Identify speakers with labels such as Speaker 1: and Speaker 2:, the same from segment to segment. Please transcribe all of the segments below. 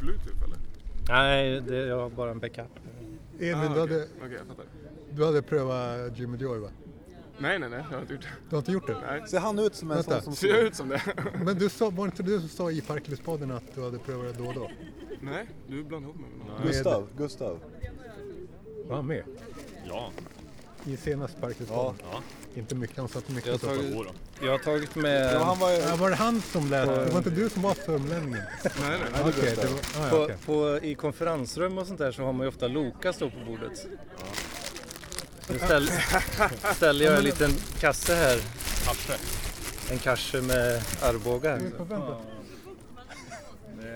Speaker 1: bluetooth eller?
Speaker 2: Nej, det, jag har bara en backup.
Speaker 3: Edvin,
Speaker 1: Ah,
Speaker 3: du,
Speaker 1: okej.
Speaker 3: hade,
Speaker 1: Okej, jag fattar.
Speaker 3: du hade prövat Jimmy Joy va?
Speaker 1: Nej, nej, nej, jag har inte gjort det.
Speaker 3: Du har inte gjort det?
Speaker 1: Nej.
Speaker 4: Ser han ut som en
Speaker 3: Vänta.
Speaker 4: sån som...
Speaker 1: Ser jag ut som det?
Speaker 3: Men du sa, var det inte du som sa i Parklyspodden att du hade prövat det då och då?
Speaker 1: nej, du blandar ihop mig med någon.
Speaker 3: Nej.
Speaker 4: Gustav, Gustav.
Speaker 3: Var han med?
Speaker 5: Ja,
Speaker 3: I senaste Parklyspodden?
Speaker 5: Ja.
Speaker 3: Inte mycket, han satt mycket
Speaker 2: Jag
Speaker 3: och
Speaker 2: tar-
Speaker 3: pratade.
Speaker 5: jodå.
Speaker 2: Jag har tagit med...
Speaker 4: Ja, han var ju...
Speaker 3: Ja, var det han som lät? Det var inte du som var sörmlänningen?
Speaker 1: Nej, nej, nej.
Speaker 3: Okej, okay,
Speaker 4: Gustav.
Speaker 3: ah, ja,
Speaker 2: På,
Speaker 3: okej.
Speaker 2: på, I konferensrum och sånt där så har man ju ofta Loka stå på bordet. Nu ställ, ställer jag en liten kasse här. En kasse med Arboga. Här.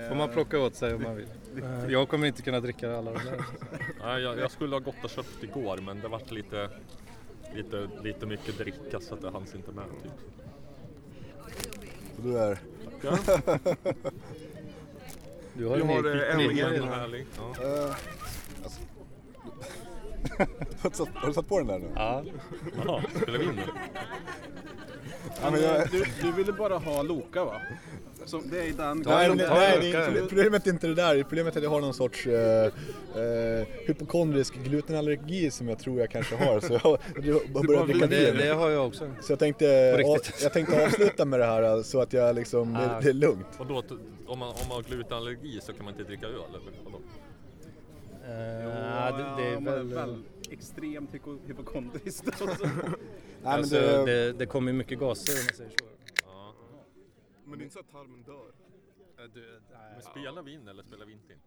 Speaker 2: Får man plocka åt sig om man vill. Jag kommer inte kunna dricka alla de där.
Speaker 5: Nej, jag, jag skulle ha gått och köpt igår men det vart lite, lite, lite mycket dricka så att det hanns inte med. Typ.
Speaker 4: Du är...
Speaker 2: Du har
Speaker 1: Du
Speaker 2: en
Speaker 1: har
Speaker 2: ny
Speaker 1: eh, ändringar i
Speaker 5: Liten
Speaker 1: den här.
Speaker 5: härlig. Ja.
Speaker 4: eh, alltså. Har du satt- Har du satt på den där nu?
Speaker 2: Ja,
Speaker 5: Jaha, spelar vi in nu?
Speaker 4: Ja, men jag...
Speaker 6: du, du ville bara ha Loka va? Som, det är den
Speaker 4: Nej,
Speaker 2: de
Speaker 4: nej,
Speaker 2: tar
Speaker 4: nej,
Speaker 2: ju
Speaker 4: det är-
Speaker 2: ökar.
Speaker 4: problemet är inte det där. Problemet är att jag har någon sorts eh, eh, hypokondrisk glutenallergi som jag tror jag kanske har. Så jag har börjat dricka
Speaker 2: men det,
Speaker 4: vin.
Speaker 2: det har jag också. Eh,
Speaker 4: Så jag tänkte,
Speaker 2: På
Speaker 4: av,
Speaker 2: riktigt.
Speaker 4: jag tänkte avsluta med det här eh, så att jag liksom, det,
Speaker 2: Ah.
Speaker 4: det är lugnt.
Speaker 5: Och då, att- om, man, om man har glutenallergi så kan man inte dricka öl eller vadå?
Speaker 2: Eh, det, det är
Speaker 6: man är
Speaker 2: väl...
Speaker 6: väl extremt hypo- hypokondrisk. Alltså.
Speaker 4: Nej, men
Speaker 2: Alltså,
Speaker 4: det,
Speaker 2: det, det kommer ju mycket gaser om man säger så.
Speaker 5: Ja.
Speaker 1: Men det är inte så att tarmen dör.
Speaker 5: Men spelar vi in eller spelar vi inte in?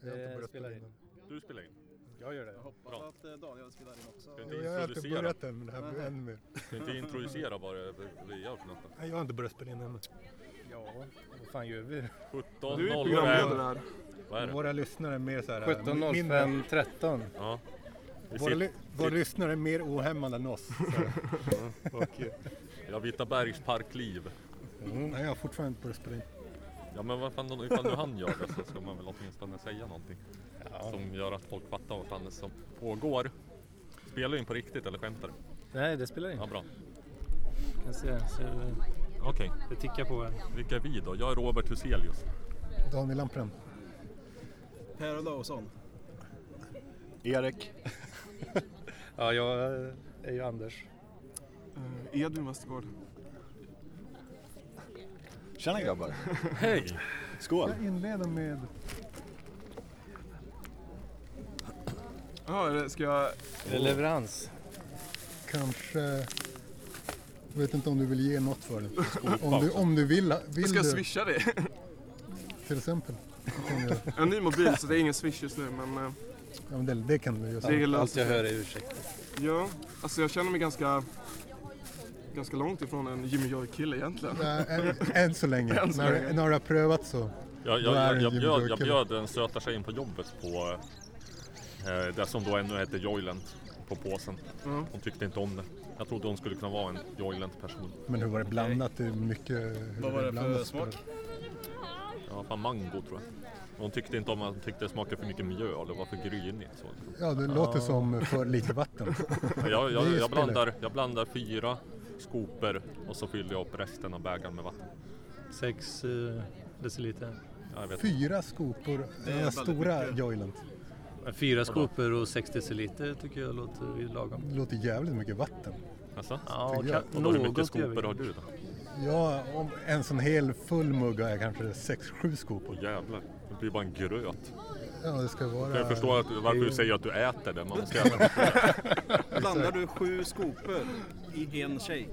Speaker 3: Jag har inte
Speaker 2: Det
Speaker 3: börjat
Speaker 2: spelar
Speaker 3: spela in
Speaker 2: in.
Speaker 3: den.
Speaker 5: Du spelar in.
Speaker 2: Jag gör det.
Speaker 6: Jag hoppas
Speaker 5: Bra.
Speaker 6: att eh, Daniel spelar in också.
Speaker 5: Ska inte
Speaker 3: Jo, Jag har inte
Speaker 5: introducera?
Speaker 3: börjat den, men det här blir ännu mer.
Speaker 5: Ska inte introducera vad det vad vi gör för något?
Speaker 3: Nej, jag har inte börjat spela in ännu.
Speaker 2: Ja, vad fan gör vi?
Speaker 1: Du är programledare
Speaker 5: 17.05.
Speaker 1: här.
Speaker 5: Vad är det?
Speaker 3: Våra lyssnare är mer så här... äh, mindre-
Speaker 2: 17.05.13.
Speaker 5: Ja.
Speaker 3: Våra,
Speaker 5: Vi sitter,
Speaker 3: ly- våra lyssnare är mer ohämmade än oss. så här. Och, eh,
Speaker 5: ja, Vitabergs parkliv.
Speaker 3: nej, jag har fortfarande inte börjat spela in.
Speaker 5: Ja men vad fan, ifall nu han gör det så ska man väl åtminstone säga någonting som gör att folk fattar vad fan det är som pågår. Spelar du in på riktigt eller skämtar du?
Speaker 2: Nej, det spelar
Speaker 5: Ja
Speaker 2: in.
Speaker 5: bra.
Speaker 2: Kan se, se,
Speaker 5: Okej,
Speaker 2: det tickar på här.
Speaker 5: vilka är vi då? Jag är Robert Huselius.
Speaker 3: Daniel Lampren.
Speaker 6: Per Olausson.
Speaker 4: Erik,
Speaker 2: Ja, jag är ju Anders.
Speaker 1: Eh, Edvin Westergård.
Speaker 4: tjena grabbar.
Speaker 5: Hej!
Speaker 4: Skål.
Speaker 3: Jag inleder med...
Speaker 1: Ja, eller ska jag...
Speaker 2: Är det leverans?
Speaker 3: Kanske... Jag vet inte om du vill ge något för det. Om du, om du vill, vill
Speaker 1: Ska jag
Speaker 3: du,
Speaker 1: swisha dig?
Speaker 3: till exempel. Kan du göra.
Speaker 1: Jag har en ny mobil så det är ingen swish just nu men eh,
Speaker 3: Ja, men det, det kan du
Speaker 1: det
Speaker 3: göra.
Speaker 1: är löst.
Speaker 2: Allt jag hör är ursäkt.
Speaker 1: Ja, alltså jag känner mig ganska... Ganska långt ifrån en Jimmy Joy-kille egentligen.
Speaker 3: Nej, Än, Äh, än så länge.
Speaker 1: Än så
Speaker 3: när,
Speaker 1: länge.
Speaker 3: när du har prövat så.
Speaker 5: Jag,
Speaker 3: Vad
Speaker 5: jag,
Speaker 3: är
Speaker 5: jag,
Speaker 3: en
Speaker 5: jag,
Speaker 3: Jimmy
Speaker 5: bjöd,
Speaker 3: Joy
Speaker 5: jag
Speaker 3: Killer?
Speaker 5: bjöd den söta tjejen på jobbet på eh, det som då ännu hette Joylent på påsen.
Speaker 1: Ja.
Speaker 5: Hon tyckte inte om det. Jag trodde hon skulle kunna vara en Joylent person.
Speaker 3: Men hur var det blandat? Det är mycket... hur
Speaker 6: Vad var det
Speaker 3: blandat
Speaker 6: för
Speaker 3: som spelar.
Speaker 6: smak?
Speaker 5: Ja, fan mango tror jag. Hon tyckte inte om att hon tyckte det smakade för mycket mjöl och var för grynigt. Så.
Speaker 3: Ja, det låter som för lite vatten.
Speaker 5: Jag,
Speaker 3: Det är
Speaker 5: jag,
Speaker 3: ju
Speaker 5: jag,
Speaker 3: spelet.
Speaker 5: blandar, jag blandar fyra skopor och så fyller jag upp resten av bägaren med vatten.
Speaker 2: Sex eh, deciliter.
Speaker 5: Ja, Jag vet. inte.
Speaker 3: Fyra skopor,
Speaker 6: är
Speaker 3: eh,
Speaker 6: väldigt
Speaker 3: stora
Speaker 6: mycket.
Speaker 3: Joylent.
Speaker 2: Fyra skopor och sex deciliter tycker jag låter ju lagom.
Speaker 3: Det låter jävligt mycket vatten.
Speaker 5: Alltså?
Speaker 2: Ja,
Speaker 3: Tycker jag.
Speaker 2: kan,
Speaker 5: Och då, hur mycket
Speaker 2: något gör
Speaker 5: skopor
Speaker 2: vi.
Speaker 5: har du då?
Speaker 3: Ja, om en sån hel full mugg har jag kanske sex, sju skopor.
Speaker 5: Åh jävlar, det blir bara en gröt.
Speaker 3: Ja, det ska vara...
Speaker 5: Jag förstår att, varför du säger att du äter det. Man måste äta det.
Speaker 6: Blandar du sju skopor i en shake?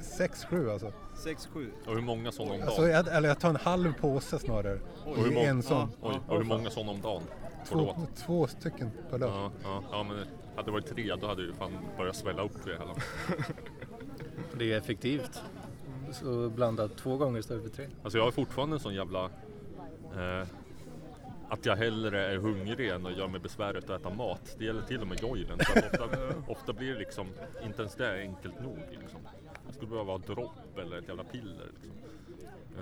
Speaker 3: Sex, sju alltså.
Speaker 6: Sex, sju.
Speaker 5: Och hur många sådana om
Speaker 3: alltså
Speaker 5: dagen?
Speaker 3: jag, eller jag tar en halv påse snarare.
Speaker 5: hur
Speaker 3: I
Speaker 5: många?
Speaker 3: en sån.
Speaker 5: Oj, och hur många sådana om dagen? Får du
Speaker 3: Två,
Speaker 5: åt?
Speaker 3: två stycken per dag.
Speaker 5: Ja, ja, ja, men hade det varit tre då hade du ju fan börjat svälla upp vid det här laget.
Speaker 2: Det är effektivt. Så blandat två gånger istället för tre.
Speaker 5: Alltså jag är fortfarande en sån jävla... Eh, att jag hellre är hungrig än att göra mig besväret att äta mat. Det gäller till och med joilen. Så att ofta, ofta blir det liksom, inte ens det är enkelt nog. Liksom. Jag skulle behöva ha dropp eller ett jävla piller. Liksom.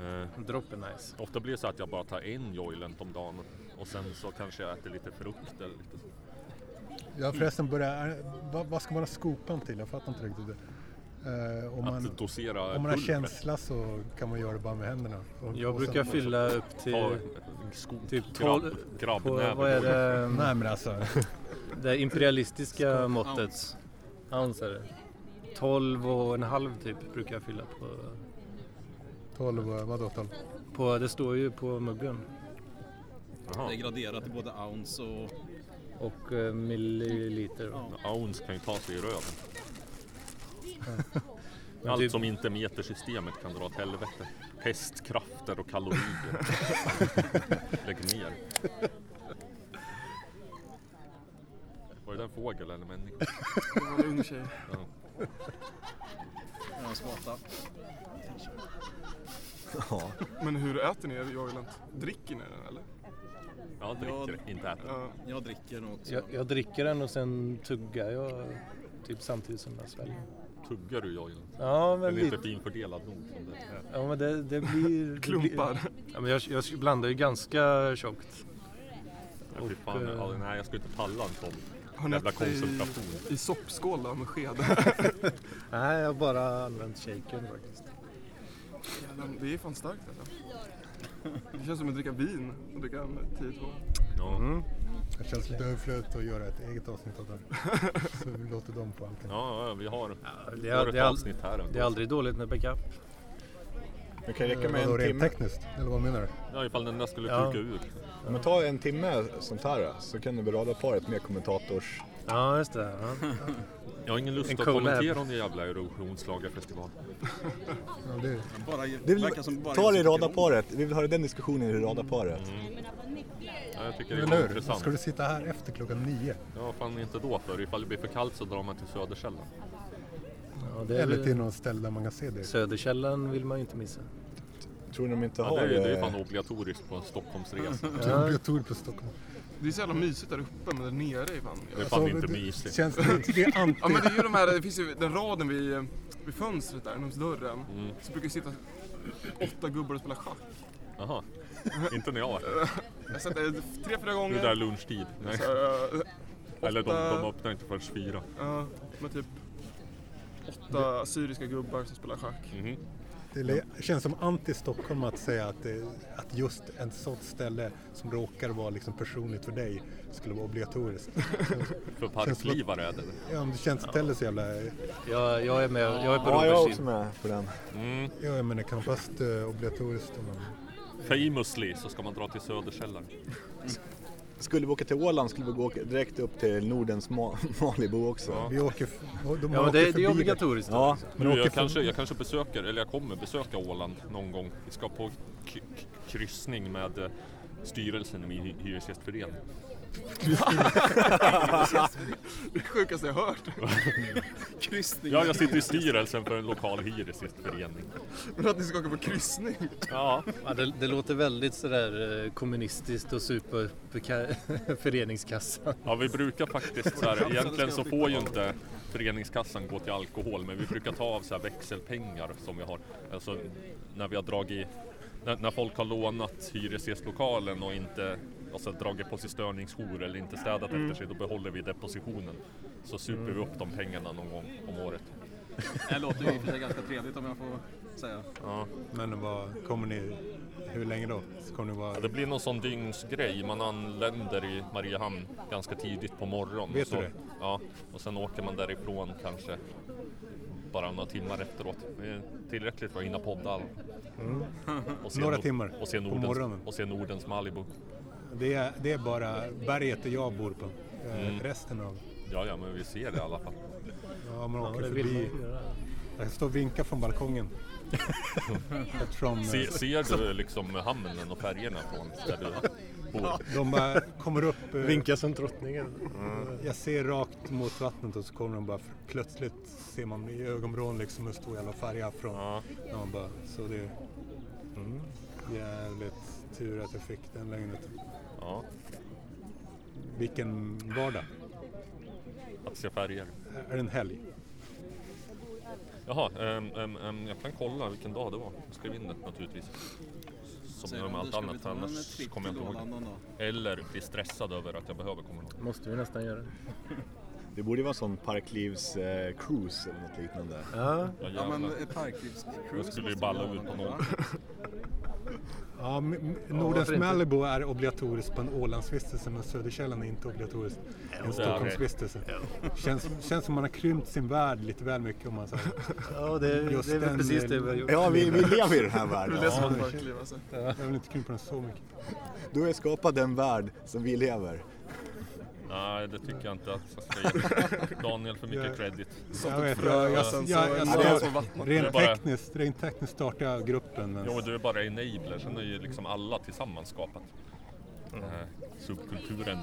Speaker 5: Eh,
Speaker 2: Dropp är nice.
Speaker 5: ofta blir det så att jag bara tar en joilent om dagen och sen så kanske jag äter lite frukt eller lite så.
Speaker 3: Jag har förresten börjat... eh, Vad, vad ska man ha skopan till? Jag fattar inte riktigt det. Eh, om,
Speaker 5: Att
Speaker 3: man,
Speaker 5: dosera
Speaker 3: om man har
Speaker 5: pulver.
Speaker 3: känsla så kan man göra det bara med händerna. Och-
Speaker 2: Jag
Speaker 3: och sen-
Speaker 2: brukar fylla upp till...
Speaker 5: Ta Skuggskog.
Speaker 2: Typ
Speaker 5: grabb,
Speaker 2: tolv- På,
Speaker 5: grabbnäve.
Speaker 2: vad är det,
Speaker 7: Nej men alltså.
Speaker 2: det imperialistiska måttet? Ounce är det. 12 och en halv typ brukar jag fylla på.
Speaker 3: 12, eh, vadå 12?
Speaker 2: på det står ju på muggen.
Speaker 5: Jaha.
Speaker 6: Det är graderat i både ounce och...
Speaker 2: Och eh, milliliter. va?
Speaker 5: En Ounce kan ju ta sig i röven.
Speaker 2: Men
Speaker 5: Allt
Speaker 2: typ-
Speaker 5: som inte är metersystemet kan dra åt helvete. Hästkrafter och kalorier. Lägg ner. Var det där en fågel eller människa?
Speaker 1: Det var en ung tjej.
Speaker 5: Ja.
Speaker 6: När de smatar.
Speaker 1: Men hur äter ni er Joiland? Dricker ni den eller?
Speaker 5: Ja, dricker, inte äter.
Speaker 1: Ja.
Speaker 6: Jag dricker något.
Speaker 2: Jag, jag dricker den och sen tuggar jag typ samtidigt som jag sväljer.
Speaker 5: Tuggar du jojlen?
Speaker 2: Ja men
Speaker 5: Den är inte
Speaker 2: lite.
Speaker 5: finfördelad nog som det är.
Speaker 2: Ja men det, det blir... det
Speaker 1: Klumpar.
Speaker 2: blir- Ja, men jag, jag blandar ju ganska tjockt.
Speaker 5: Ja, fy fan,
Speaker 2: eh,
Speaker 5: ja, nej, jag skulle inte palla en sån
Speaker 1: Har ni
Speaker 5: jävla
Speaker 1: ätit det i,
Speaker 5: koncentration.
Speaker 1: i soppskål då med sked?
Speaker 2: Nej jag har bara använt shakern faktiskt.
Speaker 1: det är fan starkt alltså. Det känns som att dricka vin och dricka en 10-2.
Speaker 5: Ja.
Speaker 2: Mm.
Speaker 3: Det känns lite överflödigt att göra ett eget avsnitt av det här. Så vi låter dem få allting.
Speaker 5: Ja, ja, vi har,
Speaker 2: Det
Speaker 5: vi har
Speaker 2: är,
Speaker 5: ett
Speaker 2: det, är, all-
Speaker 5: avsnitt här ändå.
Speaker 2: det är aldrig dåligt med backup.
Speaker 4: Det kan ju räcka
Speaker 5: Eh,
Speaker 4: med
Speaker 3: Vadå
Speaker 4: en
Speaker 3: rent
Speaker 4: timme.
Speaker 3: tekniskt? Eller vad menar du?
Speaker 5: Ja, ifall den där skulle
Speaker 2: Ja.
Speaker 5: kuka ur.
Speaker 4: Om man tar en timme sånt här så kan du berada paret med kommentators...
Speaker 2: Ja just det. Ja.
Speaker 5: Jag har ingen lust
Speaker 2: En
Speaker 5: att
Speaker 2: collab.
Speaker 5: kommentera om det jävla Eurovisionsschlagerfestival.
Speaker 3: Ja, det,
Speaker 6: Bara,
Speaker 4: Det
Speaker 6: det
Speaker 4: vill,
Speaker 6: verkar som bara
Speaker 4: ta det i
Speaker 6: jag som tycker om
Speaker 4: radarparet. Vi vill höra den diskussionen i radarparet.
Speaker 5: Mm. Ja, jag tycker det
Speaker 3: eller
Speaker 5: är
Speaker 3: hur?
Speaker 5: intressant.
Speaker 3: Ska du sitta här efter klockan nio?
Speaker 5: Ja, fan inte då för. Ifall det blir för kallt så drar man till Söderkällan.
Speaker 2: Ja, det är
Speaker 3: Eller
Speaker 2: väl-
Speaker 3: till något ställe där man kan se det?
Speaker 2: Söderkällan vill man ju inte missa.
Speaker 4: Tror ni de inte
Speaker 5: Ja,
Speaker 4: har...
Speaker 5: det, är, det är
Speaker 4: eh,
Speaker 5: fan obligatoriskt på en Stockholmsresa.
Speaker 3: Jag tror på Stockholm.
Speaker 1: Det är så jävla mysigt där uppe men där nere är fan...
Speaker 5: Det är fan
Speaker 3: men
Speaker 5: inte
Speaker 3: Alltså, det-
Speaker 5: mysigt.
Speaker 3: Känns det, det är anti...
Speaker 1: Ja men det är ju de här, det finns ju den raden vid, vid fönstret där, närmst dörren.
Speaker 2: Mm.
Speaker 1: Så brukar det sitta åtta gubbar och spela schack.
Speaker 5: Jaha, inte när jag var här.
Speaker 1: Jag har sett det tre, fyra
Speaker 5: Nu är det där
Speaker 1: gånger.
Speaker 5: lunchtid. Nej.
Speaker 1: Så, eh,
Speaker 5: Eller de,
Speaker 1: Ofta-
Speaker 5: de öppnar inte förrän fyra.
Speaker 1: Ja, med typ åtta assyriska gubbar som spelar schack.
Speaker 5: Mhm.
Speaker 3: Det le- känns som anti-Stockholm att säga att, det, att just en sånt ställe som råkar vara liksom personligt för dig skulle vara obligatoriskt.
Speaker 5: För parklivare är det.
Speaker 3: Ja, men det känns stället så jävla...
Speaker 2: Jag, jag är med, jag är på
Speaker 4: Ja, jag är också
Speaker 2: Robertsin.
Speaker 4: med på den.
Speaker 3: Ja, jag menar knappast eh, obligatoriskt. om man-
Speaker 5: Famously så ska man dra till Söderkällan.
Speaker 4: Skulle vi åka till Åland skulle vi gå direkt upp till Nordens Ma- Malibu också.
Speaker 3: Vi åker... f- De
Speaker 2: Ja men
Speaker 3: åker
Speaker 2: det, det
Speaker 3: förbi
Speaker 2: är obligatoriskt.
Speaker 4: Ja,
Speaker 5: Nu,
Speaker 3: åker
Speaker 5: jag,
Speaker 3: för-
Speaker 5: kanske, jag kanske besöker, eller jag kommer besöka Åland någon gång. Vi ska på k- k- kryssning med eh, styrelsen i min hy- hyresgästförening.
Speaker 1: Det sjukaste jag hört.
Speaker 6: Kryssning.
Speaker 5: Ja, jag sitter i styrelsen för en lokal hyresgästförening.
Speaker 1: Men att ni ska åka på kryssning.
Speaker 5: Ja,
Speaker 2: Ja, det, det låter väldigt sådär eh, kommunistiskt och supa upp ka- föreningskassan.
Speaker 5: Ja, vi brukar faktiskt så här, egentligen så får ju inte föreningskassan gå till alkohol, men vi brukar ta av så här växelpengar som vi har. Alltså när vi har dragit, när, när folk har lånat hyresgästlokalen och inte alltså, dragit på sig störningsjour eller inte städat efter sig, då behåller vi depositionen. Så super vi upp de pengarna någon gång om året.
Speaker 6: Det låter ju i och för sig ganska trevligt om jag får säga.
Speaker 3: Men vad, kommer ni... Hur länge då? Så kommer ni vara...
Speaker 5: Ja, det blir någon sån dygnsgrej. Man anländer i Mariehamn ganska tidigt på morgonen.
Speaker 3: Vet
Speaker 5: och så,
Speaker 3: du det?
Speaker 5: Ja, och sen åker man därifrån kanske bara några timmar efteråt. Det är tillräckligt för att hinna podda. all- Och se
Speaker 3: Mm. Några
Speaker 5: Nor-
Speaker 3: timmar
Speaker 5: och se
Speaker 3: på
Speaker 5: Nordens,
Speaker 3: morgonen.
Speaker 5: Och se Nordens Malibu.
Speaker 3: Det är, det är bara berget där jag bor på. Eh,
Speaker 2: Mm.
Speaker 3: Resten av...
Speaker 5: Ja, ja, men vi ser det i alla fall.
Speaker 3: Ja, man
Speaker 2: Ja,
Speaker 3: åker
Speaker 2: det vill man
Speaker 3: förbi.
Speaker 2: ju göra.
Speaker 3: Jag står och vinkar från balkongen. Eftersom eh,
Speaker 5: Se, ser du liksom hamnen och färgerna från där du bor?
Speaker 3: de bara kommer upp. eh,
Speaker 2: Vinka som drottningen.
Speaker 3: Jag ser rakt mot vattnet och så kommer de bara för, plötsligt ser man i ögonvrån liksom hur stor jävla färg jag från.
Speaker 5: Ja.
Speaker 3: Ja, man bara, så det är mm, jävligt tur att jag fick den lägenheten.
Speaker 5: ja,
Speaker 3: Vilken vardag.
Speaker 5: att se färger.
Speaker 3: Är det en helg?
Speaker 5: Jaha, ehm, ehm, ehm, jag kan kolla vilken dag det var. Jag skrev in det naturligtvis. Som jag gör med allt annat, för annars kommer jag inte ihåg. Eller bli stressad över att jag behöver komma ihåg.
Speaker 2: Måste vi nästan göra.
Speaker 4: Det borde ju vara en sån parklivs-cruise eller något liknande.
Speaker 2: Ja,
Speaker 5: Ja,
Speaker 6: Ja eh,
Speaker 5: jävlar.
Speaker 6: men ett parklivscruise
Speaker 5: Jag skulle ju
Speaker 6: måste vi
Speaker 5: balla
Speaker 6: göra
Speaker 5: ut på
Speaker 6: gång,
Speaker 5: någon.
Speaker 6: va?
Speaker 8: Ja, m- m- Nordens
Speaker 2: varför inte?
Speaker 8: Malibu är obligatoriskt på en Ålandsvistelse men Söderkällan är inte obligatoriskt i en Stockholmsvistelse. Känns, känns som man har krympt sin värld lite väl mycket om man säger.
Speaker 2: Ja, det,
Speaker 8: Just
Speaker 2: det är väl
Speaker 8: den,
Speaker 2: precis
Speaker 8: eh,
Speaker 2: det vi har gjort.
Speaker 4: Ja, vi, vi lever i den här världen.
Speaker 1: Det är det som är förkliv alltså.
Speaker 8: Jag vill inte krympa den så mycket.
Speaker 4: Du har ju skapat den värld som vi lever.
Speaker 5: Nej, det tycker jag inte att jag ska ge Daniel för mycket
Speaker 8: Jag-
Speaker 5: credit.
Speaker 8: Jag vet, jag, jag,
Speaker 1: och
Speaker 8: jag,
Speaker 1: sen så
Speaker 8: jag,
Speaker 1: är det
Speaker 8: jag,
Speaker 1: någon som vattnar.
Speaker 8: rent,
Speaker 5: Bara-
Speaker 8: tekniskt, rent tekniskt startar jag gruppen. Men,
Speaker 5: Jo, du är bara enabler. Sen är ju liksom alla tillsammans skapat.
Speaker 8: Mm.
Speaker 5: Eh, subkulturen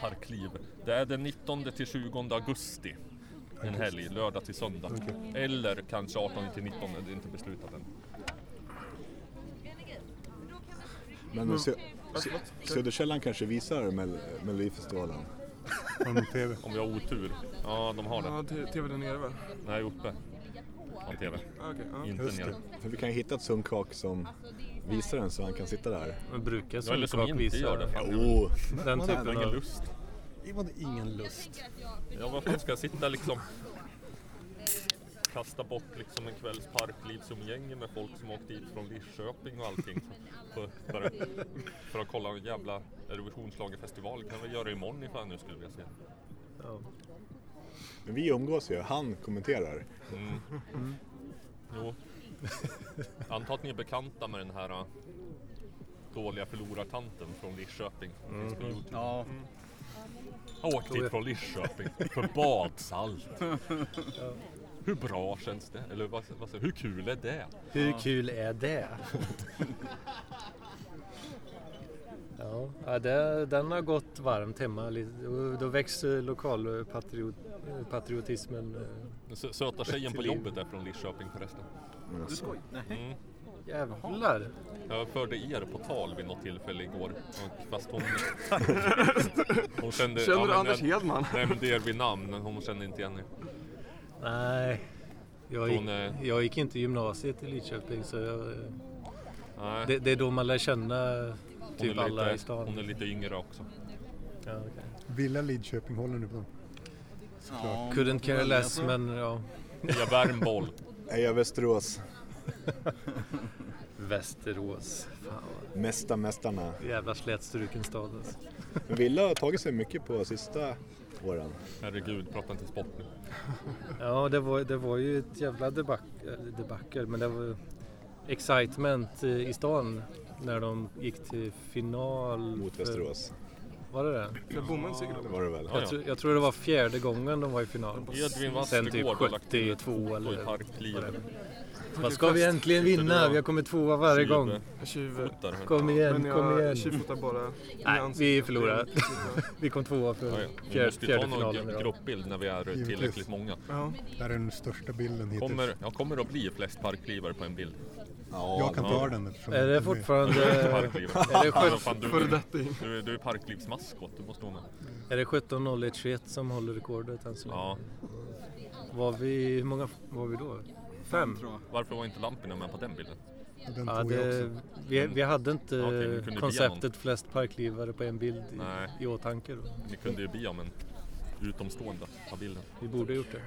Speaker 5: Parkliv. Det är den 19 till 20 augusti. En helg, lördag till söndag. Eller kanske 18 till 19, det är inte beslutat än.
Speaker 4: Men Sö- Sö- Söderkällan kanske visar Mel- Melodifestivalen.
Speaker 8: har de TV.
Speaker 5: Om vi har otur. Ja, de har det.
Speaker 1: Ja, t- tv där nere va?
Speaker 5: Nej, uppe. På TV.
Speaker 1: Ah, Okej, ja.
Speaker 5: Inte
Speaker 8: Just det.
Speaker 5: nere.
Speaker 4: För vi kan ju hitta ett sunkak som visar den så han kan sitta där.
Speaker 2: Man brukar
Speaker 5: Ja, eller som
Speaker 2: solkak
Speaker 5: inte gör det.
Speaker 2: visa
Speaker 5: Fan, jag
Speaker 4: Oh,
Speaker 2: den
Speaker 5: har
Speaker 2: typen
Speaker 5: ingen
Speaker 2: av...
Speaker 5: lust.
Speaker 8: Det var ingen lust.
Speaker 5: Ja, vad fan ska jag sitta liksom... Kasta bort liksom en kvälls parklivsumgänge med folk som åkt dit från Lidköping och allting. För, för, att, för att kolla en jävla Eurovisionsschlagerfestival. kan vi göra imorgon ifall jag nu skulle vilja se.
Speaker 2: Ja.
Speaker 4: men vi umgås ju, han kommenterar.
Speaker 5: Jo. Jag antar att ni är bekanta med den här äh, dåliga förlorartanten från Lidköping. Finns på Youtube.
Speaker 6: Ja,
Speaker 5: Jag åkte dit från Lidköping för badsalt. Hur bra känns det? Eller vad, vad, säger- hur kul är det?
Speaker 2: Hur kul är det? ja, ja det, den har gått varmt hemma. lite. Och Då växer lokalpatriotismen.
Speaker 5: Sö- Söta tjejen på
Speaker 2: Till liv.
Speaker 5: jobbet är från Lidköping förresten. Mm.
Speaker 6: du skojar? Nej.
Speaker 2: Jävlar!
Speaker 5: Jag förde er på tal vid något tillfälle igår. Och fast hon... hon kände,
Speaker 1: Känner du
Speaker 5: men
Speaker 1: Anders
Speaker 5: jag
Speaker 1: Hedman?
Speaker 5: Nämnde er vid namn, men hon kände inte igen er.
Speaker 2: Nej, jag gick,
Speaker 5: Hon eh, är-
Speaker 2: jag gick inte gymnasiet i Lidköping så jag,
Speaker 5: Nej,
Speaker 2: det, det är då man lär känna
Speaker 5: hon,
Speaker 2: typ
Speaker 5: är
Speaker 2: alla i
Speaker 5: lite, hon är
Speaker 2: stan.
Speaker 5: lite yngre också.
Speaker 2: Ja, okej.
Speaker 8: Villa Lidköping håller nu på.
Speaker 6: Ja,
Speaker 2: Couldn't care less
Speaker 6: men... alltså-
Speaker 2: men ja.
Speaker 5: Via Värmboll.
Speaker 4: Är jag Västerås?
Speaker 2: Västerås. Fan
Speaker 4: Mesta mästarna.
Speaker 2: vad jävla slätstruken stad alltså.
Speaker 4: Men Villa har tagit sig mycket på sista åren.
Speaker 5: Herregud, prata inte sport nu.
Speaker 2: Ja, det var, det var ju ett jävla debacle, debacle men det var excitement eh, i stan när de gick till final.
Speaker 4: Mot
Speaker 2: för-
Speaker 4: Västerås
Speaker 2: Var det det?
Speaker 1: Jag bommade sig
Speaker 4: var det väl.
Speaker 5: Ja,
Speaker 2: Jag,
Speaker 5: ja.
Speaker 2: tror- jag tror det var fjärde gången de var i final.
Speaker 5: Edvin
Speaker 2: Sen typ
Speaker 5: Westergård har lagt in ett
Speaker 2: 72
Speaker 5: foto i
Speaker 2: eller
Speaker 5: Parkliv.
Speaker 2: Vad ska vi äntligen vinna? Vi har kommit tvåa varje gång.
Speaker 1: Tjuv...
Speaker 5: Tjuvfotar.
Speaker 2: Kom igen,
Speaker 1: Men
Speaker 2: kom
Speaker 1: jag
Speaker 2: igen.
Speaker 1: tjuvfotar bara
Speaker 2: Nej, vi förlorar. Vi kom tvåa
Speaker 5: Ja,
Speaker 2: för
Speaker 5: ja. Vi
Speaker 2: fjärde,
Speaker 5: måste ju ta
Speaker 2: fjärde
Speaker 5: någon
Speaker 2: finalen
Speaker 5: gru-
Speaker 2: idag.
Speaker 5: gruppbild när vi är tillräckligt många.
Speaker 1: Ja,
Speaker 8: Där är den största bilden hittills.
Speaker 5: Kommer, jag kommer att bli flest parklivare på en bild.
Speaker 8: Jag kan ta
Speaker 5: ja.
Speaker 8: den eftersom
Speaker 2: Är
Speaker 8: den
Speaker 3: Mm.
Speaker 2: det fortfarande...
Speaker 5: Parklivare.
Speaker 2: Är det
Speaker 5: Fan,
Speaker 2: skönt-
Speaker 5: fan, du,
Speaker 1: före detta in.
Speaker 5: du, du är parklivsmaskot, du måste vara med.
Speaker 2: Är det 17.01.21 som håller rekordet än så länge?
Speaker 5: Ja.
Speaker 2: Var vi, hur många var vi då? Fem?
Speaker 5: Varför var inte Lampinen med på den bilden?
Speaker 8: Den
Speaker 2: Ja,
Speaker 8: tog jag
Speaker 2: det,
Speaker 8: också.
Speaker 2: vi, vi hade inte
Speaker 5: Okej, vi kunde bli någon.
Speaker 2: konceptet flest parklivare på en bild i,
Speaker 5: Nej.
Speaker 2: i åtanke. Då.
Speaker 5: Ni kunde ju be om en utomstående på bilden.
Speaker 2: Vi borde ha gjort det.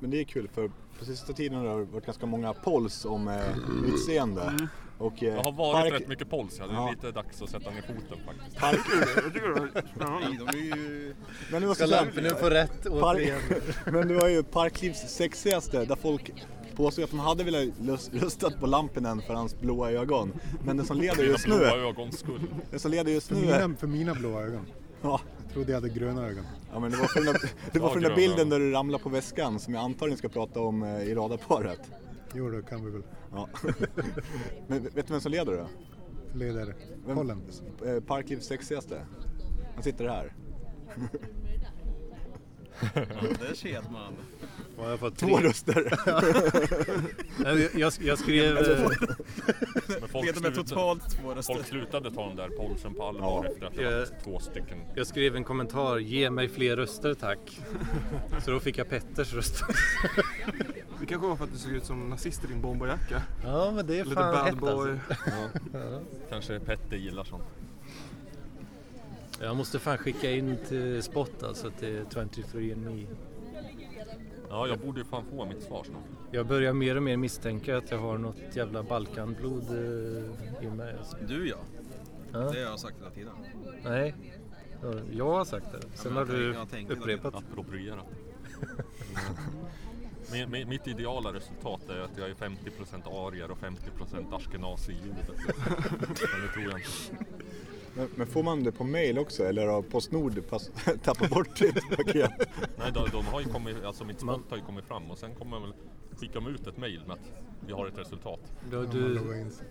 Speaker 4: Men det är kul för på sista tiden har det varit ganska många polls om eh, utseende. Och, eh,
Speaker 5: Jag Mm. har varit
Speaker 4: park-
Speaker 5: rätt mycket polls, ja. det är
Speaker 4: Ja.
Speaker 5: lite dags att sätta ner foten faktiskt.
Speaker 6: De är ju...
Speaker 4: Men det var så här-
Speaker 2: få rätt
Speaker 4: Park- Men det var ju Parklivs sexigaste där folk påstod att de hade velat lust, lustat på Lampinen för hans blåa ögon. Men den som leder
Speaker 5: Mina
Speaker 4: just
Speaker 5: blåa
Speaker 4: nu,
Speaker 5: ögons skull.
Speaker 4: den som leder just
Speaker 8: För
Speaker 4: nu är...
Speaker 8: mina, för mina blåa ögon.
Speaker 4: Ja,
Speaker 8: Jag trodde jag hade gröna ögon.
Speaker 4: ja men det var för den där, det var för den där
Speaker 5: Ja, gröna.
Speaker 4: bilden där du ramlar på väskan som jag antagligen ska prata om eh, i radarparet.
Speaker 8: Jo, då kan vi väl.
Speaker 4: Ja. Men vet du vem som leder då?
Speaker 8: Ledare.
Speaker 4: Vem?
Speaker 8: Pollen.
Speaker 4: Eh, Parklivs sexigaste. Han sitter här.
Speaker 6: Det ser man.
Speaker 2: Ja, jag, fått tre.
Speaker 4: Två röster.
Speaker 2: Nej, jag- jag, jag skrev... eh,
Speaker 5: Men folk,
Speaker 6: Leder
Speaker 5: slutade,
Speaker 6: med totalt två
Speaker 5: folk
Speaker 6: röster.
Speaker 5: slutade ta den där polsen på allvar
Speaker 4: Ja.
Speaker 5: efter att det var
Speaker 2: Eh.
Speaker 5: två stycken.
Speaker 2: Jag skrev en kommentar, ge mig fler röster tack. Så då fick jag Petters röst.
Speaker 1: Det kanske var för att du såg ut som nazist i din bomberjacka.
Speaker 2: Ja men det är alltså.
Speaker 1: Lite bad boy.
Speaker 5: Kanske Petter gillar sånt.
Speaker 2: Jag måste fan skicka in till Spot alltså till 23andMe.
Speaker 5: Ja, Ja, jag borde ju fan få mitt svar snart.
Speaker 2: Jag börjar mer och mer misstänka att jag har något jävla Balkanblod eh, i mig. Alltså.
Speaker 6: Du ja.
Speaker 2: Ja.
Speaker 6: Det har jag sagt hela tiden.
Speaker 2: Nej, Ja, jag har sagt det. Sen
Speaker 6: men
Speaker 2: har
Speaker 6: jag tänk-
Speaker 2: du
Speaker 6: jag tänkte det.
Speaker 2: upprepat.
Speaker 5: Approprierat. Men- men Mitt ideala resultat är att jag är 50% arier och 50% askenazi-jude. Men det tror jag inte.
Speaker 4: Men, men får man det på mail också eller har Postnord pass- tappat bort sitt paket?
Speaker 5: Nej, de, de har ju kommit, alltså mitt spot har ju kommit fram och sen kommer jag väl skicka mig ut ett mail med att vi har ett resultat.
Speaker 2: Du, du,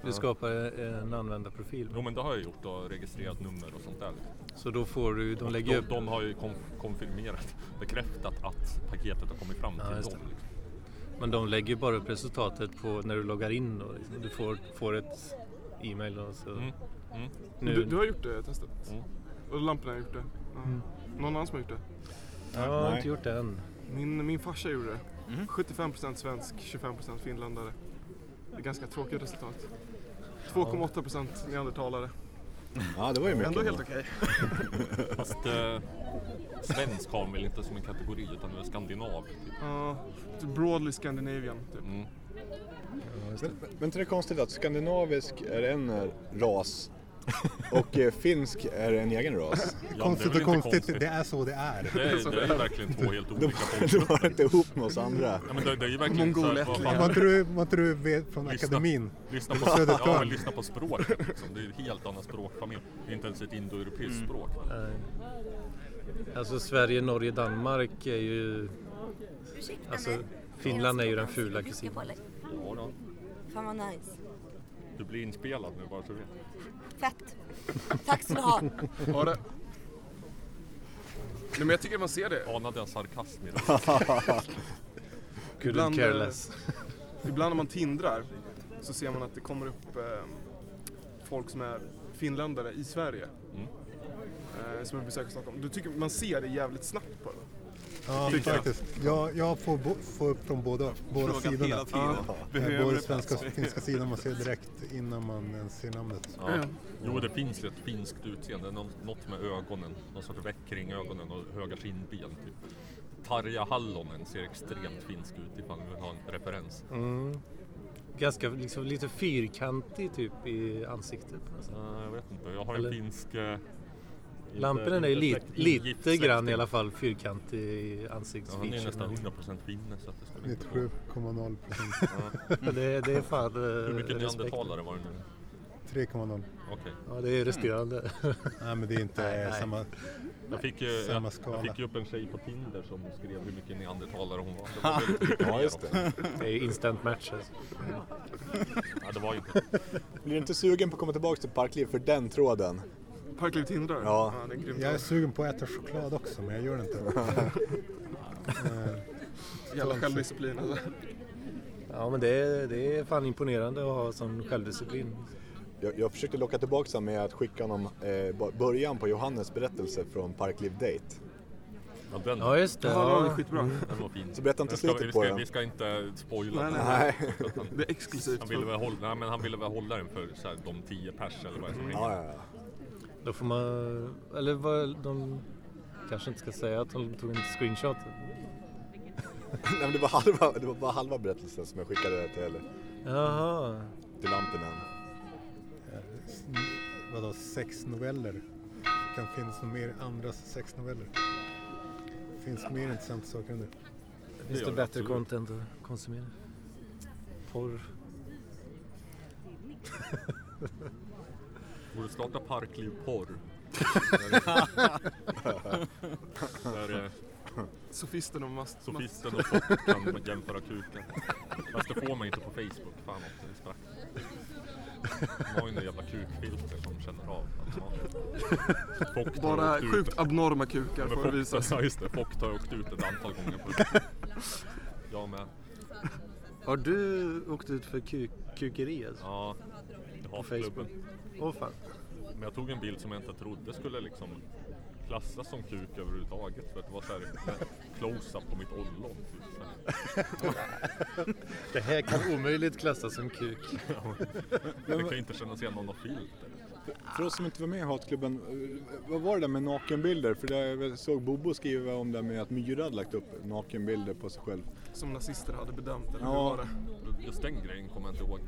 Speaker 2: du skapar en användarprofil.
Speaker 5: Jo men det har jag gjort och registrerat nummer och sånt där.
Speaker 2: Så då får du, de lägger
Speaker 5: De,
Speaker 2: upp.
Speaker 5: de har ju konf- konfirmerat, bekräftat att paketet har kommit fram
Speaker 2: Ja,
Speaker 5: till
Speaker 2: just
Speaker 5: dem.
Speaker 2: det.
Speaker 5: liksom.
Speaker 2: Men de lägger bara upp resultatet på när du loggar in då. liksom. Du får, får ett e-mail och så.
Speaker 5: Mm. Mm.
Speaker 2: Nu,
Speaker 1: Du, du har gjort det testet?
Speaker 5: Mm.
Speaker 1: Och lamporna har gjort det? Ja. Någon annan som har gjort det?
Speaker 2: jag har
Speaker 4: Nej.
Speaker 2: inte gjort det än.
Speaker 1: Min, min farsa gjorde det. 75% svensk, 25% finländare. Det är ganska tråkigt resultat. 2,8% neandertalare.
Speaker 4: Ja, det var ju mycket.
Speaker 1: Ändå
Speaker 4: ändå.
Speaker 1: helt okej.
Speaker 5: Fast eh, svensk har väl inte som en kategori utan det är skandinav. Typ.
Speaker 1: Ja, broadly Scandinavian typ.
Speaker 5: Mm.
Speaker 4: Men, men inte det är konstigt att skandinavisk är en eh, ras och eh, finsk är en egen ras?
Speaker 5: Ja, men
Speaker 8: Konstigt
Speaker 5: det är väl
Speaker 8: och
Speaker 5: inte
Speaker 8: konstigt, det är så det är.
Speaker 5: Det är, det är ju verkligen två helt olika folk.
Speaker 4: Du har inte ihop med oss andra.
Speaker 5: Ja, men det, det är ju verkligen så här, vad fan-
Speaker 2: liksom.
Speaker 8: Var inte du, var inte du vet från
Speaker 5: Lyssna.
Speaker 8: akademin?
Speaker 5: Lyssna
Speaker 8: Eller
Speaker 5: på, ja,
Speaker 8: Södertörn.
Speaker 5: men lyssna på språket liksom. Det är ju en helt annan språkfamilj. Det är inte ens ett indoeuropeiskt
Speaker 2: Mm.
Speaker 5: språk.
Speaker 2: Eh, Alltså Sverige, Norge, Danmark är ju...
Speaker 9: Ursäkta
Speaker 2: Alltså,
Speaker 9: mig.
Speaker 2: Finland är ju den fula
Speaker 9: Jag ska
Speaker 2: kusinen.
Speaker 9: kolla.
Speaker 5: Ja, då.
Speaker 9: Fan vad nice.
Speaker 5: Du blir inspelad nu bara så du vet.
Speaker 9: Fett. Tack ska du ha.
Speaker 1: Har det? Nej men jag tycker man ser det.
Speaker 5: Anade en sarkasm i det.
Speaker 2: Couldn't
Speaker 1: Ibland,
Speaker 2: care
Speaker 1: eh,
Speaker 2: less.
Speaker 1: Ibland när man tindrar så ser man att det kommer upp eh, folk som är finländare i Sverige.
Speaker 5: Mm.
Speaker 1: Eh, som vill besöka Stockholm. Du tycker man ser det jävligt snabbt på dem.
Speaker 8: Ja,
Speaker 1: Tycker jag.
Speaker 8: faktiskt. Jag, jag får, bo, får upp från båda, båda
Speaker 6: Frågat
Speaker 8: sidorna.
Speaker 6: hela tiden.
Speaker 8: Eh, Både svenska och finska sidan man ser direkt innan man ens ser namnet.
Speaker 5: Ja. Jo, det finns ju ett finskt utseende. Nå- Något med ögonen. Någon sorts veck kring ögonen och höga kindben. Typ. Tarja Hallonen ser extremt finsk ut ifall ni vill ha en referens.
Speaker 2: Mm. Ganska liksom, lite fyrkantig typ i ansiktet. alltså. på något sätt.
Speaker 5: Eh, jag vet inte, jag har en
Speaker 2: Eller-
Speaker 5: finsk... eh, inte-
Speaker 2: Lamporna är ju
Speaker 5: inte
Speaker 2: li,
Speaker 5: släkt- gift
Speaker 2: lite
Speaker 5: släkting.
Speaker 2: grann i alla fall fyrkantig i
Speaker 5: Ja, han är ju nästan
Speaker 2: ansiktsfeaturen.
Speaker 5: 100% finne så att det skulle inte gå.
Speaker 8: 97,0 procent.
Speaker 2: det, det är fan
Speaker 5: Hur mycket
Speaker 2: eh, respekt.
Speaker 5: neandertalare var det nu?
Speaker 8: 3,0.
Speaker 5: Okej.
Speaker 2: Ja, det är resterande.
Speaker 5: Mm.
Speaker 8: Nej, men det är inte
Speaker 2: Nej, nej.
Speaker 8: samma.
Speaker 5: Jag fick, ju,
Speaker 8: Samma
Speaker 5: jag,
Speaker 8: skala.
Speaker 5: jag fick ju upp en tjej på Tinder som skrev hur mycket neandertalare hon var. Det var väldigt mycket
Speaker 4: Ja,
Speaker 5: mer
Speaker 4: just
Speaker 5: också.
Speaker 4: det.
Speaker 2: Det är instant match alltså.
Speaker 5: Ja, det var ju inte.
Speaker 4: Blir du inte sugen på att komma tillbaka till Parkliv för den tråden?
Speaker 1: Parkliv tindrar.
Speaker 4: Ja.
Speaker 1: det är grymt.
Speaker 8: Jag är sugen på att äta choklad också, men jag gör det inte.
Speaker 1: Jävla självdisciplin alltså.
Speaker 2: Ja men det är, det är fan imponerande att ha sån självdisciplin.
Speaker 4: Jag, jag försökte locka tillbaka honom med att skicka honom eh, bo- början på Johannes berättelse från Parkliv Date.
Speaker 5: Ja, den,
Speaker 2: Ja just det.
Speaker 1: Det här var
Speaker 2: Ja.
Speaker 1: skitbra.
Speaker 5: den var fin.
Speaker 4: Så berätta inte
Speaker 5: Men ska vi-
Speaker 4: slutet
Speaker 5: vi
Speaker 4: på
Speaker 5: ska,
Speaker 4: den.
Speaker 5: Vi ska inte spoila
Speaker 1: Nej,
Speaker 5: den.
Speaker 4: Nej.
Speaker 1: Det är exklusivt.
Speaker 5: Han ville väl hålla, nej, men han ville väl hålla den för så här, de tio pers eller vad det är som ringer.
Speaker 4: Ja, ja, ja.
Speaker 2: Då får man... Eller vad de... Kanske inte ska säga att de tog en screenshot.
Speaker 4: Nej, men det, var halva, det var bara halva berättelsen som jag skickade till,
Speaker 2: Jaha.
Speaker 4: till Lampinen.
Speaker 8: Vadå, sex noveller? Kan finnas något mer andras sex noveller? Finns mer intressanta saker än det.
Speaker 2: Finns
Speaker 5: gör
Speaker 2: det
Speaker 5: det
Speaker 2: bättre
Speaker 5: absolut.
Speaker 2: content att konsumera? Porr.
Speaker 5: Borde starta Parkliv porr. Där eh,
Speaker 1: Sofisten och mast.
Speaker 5: sofisten och soft kan jämföra kuken. Fast det får man inte på Facebook. Fan också, det sprack. De har ju några jävla kukfilter som känner av automatiskt. Fock tar
Speaker 1: Bara
Speaker 5: åkt ut-
Speaker 1: sjukt abnorma kukar
Speaker 5: Ja, men
Speaker 1: får
Speaker 5: Fock-
Speaker 1: visas.
Speaker 5: Ja just det, Fock har åkt ut ett antal gånger. På jag med.
Speaker 2: Har du åkt ut för kuk, kukeri alltså?
Speaker 5: Ja, jag har
Speaker 2: Facebook.
Speaker 5: klubben.
Speaker 2: Åh fan.
Speaker 5: Men jag tog en bild som jag inte trodde skulle liksom klassas som kuk överhuvudtaget för att det var såhär close-up på mitt ollon. Typ. Så här.
Speaker 2: Det här kan omöjligt klassas som kuk.
Speaker 5: Men det kan ju inte kännas igen någon av filter.
Speaker 4: För oss som inte var med i Hatklubben, eh, vad var det där med nakenbilder? För det- jag såg Bobo skriva om det med att Myra hade lagt upp nakenbilder på sig själv.
Speaker 1: Som nazister hade bedömt, eller hur
Speaker 4: Ja.
Speaker 1: var det?
Speaker 5: Just den grejen kommer jag inte ihåg.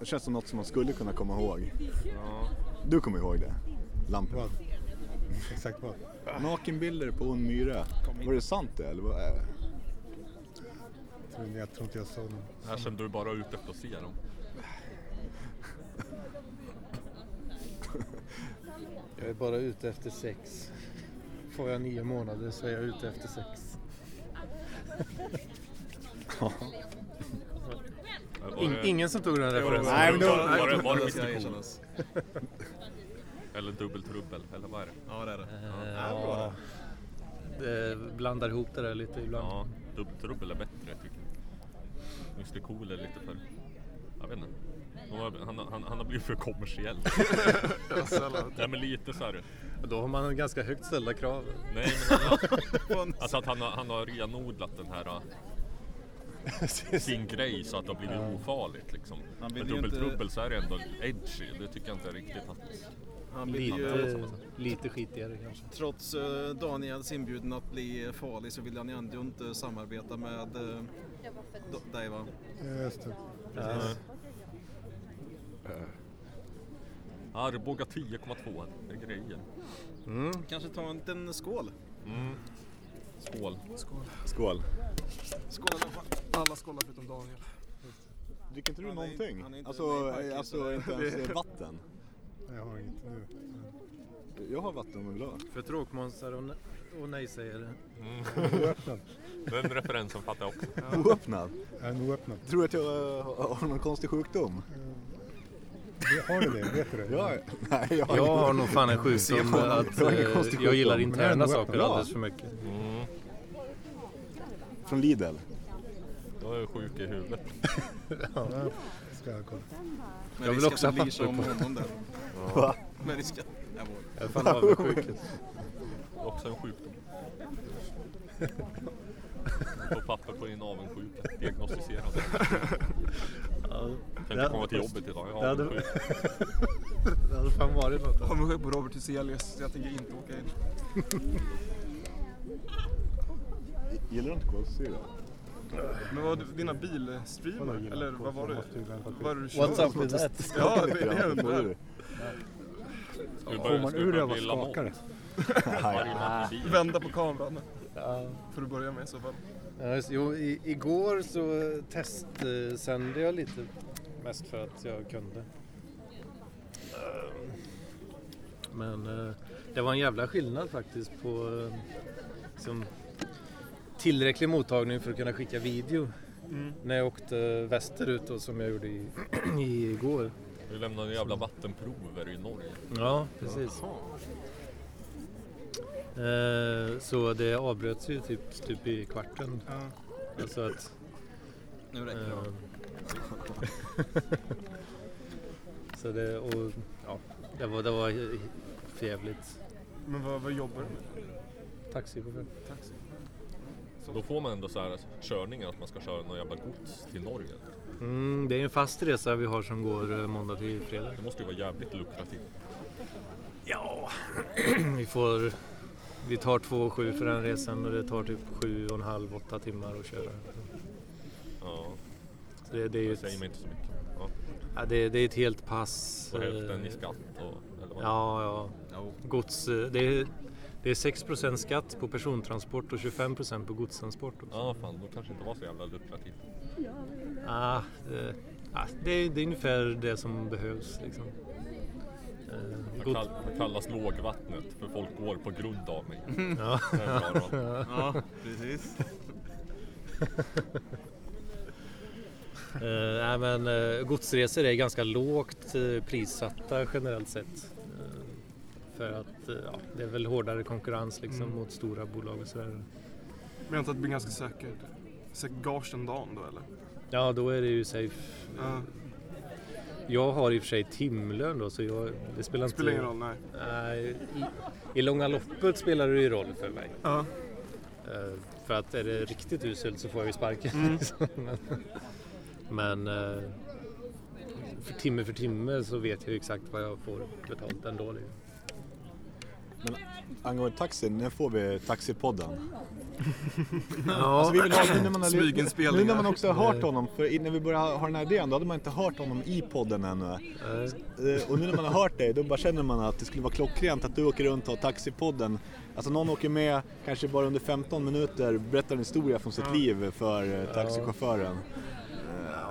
Speaker 4: Det känns som något som man skulle kunna komma ihåg. Du kommer ihåg det? Lampan.
Speaker 8: Vad? Exakt vad?
Speaker 4: Nakenbilder på en myra. Var det sant det? Eller vad? eh,
Speaker 8: Jag tror- Jag tror inte jag sa någon.
Speaker 5: Här kände du bara ut efter att se dem.
Speaker 2: Jag är bara ute efter sex. Får jag nio månader så är jag ute efter sex.
Speaker 5: Var
Speaker 2: In,
Speaker 5: det-
Speaker 2: ingen som tog den referensen?
Speaker 5: Nej,
Speaker 4: Nej,
Speaker 5: men
Speaker 4: men
Speaker 5: då...
Speaker 4: det
Speaker 5: Var det, var det,
Speaker 6: det ska
Speaker 5: misstag?
Speaker 6: erkännas.
Speaker 5: Eller dubbeltrubbel, eller vad är det?
Speaker 6: Ja, det är det.
Speaker 2: Ja, det blandar ihop det där lite ibland.
Speaker 5: Ja, dubbeltrubbel är bättre tycker jag. Mr Cool är lite för... Jag vet inte. Han har- Han, har- han, han har blivit för kommersiell. Nej men lite så här.
Speaker 2: Och Då har man en ganska högt ställda krav.
Speaker 5: Nej men han har, alltså att han har, han har renodlat den här äh, sin grej så att det har blivit ofarligt liksom.
Speaker 6: Han
Speaker 5: Med
Speaker 6: vill ju inte-
Speaker 5: dubbeltrubbel så är det ändå edgy. Det tycker jag inte riktigt att...
Speaker 6: Han vill ju,
Speaker 2: Lite, lite skitigare kanske.
Speaker 6: trots eh, Daniels inbjudan att bli farlig så vill han ju ändå inte samarbeta med eh, d- dig va?
Speaker 8: Ja, just det.
Speaker 5: Arboga 10,2. Det är grejer.
Speaker 6: Kanske ta en liten skål?
Speaker 5: Skål.
Speaker 4: Skål.
Speaker 1: Skål alla- alla skålar förutom Daniel.
Speaker 4: Dricker inte du
Speaker 6: Han är-
Speaker 4: någonting?
Speaker 6: han är inte med i
Speaker 4: Alltså,
Speaker 6: parken,
Speaker 4: eh,
Speaker 6: så
Speaker 4: alltså
Speaker 6: det-
Speaker 4: inte ens eh, vatten?
Speaker 8: Jag har inget nu.
Speaker 4: Jag har vatten om jag vill ha.
Speaker 2: För tråkmånsar och, och nej-sägare.
Speaker 8: Oöppnad.
Speaker 5: Den referensen fattar jag också.
Speaker 4: Oöppnad?
Speaker 8: Jag är oöppnad.
Speaker 4: Tror du att jag eh, har- har någon konstig sjukdom?
Speaker 8: Har du det? Vet du det?
Speaker 4: Ja, nej, jag har
Speaker 2: Jag har nog fan en sjukdom att
Speaker 4: Det var ingen konstig
Speaker 2: eh, jag gillar
Speaker 4: sjukdom, men
Speaker 8: det är
Speaker 2: interna
Speaker 8: ändå
Speaker 2: saker
Speaker 8: bra.
Speaker 2: alldeles för mycket.
Speaker 4: inte. Från Lidl.
Speaker 5: Jag är sjuk i huvudet.
Speaker 8: Ska jag kolla.
Speaker 6: Med
Speaker 2: Jag vill
Speaker 6: risk att
Speaker 2: också
Speaker 6: det
Speaker 2: ha
Speaker 6: blir
Speaker 2: papper
Speaker 6: som
Speaker 2: på.
Speaker 6: honom där.
Speaker 4: Va?
Speaker 6: Med risk att... Jag vågar.
Speaker 2: Jag är fan avundsjuk.
Speaker 5: Också en sjukdom. Du får papper på din avundsjuka. Diagnostiserad. Kan inte komma till jobbet idag. Jag är
Speaker 2: Det hade-
Speaker 5: avundsjuk.
Speaker 2: Det hade fan varit något.
Speaker 1: Avundsjuk på Robert Hyselius, så jag tänker inte åka in.
Speaker 4: Gillar du inte kolsyra?
Speaker 1: Men vad dina bilstreamar, eller vad var det? Vad var det du
Speaker 2: What's
Speaker 1: körde?
Speaker 2: up with that?
Speaker 1: Ja, det, det undrar jag.
Speaker 5: Ska vi
Speaker 8: Får
Speaker 5: börja-
Speaker 8: man
Speaker 5: ska vi
Speaker 8: ur det
Speaker 5: börja
Speaker 8: vad
Speaker 5: bli Lamont?
Speaker 8: skakar det?
Speaker 5: Varje natt i bilen.
Speaker 1: Vända på kameran. För att börja med i så fall.
Speaker 2: Ja, just, jo, i, igår så testsände jag lite. Mest för att jag kunde. Ehm, Men eh, det var en jävla skillnad faktiskt på eh, liksom, tillräcklig mottagning för att kunna skicka video. När jag åkte västerut då, som jag gjorde i, i igår.
Speaker 5: Vi lämnade jävla vattenprover i Norge.
Speaker 2: Ja, precis. Eh, Så det avbröts ju typ, typ i kvarten. Alltså att
Speaker 6: Nu räcker det va?
Speaker 2: Så det, och, ja, det, var, det var förjävligt.
Speaker 1: Men vad, vad jobbar du med?
Speaker 2: Taxichaufför.
Speaker 5: Då får man ändå så här körningar att man ska köra någon jävla gods till Norge.
Speaker 2: Mm, det är en fast resa vi har som går eh, måndag till fredag.
Speaker 5: Det måste ju vara jävligt lukrativt.
Speaker 2: Ja, Mm, vi får... Vi tar 2,7 för den resan och det tar typ 7,5-8 timmar att köra.
Speaker 5: Ja,
Speaker 2: Så det, det, är ju
Speaker 5: det säger
Speaker 2: ett,
Speaker 5: mig inte så mycket. Ja,
Speaker 2: ja, det, det är ett helt pass.
Speaker 5: och hälften i
Speaker 2: eh,
Speaker 5: skatt och... Eller vad?
Speaker 2: Ja, ja.
Speaker 6: Jo.
Speaker 2: Gods, eh, det, är, det är 6 skatt på persontransport och 25 på godstransport. Också.
Speaker 5: Ja, fan, då kanske inte var så jävla lukrativt.
Speaker 2: Ah, det, ah, det, det är ungefär det som behövs. Liksom. Eh,
Speaker 5: Jag,
Speaker 2: god,
Speaker 5: kall, jag kallas lågvattnet för folk går på grund av mig.
Speaker 2: ja,
Speaker 5: Det är en bra rad.
Speaker 6: Ja, precis.
Speaker 2: eh, nej, men, eh, godsresor är ganska lågt eh, prissatta generellt sett. Eh, för att eh, ja, det är väl hårdare konkurrens liksom,
Speaker 5: Mm.
Speaker 2: mot stora bolag och sådär.
Speaker 1: Men jag antar att det blir ganska säkert. Säkert gage den dagen då eller?
Speaker 2: Ja, då är det ju safe.
Speaker 1: Ja.
Speaker 2: Jag har i och för sig timlön då så jag, det spelar inte...
Speaker 1: Spelar ingen roll, nej.
Speaker 2: Nej, i, I långa loppet spelar det ju roll för mig.
Speaker 1: Ja.
Speaker 2: Eh, För att är det riktigt uselt så får jag ju sparken. liksom. Men, men eh, för timme för timme så vet jag ju exakt vad jag får betalt ändå. liksom.
Speaker 4: Angående taxin, när får vi taxipodden?
Speaker 2: Ja,
Speaker 4: Alltså, vi vill ha, nu, när man har,
Speaker 1: Smyginspelningar.
Speaker 4: nu när man också har hört honom, för innan vi började ha den här idén då hade man inte hört honom i podden ännu.
Speaker 2: eh,
Speaker 4: Eh, Och nu när man har hört dig, då bara känner man att det skulle vara klockrent att du åker runt och har Taxipodden. Alltså någon åker med, kanske bara under 15 minuter, berättar en historia från sitt liv för eh, taxichauffören.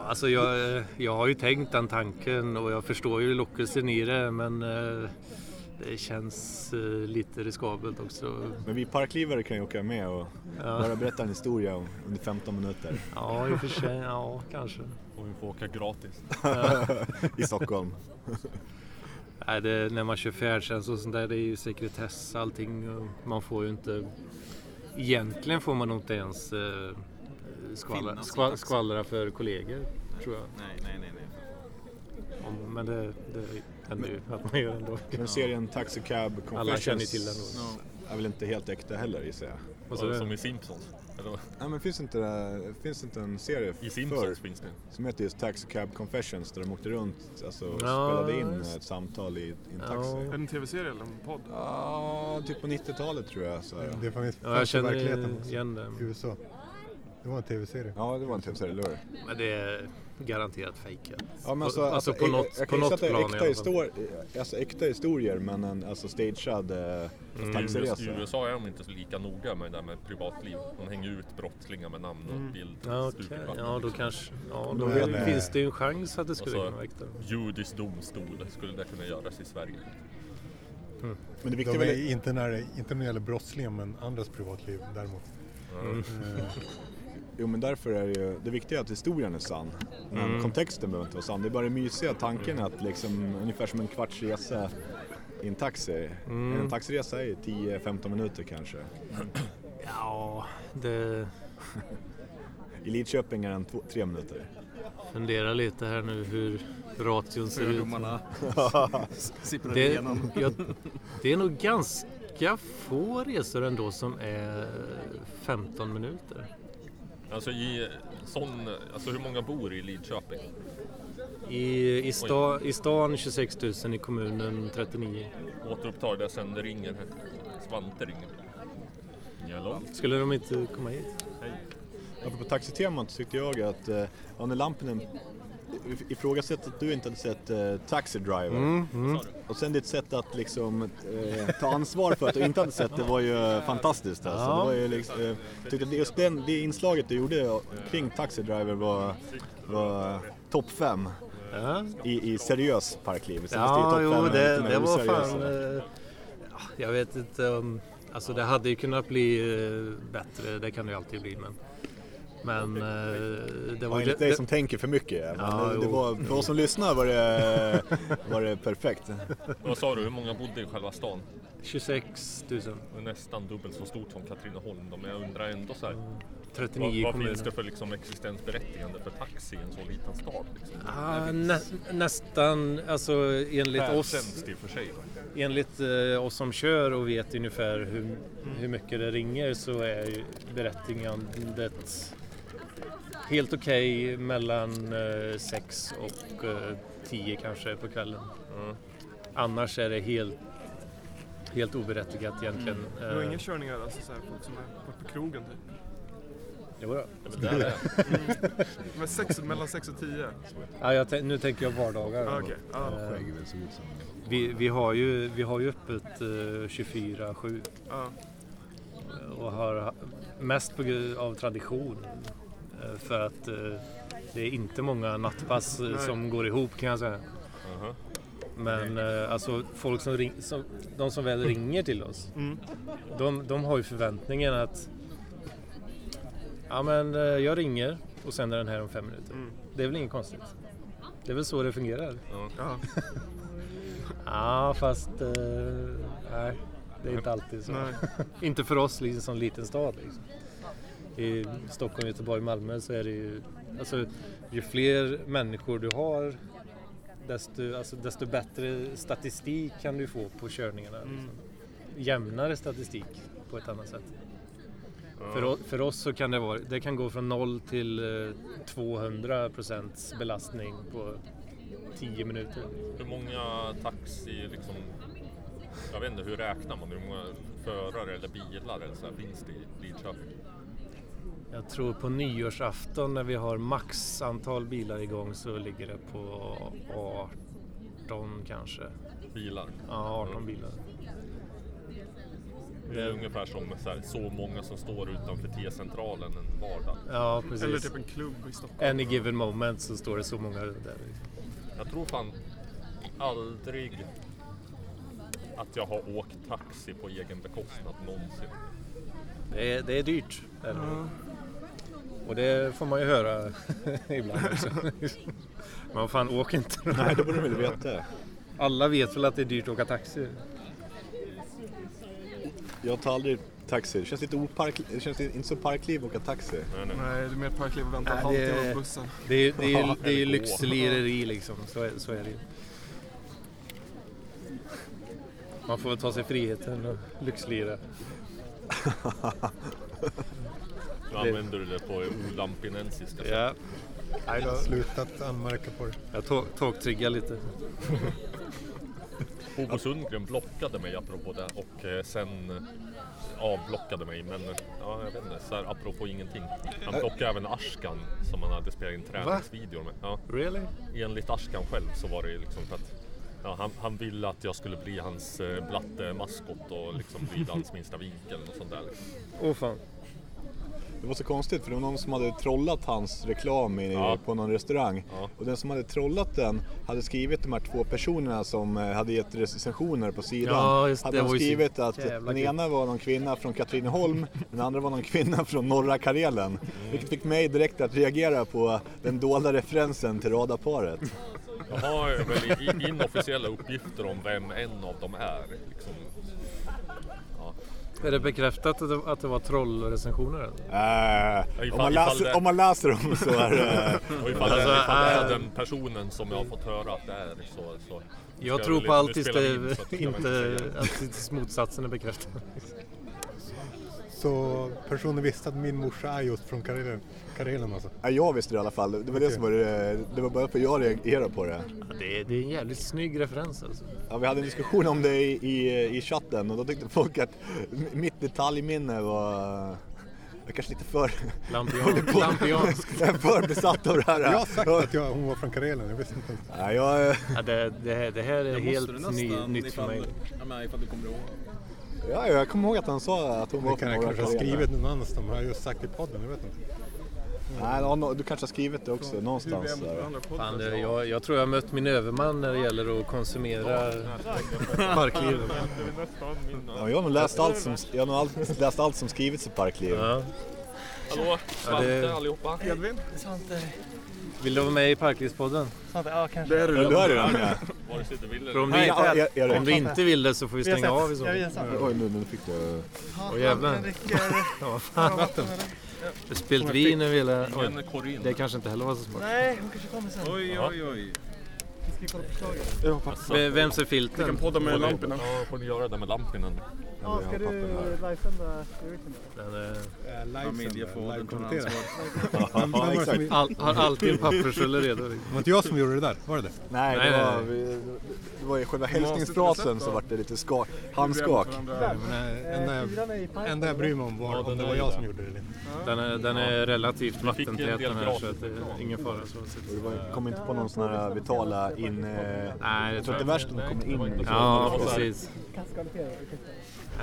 Speaker 2: alltså jag, eh, jag har ju tänkt den tanken och jag förstår ju lockelsen i det men eh, det känns eh, lite riskabelt också.
Speaker 4: Men vi parklivare kan ju åka med och bara berätta en historia om- under 15 minuter
Speaker 2: Ja, i och för sig. Ja, kanske.
Speaker 5: Och vi får åka gratis.
Speaker 4: i Stockholm.
Speaker 2: Nej, det, när man kör färdtjänst och sånt där, det är ju sekretess allting. och Man får ju inte... Egentligen får man nog inte ens eh, skvallra,
Speaker 6: Finnas i
Speaker 2: skva-
Speaker 6: taxi.
Speaker 2: skvallra för kollegor, tror jag.
Speaker 6: Nej, nej, nej. nej.
Speaker 2: Om, men det, det händer ju att man gör ändå.
Speaker 4: Men serien Taxicab Confessions,
Speaker 2: Alla känner ju till den då.
Speaker 6: Ja.
Speaker 4: är väl inte helt äkta heller gissar jag.
Speaker 2: Och
Speaker 5: Ja,
Speaker 2: så,
Speaker 5: Som i Simpsons. Eller,
Speaker 4: Nej men finns inte, det- finns inte en serie
Speaker 5: I
Speaker 4: förr
Speaker 5: Simpsons finns det.
Speaker 4: som heter just Taxicab Confessions där de åkte runt alltså, och
Speaker 2: Ja,
Speaker 4: spelade in
Speaker 2: just.
Speaker 4: ett samtal i, i en
Speaker 2: Ja.
Speaker 4: taxi?
Speaker 1: Är det en tv-serie eller en podd?
Speaker 4: Ja, typ på 90-talet tror jag. Så här.
Speaker 8: Det fanns
Speaker 2: ja, jag
Speaker 8: fanns i
Speaker 2: känner
Speaker 8: verkligheten också.
Speaker 2: igen det.
Speaker 8: I USA. Det var en tv-serie.
Speaker 4: Ja, det var en tv-serie, eller hur?
Speaker 2: Men det är garanterat fejkat.
Speaker 4: Ja, men
Speaker 2: alltså, på
Speaker 4: jag-
Speaker 2: något,
Speaker 4: jag
Speaker 2: på
Speaker 4: kan gissa
Speaker 2: något
Speaker 4: att det är
Speaker 2: plan
Speaker 4: äkta,
Speaker 2: i alla fall.
Speaker 4: histori- alltså, äkta historier, men en alltså, stagead eh,
Speaker 2: Mm.
Speaker 5: I
Speaker 4: taxiresa.
Speaker 5: USA är de inte så lika noga med det där med privatliv. De hänger ju ut brottslingar med namn och bild.
Speaker 2: Ja,
Speaker 5: stup i
Speaker 2: okej.
Speaker 5: vatten.
Speaker 2: ja, då kanske... Ja, då
Speaker 4: Då vet jag.
Speaker 2: finns det ju en chans att det
Speaker 5: Och
Speaker 2: skulle
Speaker 5: så
Speaker 2: kunna väcka.
Speaker 5: judisk domstol skulle det kunna göras i Sverige.
Speaker 4: Men det
Speaker 8: De
Speaker 4: viktiga är väl...
Speaker 8: är inte när, det- inte när det gäller brottslingar men andras privatliv däremot.
Speaker 2: Mm.
Speaker 4: Jo, men därför är det ju... Det viktiga är att historien är sann. Men kontexten behöver inte vara sann. Det är bara den mysiga tanken att liksom ungefär som en kvarts resa i en taxi. En taxiresa är ju 10-15 minuter kanske.
Speaker 2: Ja, det...
Speaker 4: I Lidköping är den 3 minuter.
Speaker 2: Fundera lite här nu hur ration ser ut.
Speaker 6: Fördomarna s- sipprar
Speaker 2: Det,
Speaker 6: igenom.
Speaker 2: jag, det är nog ganska få resor ändå som är 15 minuter.
Speaker 5: Alltså i sån, alltså hur många bor i Lidköping?
Speaker 2: I, i, sta, I stan 26 000, i kommunen 39.
Speaker 5: Återupptar det sen det ringer. Svante ringer. Hallå?
Speaker 2: Skulle de inte komma hit?
Speaker 4: Apropå taxitemat så tyckte jag att eh, Anne Lampinen ifrågasatte att du inte hade sett eh, Taxi Driver.
Speaker 2: Mm,
Speaker 4: Och sen ditt sätt att liksom eh, ta ansvar för att du inte hade sett det var ju fantastiskt. Alltså.
Speaker 2: Ja.
Speaker 4: Det var ju liksom, eh, tyckte att just den, det inslaget du gjorde kring Taxi Driver var, var topp fem
Speaker 2: Ja,
Speaker 4: i, i seriös parkliv. Sen finns
Speaker 2: ja
Speaker 4: ju
Speaker 2: jo,
Speaker 4: topp fem
Speaker 2: det,
Speaker 4: lite mer
Speaker 2: det var
Speaker 4: oseriösa.
Speaker 2: fan... eh, ja, Jag vet inte om... Alltså det hade ju kunnat bli eh, bättre, det kan det ju alltid bli. Men, men eh, det var
Speaker 4: Ja,
Speaker 2: ju...
Speaker 4: enligt dig som tänker för mycket. Men
Speaker 2: Ja,
Speaker 4: det, det
Speaker 2: jo.
Speaker 4: var, för oss som lyssnar var det, var det perfekt.
Speaker 5: Vad sa du, hur många bodde i själva stan?
Speaker 2: 26 000.
Speaker 5: Det är nästan dubbelt så stort som Katrineholm då, men jag undrar ändå så här. Vad,
Speaker 2: 39
Speaker 5: vad
Speaker 2: kommuner.
Speaker 5: finns det för liksom existensberättigande för taxi i en så liten stad? Liksom?
Speaker 2: Ah, nä, nästan, alltså enligt oss,
Speaker 5: Färdtjänst i och för sig.
Speaker 2: enligt eh, oss som kör och vet ungefär hur, hur mycket det ringer så är ju berättigandet helt okej mellan 6 och 10 kanske på kvällen. Annars är det helt, helt oberättigat egentligen.
Speaker 1: Mm. Det var
Speaker 2: Eh,
Speaker 1: inga körningar alltså, såhär, folk som är varit på krogen typ?
Speaker 2: jo då.
Speaker 5: Ja, men där är-
Speaker 1: Det var sex, mellan 6 och 10?
Speaker 2: Ja, jag tän- nu tänker jag vardagar.
Speaker 1: Ah, Okej. Ja.
Speaker 2: Eh, vi, vi, har ju, vi har ju öppet eh, 24-7.
Speaker 1: ja.
Speaker 2: och har mest på grund av tradition. eh, För att eh, det är inte många nattpass eh,
Speaker 1: Nej.
Speaker 2: som går ihop kan jag säga.
Speaker 5: Aha.
Speaker 2: Men eh, alltså folk som, ring, som de som väl ringer till oss,
Speaker 1: Mm.
Speaker 2: de, de har ju förväntningen att ja men eh, jag ringer och sen är den här om fem minuter.
Speaker 1: Mm.
Speaker 2: Det är väl inget konstigt? Det är väl så det fungerar?
Speaker 1: Ja.
Speaker 2: Ja, fast eh, nej, det är inte alltid så.
Speaker 1: Nej.
Speaker 2: Inte för oss liksom, som liten stad. Liksom. I Stockholm, Göteborg, Malmö så är det ju... Alltså, ju fler människor du har desto, alltså, desto bättre statistik kan du få på körningarna. Liksom. Jämnare statistik på ett annat sätt. För, o- för oss så kan det vara, det kan gå från 0 till eh, 200 procents belastning på 10 minuter.
Speaker 5: Hur många taxi liksom... Jag vet inte, hur räknar man? Hur många förare eller bilar eller så här finns det i Lidköping?
Speaker 2: Jag tror på nyårsafton när vi har max antal bilar igång så ligger det på 18 kanske.
Speaker 5: Bilar?
Speaker 2: Ja, 18 bilar.
Speaker 5: Det är ungefär som så, här, så många som står utanför T-centralen en vardag.
Speaker 2: Ja,
Speaker 1: Eller
Speaker 2: precis.
Speaker 1: typ en klubb i Stockholm.
Speaker 2: Any given moment så står det så många där.
Speaker 5: Jag tror fan aldrig att jag har åkt taxi på egen bekostnad någonsin.
Speaker 2: Det är, det är dyrt. Eller? Och det får man ju höra ibland också. man fan åker inte.
Speaker 4: Nej, det borde de väl veta.
Speaker 2: Alla vet väl att det är dyrt att åka taxi.
Speaker 4: Jag tar aldrig taxi. Det känns lite opark... Det känns inte så parkliv att åka taxi.
Speaker 1: Nej, det är mer parkliv och vänta en
Speaker 2: Nej, det-
Speaker 1: halvtimme på bussen.
Speaker 2: Det är, det är, det är ju
Speaker 5: eller gå.
Speaker 2: lyxlireri liksom. Så är, så är det ju. Man får väl ta sig friheten och lyxlira.
Speaker 5: Nu använder du det på olampinensiska. sätt.
Speaker 2: Ja.
Speaker 8: Jag har slutat anmärka på det.
Speaker 2: Jag tåg- tågtriggar lite.
Speaker 5: Bobo Sundgren blockade mig apropå det och eh, sen eh, avblockade mig. Men eh, ja, jag vet inte, så här, apropå ingenting. Han blockade även Ashkan som han hade spelat in träningsvideor med. Ja,
Speaker 2: Really?
Speaker 5: enligt Ashkan själv så var det ju liksom för att ja, han, han ville att jag skulle bli hans eh, blattemaskot och liksom lyda hans minsta vinkel och sånt där. Liksom.
Speaker 2: Åh fan.
Speaker 4: Det var så konstigt för det var någon som hade trollat hans reklam i,
Speaker 5: Ja.
Speaker 4: på någon restaurang.
Speaker 5: Ja.
Speaker 4: Och den som hade trollat den hade skrivit de här två personerna som eh, hade gett recensioner på sidan.
Speaker 2: Ja, just det.
Speaker 4: hade
Speaker 2: Det
Speaker 4: de
Speaker 2: var ju så
Speaker 4: skrivit att
Speaker 2: jävla
Speaker 4: den
Speaker 2: kul.
Speaker 4: ena var någon kvinna från Katrineholm, den andra var någon kvinna från norra Karelen. Vilket fick mig direkt att reagera på den dolda referensen till radarparet.
Speaker 5: Jag har väl i- inofficiella uppgifter om vem en av dem är. Liksom. Ja.
Speaker 2: Är det bekräftat att det, att det var trollrecensioner? eller?
Speaker 4: Eh,
Speaker 5: ifall-
Speaker 4: om, man
Speaker 5: ifall det-
Speaker 4: läser, om man läser dem så är det...
Speaker 2: Alltså,
Speaker 5: Och ifall, det- ifall det är den personen som jag har fått höra att det är så... så
Speaker 2: Jag
Speaker 5: ska
Speaker 2: tror på
Speaker 5: väl inte-
Speaker 2: allt
Speaker 5: nu
Speaker 2: tills,
Speaker 5: spelar vi
Speaker 2: det,
Speaker 5: så att jag vet
Speaker 2: inte,
Speaker 5: säga.
Speaker 2: att tills motsatsen är bekräftad.
Speaker 8: Så personen visste att min morsa är just från Karelen, Karelen alltså.
Speaker 4: Ja, jag visste det i alla fall. Det var det
Speaker 8: Okej.
Speaker 4: som var det. Det var bara för jag reagerade på det.
Speaker 2: det, är, det är en jävligt snygg referens alltså.
Speaker 4: Ja, vi hade en diskussion om det i, i, i chatten och då tyckte folk att m- mitt detaljminne var, var kanske lite för,
Speaker 2: Lampion, lampion.
Speaker 4: jag är för besatt av det här.
Speaker 8: Jag har sagt att jag, hon var från Karelen, jag visste inte ens.
Speaker 4: Ja, jag,
Speaker 2: Ja, det, det, här- det här är
Speaker 6: Det måste du
Speaker 2: helt ny,
Speaker 6: nästan
Speaker 2: nytt för
Speaker 6: ifall,
Speaker 2: mig.
Speaker 6: ja, men, ifall du kommer ihåg.
Speaker 4: ja, jag kommer ihåg att han sa att hon var
Speaker 8: Det kan jag
Speaker 4: norra
Speaker 8: kanske ha
Speaker 4: Karelen.
Speaker 8: skrivit någon annanstans, men jag har just sagt i podden, jag vet inte.
Speaker 4: Nej, ja, nå- du kanske har skrivit det också
Speaker 1: Hur vi är
Speaker 4: någonstans.
Speaker 1: mot
Speaker 4: Där.
Speaker 1: varandra på
Speaker 2: Fan, det, jag, jag tror jag har mött min överman när det gäller att konsumera parklivet.
Speaker 4: Ja, jag har nog läst allt som, jag har nog allt, läst allt som skrivits i Parkliv.
Speaker 2: Ja.
Speaker 5: Hallå, Svante allihopa.
Speaker 1: Edvin?
Speaker 2: Vill du vara med i Parklivspodden?
Speaker 1: Det är
Speaker 4: Ja, du är redan med.
Speaker 5: Vare sig du vill
Speaker 2: För
Speaker 5: eller
Speaker 2: om,
Speaker 4: Nej,
Speaker 2: du,
Speaker 4: ja,
Speaker 2: inte-
Speaker 4: ja, ja, det-
Speaker 2: om du inte vill det så får vi stänga av i så fall.
Speaker 4: Oj, nu, nu fick du...
Speaker 2: Åh jävlar. Ja, vad fan. Jag har Spillt vin över hela... Oj,
Speaker 5: Men Corinne,
Speaker 2: det kanske inte heller var så smart.
Speaker 6: Oj, oj, oj.
Speaker 5: alltså,
Speaker 2: V- Vems är filten?
Speaker 1: Podda med
Speaker 5: får ni-
Speaker 1: lamporna.
Speaker 5: Ja, får ni göra det med lampinen.
Speaker 4: Ja, ska du...
Speaker 2: Den är-
Speaker 8: Eh,
Speaker 6: Familjefadern tar
Speaker 8: live-kommentera.
Speaker 6: ansvar.
Speaker 8: Vem- vem var det som-
Speaker 4: exakt.
Speaker 2: All, har alltid en pappersrulle redo. liksom.
Speaker 8: Det var inte jag som gjorde det där, var det det?
Speaker 4: Nej,
Speaker 2: Nej,
Speaker 4: det
Speaker 2: nej,
Speaker 4: var,
Speaker 2: nej.
Speaker 4: vi, det var ju själva hälsningsfrasen så vart det lite skak, handskak.
Speaker 8: Nej, men, eh, enda, jag, enda jag bryr mig om var om det var jag som gjorde det eller inte.
Speaker 2: Den är, den är relativt
Speaker 5: fick en
Speaker 2: vattentät
Speaker 5: del
Speaker 2: den här
Speaker 5: gratis
Speaker 2: så att det är ingen fara. Så.
Speaker 4: Det var, kom inte på någon sån här vitala in... eh,
Speaker 2: Nej, det
Speaker 4: Jag tror
Speaker 2: tror
Speaker 4: att det
Speaker 2: jag
Speaker 4: värsta de kom in liksom.
Speaker 2: Ja, precis.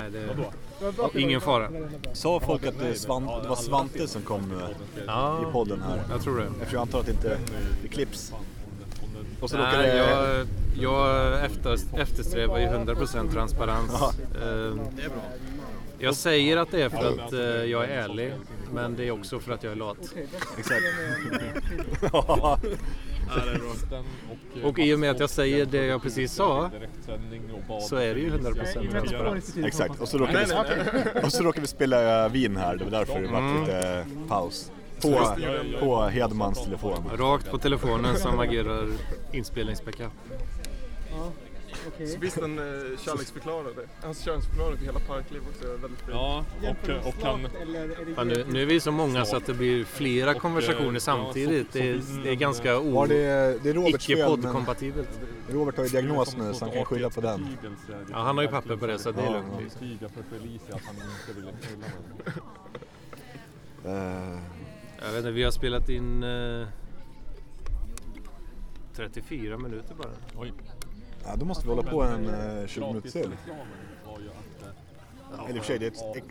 Speaker 2: Nej, det... Ingen fara.
Speaker 4: Sa folk att det, svan, det var Svante som kom eh, i
Speaker 2: Ja,
Speaker 4: podden här?
Speaker 2: jag tror det.
Speaker 4: Eftersom jag antar att det inte det klipps. Och så råkade
Speaker 2: Nej,
Speaker 4: det...
Speaker 2: jag, jag efter, eftersträvar ju 100% transparens. Ehm, Jag säger att det är för att eh, jag är ärlig, men det är också för att jag är lat.
Speaker 4: Exakt.
Speaker 2: Och i och med att jag säger det jag precis sa så är det ju 100% transparens.
Speaker 4: eh,
Speaker 2: Mm.
Speaker 4: Exakt. Och så råkade vi, och så råkade vi spela vin här. Det var därför det var lite paus. På, på Hedmans telefon.
Speaker 2: Rakt på telefonen som agerar inspelningsbackup.
Speaker 1: Så visst den eh, kärleksförklarade. Hans kärleksförklarade till hela Parkliv också är väldigt fin.
Speaker 5: Ja, och, och han...
Speaker 2: Fan, nu, nu är vi så många så att det blir flera konversationer samtidigt. Det är, det är ganska
Speaker 4: Var
Speaker 2: o...
Speaker 4: det, det är Roberts
Speaker 2: Icke
Speaker 4: fel, men
Speaker 2: poddkompatibelt.
Speaker 4: Robert har ju diagnos nu så han kan skylla på den.
Speaker 2: Ja, han har ju papper på det så det är lugnt.
Speaker 5: Stiga för Felicia att han inte ville knulla med
Speaker 4: Eh,
Speaker 2: Jag vet inte, vi har spelat in eh, 34 minuter bara.
Speaker 5: Oj.
Speaker 4: Ja, då måste vi hålla på en eh, 20 minuter till. Eller i och för sig, det är ett,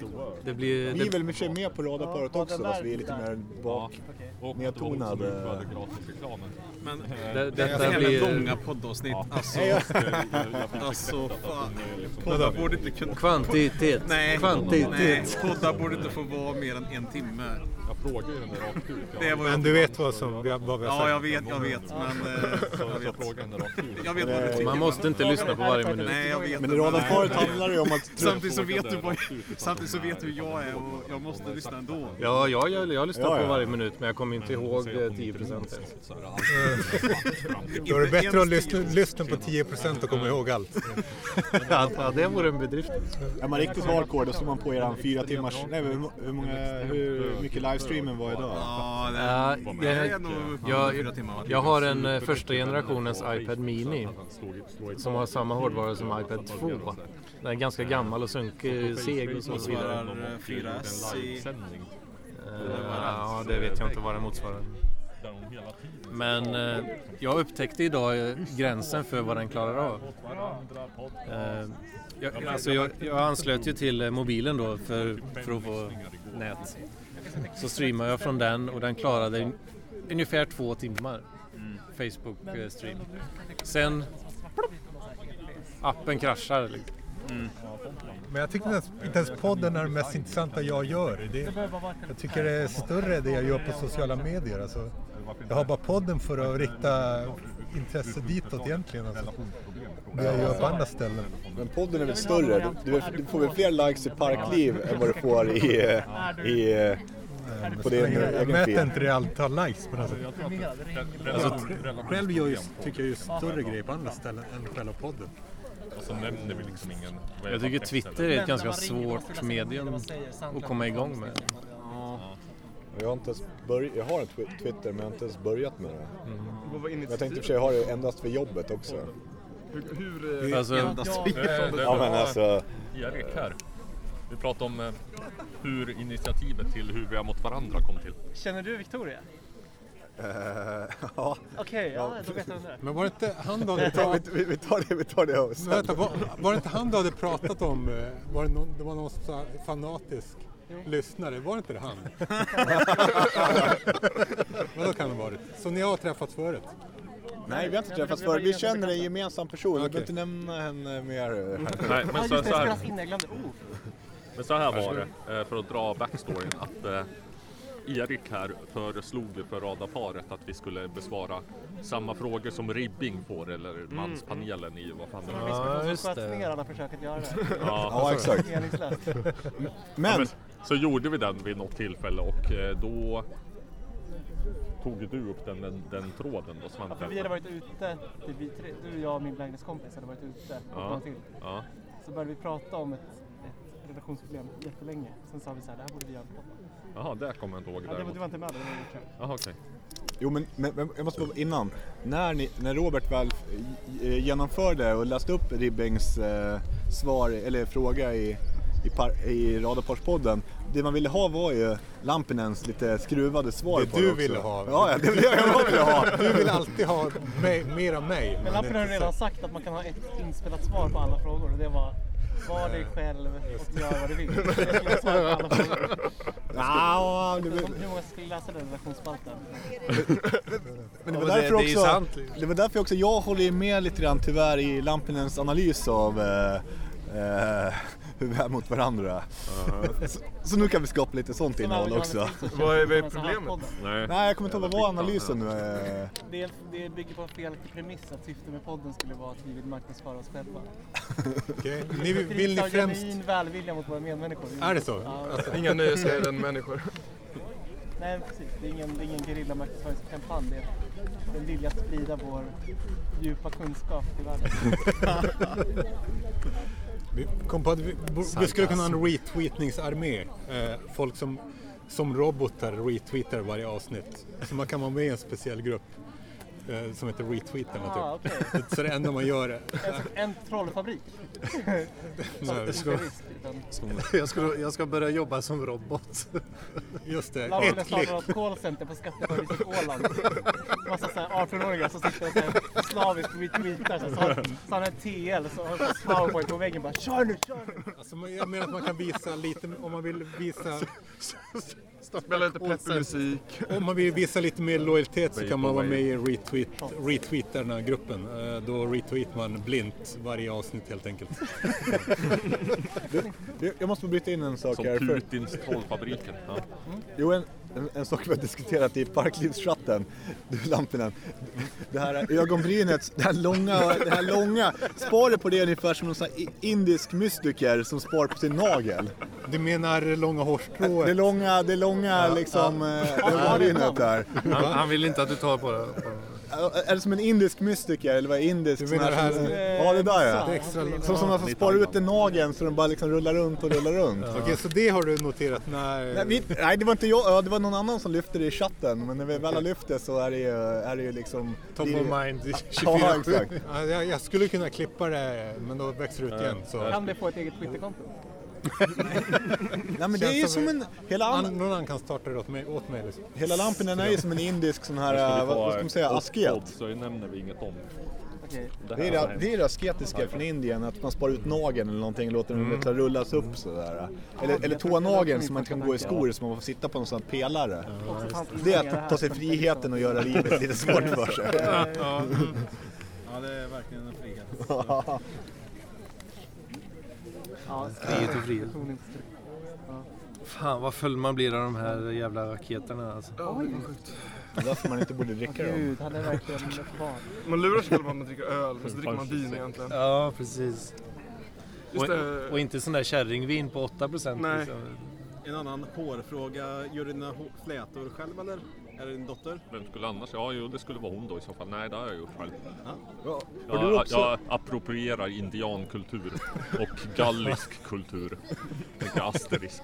Speaker 2: Det blir...
Speaker 4: vi är
Speaker 2: Det,
Speaker 4: väl i och för sig med på radarparet också fast vi är lite mer bak. Nedtonad, eh.
Speaker 5: gratisreklamen.
Speaker 6: Men
Speaker 5: eh,
Speaker 2: det,
Speaker 6: det
Speaker 2: detta
Speaker 6: här med långa
Speaker 2: blir...
Speaker 6: poddavsnitt. Alltså, alltså fan.
Speaker 2: Vadå?
Speaker 5: liksom-
Speaker 6: Poddar borde inte kunna...
Speaker 2: Kvantitet.
Speaker 6: Nej, nej,
Speaker 2: Kvantitet.
Speaker 6: poddar borde inte få vara mer än en timme.
Speaker 5: Jag frågar ju henne rakt ut.
Speaker 6: Det var
Speaker 8: Men du vet vad, som, vi har- vad vi har sagt?
Speaker 6: Ja, jag vet, jag vet, men... eh, Jag vet,
Speaker 5: frågar henne rakt ut.
Speaker 6: jag vet vad du tycker.
Speaker 2: Man måste inte lyssna på varje minut.
Speaker 6: Nej, jag vet
Speaker 4: Men i
Speaker 6: inte,
Speaker 4: radarparet handlar det ju om att...
Speaker 6: Samtidigt så vet du vad, samtidigt så vet du hur jag är och jag måste lyssna ändå.
Speaker 2: Ja, jag, jag, jag lyssnar
Speaker 4: Ja,
Speaker 2: på
Speaker 4: ja.
Speaker 2: varje minut men jag kommer inte ihåg eh, 10% ens.
Speaker 8: Då är det
Speaker 6: Inte
Speaker 8: bättre att
Speaker 6: ens
Speaker 8: lyssna, lyssna på 10% och komma ihåg allt.
Speaker 2: Ja, det vore en bedrift.
Speaker 4: Är man riktigt hardcore då slår man på eran fyra timmars... Nej, men hur, hur, många, hur mycket livestreamen var idag?
Speaker 6: Ja, det
Speaker 2: Ja,
Speaker 6: det här är
Speaker 2: jag,
Speaker 6: nog uppe på fyra
Speaker 2: jag,
Speaker 6: timmar. va?
Speaker 2: jag har en eh, första generationens iPad Mini som har samma hårdvara som iPad 2. Den är ganska gammal och sunkig, seg och så vidare.
Speaker 6: Motsvarar eh, 4S i...
Speaker 2: Eh, Ja, det vet jag inte vad den motsvarar. Men eh, jag upptäckte idag eh, gränsen för vad den klarar av. Eh, jag, alltså jag, jag anslöt ju till eh, mobilen då för, för att få nät. Så streamade jag från den och den klarade un- ungefär två timmar Facebook-stream. Sen appen kraschar. Liksom.
Speaker 8: Men jag tycker inte ens, inte ens podden är det mest intressanta jag gör. Det, jag tycker det är större det jag gör på sociala medier. Alltså. Jag har bara podden för att rikta intresse ditåt egentligen. Alltså. Det jag gör på andra ställen.
Speaker 4: Men podden är väl större? Du, du får väl fler likes i Parkliv än vad du får i... eh, i eh, på din
Speaker 8: Jag
Speaker 4: egen
Speaker 8: mäter
Speaker 4: feed.
Speaker 8: inte det antal likes på något sätt. Alltså, själv gör ju, tycker jag ju större grejer på andra ställen än själva podden.
Speaker 5: Och så nämner vi liksom ingen...
Speaker 2: Jag tycker Twitter är ett ganska svårt medium att komma igång med.
Speaker 4: Jag har, inte ens börj- jag har en twi- Twitter men jag har inte ens börjat med det.
Speaker 1: Vad var
Speaker 4: Jag tänkte i och
Speaker 1: initiativet?
Speaker 4: för sig ha det endast för jobbet också.
Speaker 1: Hur, hur, eh,
Speaker 2: Alltså,
Speaker 6: Endast
Speaker 4: Ja men alltså,
Speaker 5: Erik här. Vi pratar om eh, hur initiativet till hur vi är mot varandra kom till.
Speaker 10: Känner du Victoria?
Speaker 4: ja.
Speaker 10: Okej, ja, då vet jag det.
Speaker 11: Men var det inte han då hade
Speaker 4: Vi tar,
Speaker 11: pratat,
Speaker 4: vi, vi tar det, vi tar det sen.
Speaker 11: vänta, var, var det inte han då hade pratat om, eh, var det, någon, det var någon så här fanatisk lyssnare, var det inte det han? Men då kan det ha varit. Så ni har träffats förut?
Speaker 4: Nej vi har inte träffats förut, vi känner en gemensam person. Vi behöver inte nämna henne mer.
Speaker 5: Nej, men
Speaker 10: Ja,
Speaker 5: så,
Speaker 10: just det,
Speaker 5: så,
Speaker 10: jag
Speaker 5: här,
Speaker 10: spelas in, jag glömde. Oh.
Speaker 5: men så här var det, eh, för att dra backstoryn, att eh, Erik här föreslog ju för radarparet att vi skulle besvara samma frågor som Ribbing får, eller manspanelen i vad fan det
Speaker 2: Ja,
Speaker 5: var.
Speaker 10: Mm. Ja,
Speaker 2: just
Speaker 10: just
Speaker 2: det.
Speaker 10: det. ner alla försök att göra det.
Speaker 5: Ja,
Speaker 4: Ja exakt.
Speaker 10: Meningslöst.
Speaker 4: Men,
Speaker 5: så gjorde vi den vid något tillfälle och eh, då tog du upp den, den, den tråden då
Speaker 10: Ja,
Speaker 5: Svante.
Speaker 10: för vi hade varit ute, typ vi tre, du, jag och min lägenhetskompis hade varit ute och
Speaker 5: Ja.
Speaker 10: någon till.
Speaker 5: Ja.
Speaker 10: Så började vi prata om ett, ett relationsproblem jättelänge. Sen sa vi så här, det här borde vi göra på.
Speaker 5: Jaha, det kommer jag inte ihåg.
Speaker 10: Ja, det var,
Speaker 5: däremot.
Speaker 10: du var inte med då, det var jag tror.
Speaker 5: Jaha, okej.
Speaker 4: jo men, men, men jag måste bara innan. När, ni, när Robert väl eh, genomförde och läste upp Ribbings eh, svar, eller fråga i, i, par, i Radarparspodden. Det man ville ha var ju Lampinens lite skruvade svar
Speaker 11: Det
Speaker 4: på
Speaker 11: du
Speaker 4: det också.
Speaker 11: ville ha.
Speaker 4: Ja, ja, det ville jag, jag ville ha.
Speaker 11: Du vill alltid ha mig, mer av mig.
Speaker 10: Men Lappen har ju redan sagt att man kan ha ett inspelat svar på alla frågor och det var var dig själv och gör vad du vill. Det skulle vara svar på alla frågor.
Speaker 4: Ja, det, var-
Speaker 10: Hur många skulle läsa den relationsspalten?
Speaker 4: men det,
Speaker 2: Ja,
Speaker 4: var
Speaker 2: men det-
Speaker 4: därför
Speaker 2: det är
Speaker 4: också,
Speaker 2: sant.
Speaker 4: det var därför också jag håller ju med lite grann tyvärr i Lampinens analys av eh, eh, hur vi är mot varandra. så, så nu kan vi skapa lite sånt innehåll också.
Speaker 1: Vad är- vad är problemet?
Speaker 5: Nej.
Speaker 4: Nej, jag kommer inte ihåg vad var analysen nu. eh.
Speaker 10: Det, det bygger på en felaktig premiss att syftet med podden skulle vara att vi vill marknadsföra oss själva.
Speaker 11: Okej. Ni, vill- vill
Speaker 10: Visa
Speaker 11: ni främst...
Speaker 10: genuin välvilja mot våra medmänniskor.
Speaker 11: Är det så?
Speaker 10: Ja.
Speaker 11: Alltså,
Speaker 1: Inga nöjesguiden-människor.
Speaker 10: Nej, men precis. Det är ingen, det är ingen gerillamarknadsföringskampanj. Det är en vilja att sprida vår djupa kunskap till världen.
Speaker 3: Vi kom på att vi, vi skulle kunna ha en retweetningsarmé. Eh, folk som, som robotar retweetar varje avsnitt. Så man kan vara med i en speciell grupp eh, som heter retweetarna typ.
Speaker 10: Ah, okej.
Speaker 3: Så det enda man gör är...
Speaker 10: En, Alltså, en trollfabrik.
Speaker 3: Nej, det ska-
Speaker 10: Visst, utan-
Speaker 2: Jag ska, jag ska börja jobba som robot.
Speaker 3: Just det,
Speaker 10: Laban
Speaker 3: ett klick.
Speaker 10: Lesandro har ett callcenter på Skatteparadiset Åland. Massa så här 18-åringar som sitter och så här slaviskt retweetar. Så, så, har- så har han en TL så har han en powerpoint på väggen bara kör nu, kör nu.
Speaker 3: Alltså, man- jag menar att man kan visa lite, om man vill visa,
Speaker 1: Spela lite peppig musik.
Speaker 3: om man vill visa lite mer lojalitet så kan man vara med i retweet, retweetarna-gruppen. Eh, Då retweetar man blint varje avsnitt helt enkelt.
Speaker 4: Jag- Jag måste bryta in en sak
Speaker 5: Som
Speaker 4: här. För,
Speaker 5: Putins trollfabriken. Ja.
Speaker 4: jo, en, en, en sak vi har diskuterat i Parklivschatten, du Lampinen. Det här ögonbrynet, det här långa, det här långa. Spar du på det ungefär som en sån här i- indisk mystiker som spar på sin nagel?
Speaker 3: Du menar långa
Speaker 4: Det
Speaker 3: hårstrået?
Speaker 4: långa, det långa liksom eh, ögonbrynet där.
Speaker 2: Han, han vill inte att du tar på det.
Speaker 4: Ä- Är det som en indisk mystiker eller vad är indisk?
Speaker 3: Du
Speaker 4: Sån
Speaker 3: menar
Speaker 4: här,
Speaker 3: det
Speaker 4: som-
Speaker 3: här-
Speaker 4: Ja, det där ja.
Speaker 3: Det är extra långt.
Speaker 4: Som, som när man sparar ut en nageln så den bara liksom rullar runt och rullar runt.
Speaker 3: Okej, så det har du noterat när...
Speaker 4: Nej, vi, nej, det var inte jag, ja, det var någon annan som lyfte det i chatten, men när vi väl har lyft det så är det ju, är det ju liksom...
Speaker 2: Top
Speaker 4: det,
Speaker 2: of mind i 24
Speaker 4: Ja, exakt.
Speaker 3: Ja, jag, jag skulle kunna klippa det, men då växer det ut igen. Så.
Speaker 10: Kan det få ett eget Twitterkonto?
Speaker 4: Nej, men det är ju
Speaker 3: Känns som
Speaker 4: som en... Hela,
Speaker 3: An,
Speaker 4: an,
Speaker 3: någon annan kan starta det åt mig. Åt mig liksom.
Speaker 4: hela lampen är ju som en indisk sån här, eh, vad, vad ska man säga, asket.
Speaker 5: Så nämner vi inget om
Speaker 10: Okej.
Speaker 5: det
Speaker 4: Det är
Speaker 5: här.
Speaker 4: det, det, är det asketiska från Indien, att man sparar ut nageln eller någonting och låter den
Speaker 5: Mm.
Speaker 4: liksom rullas upp sådär. Eller, eller tånageln som man inte kan gå i skor så man får sitta på någon sån här pelare.
Speaker 10: Också fanns
Speaker 4: Det är
Speaker 10: inga
Speaker 4: att
Speaker 10: här
Speaker 4: ta sig friheten och göra livet lite svårt för sig.
Speaker 6: Ja, det är verkligen en frihet.
Speaker 10: Ja,
Speaker 2: Frihet och frihet.
Speaker 10: personligt.
Speaker 2: Fan vad full man blir av de här jävla raketerna alltså.
Speaker 4: Därför man inte borde dricka dem.
Speaker 10: Gud, hade verkligen varit barn.
Speaker 1: Man lurar sig själv att man dricker öl, men så dricker man vin egentligen.
Speaker 2: Ja, precis.
Speaker 1: Just
Speaker 2: Och, och
Speaker 1: det,
Speaker 2: inte sån där kärringvin på 8 procent. liksom.
Speaker 1: Nej.
Speaker 6: En annan hårfråga. Gör du dina hår- flätor själv eller? Är det din dotter?
Speaker 5: Vem skulle annars? Ja, jo, det skulle vara hon då i så fall. Nej, det har jag gjort själv.
Speaker 4: Har du
Speaker 5: Jag,
Speaker 4: också-
Speaker 5: jag approprierar indiankultur och gallisk kultur. Tänker asterisk.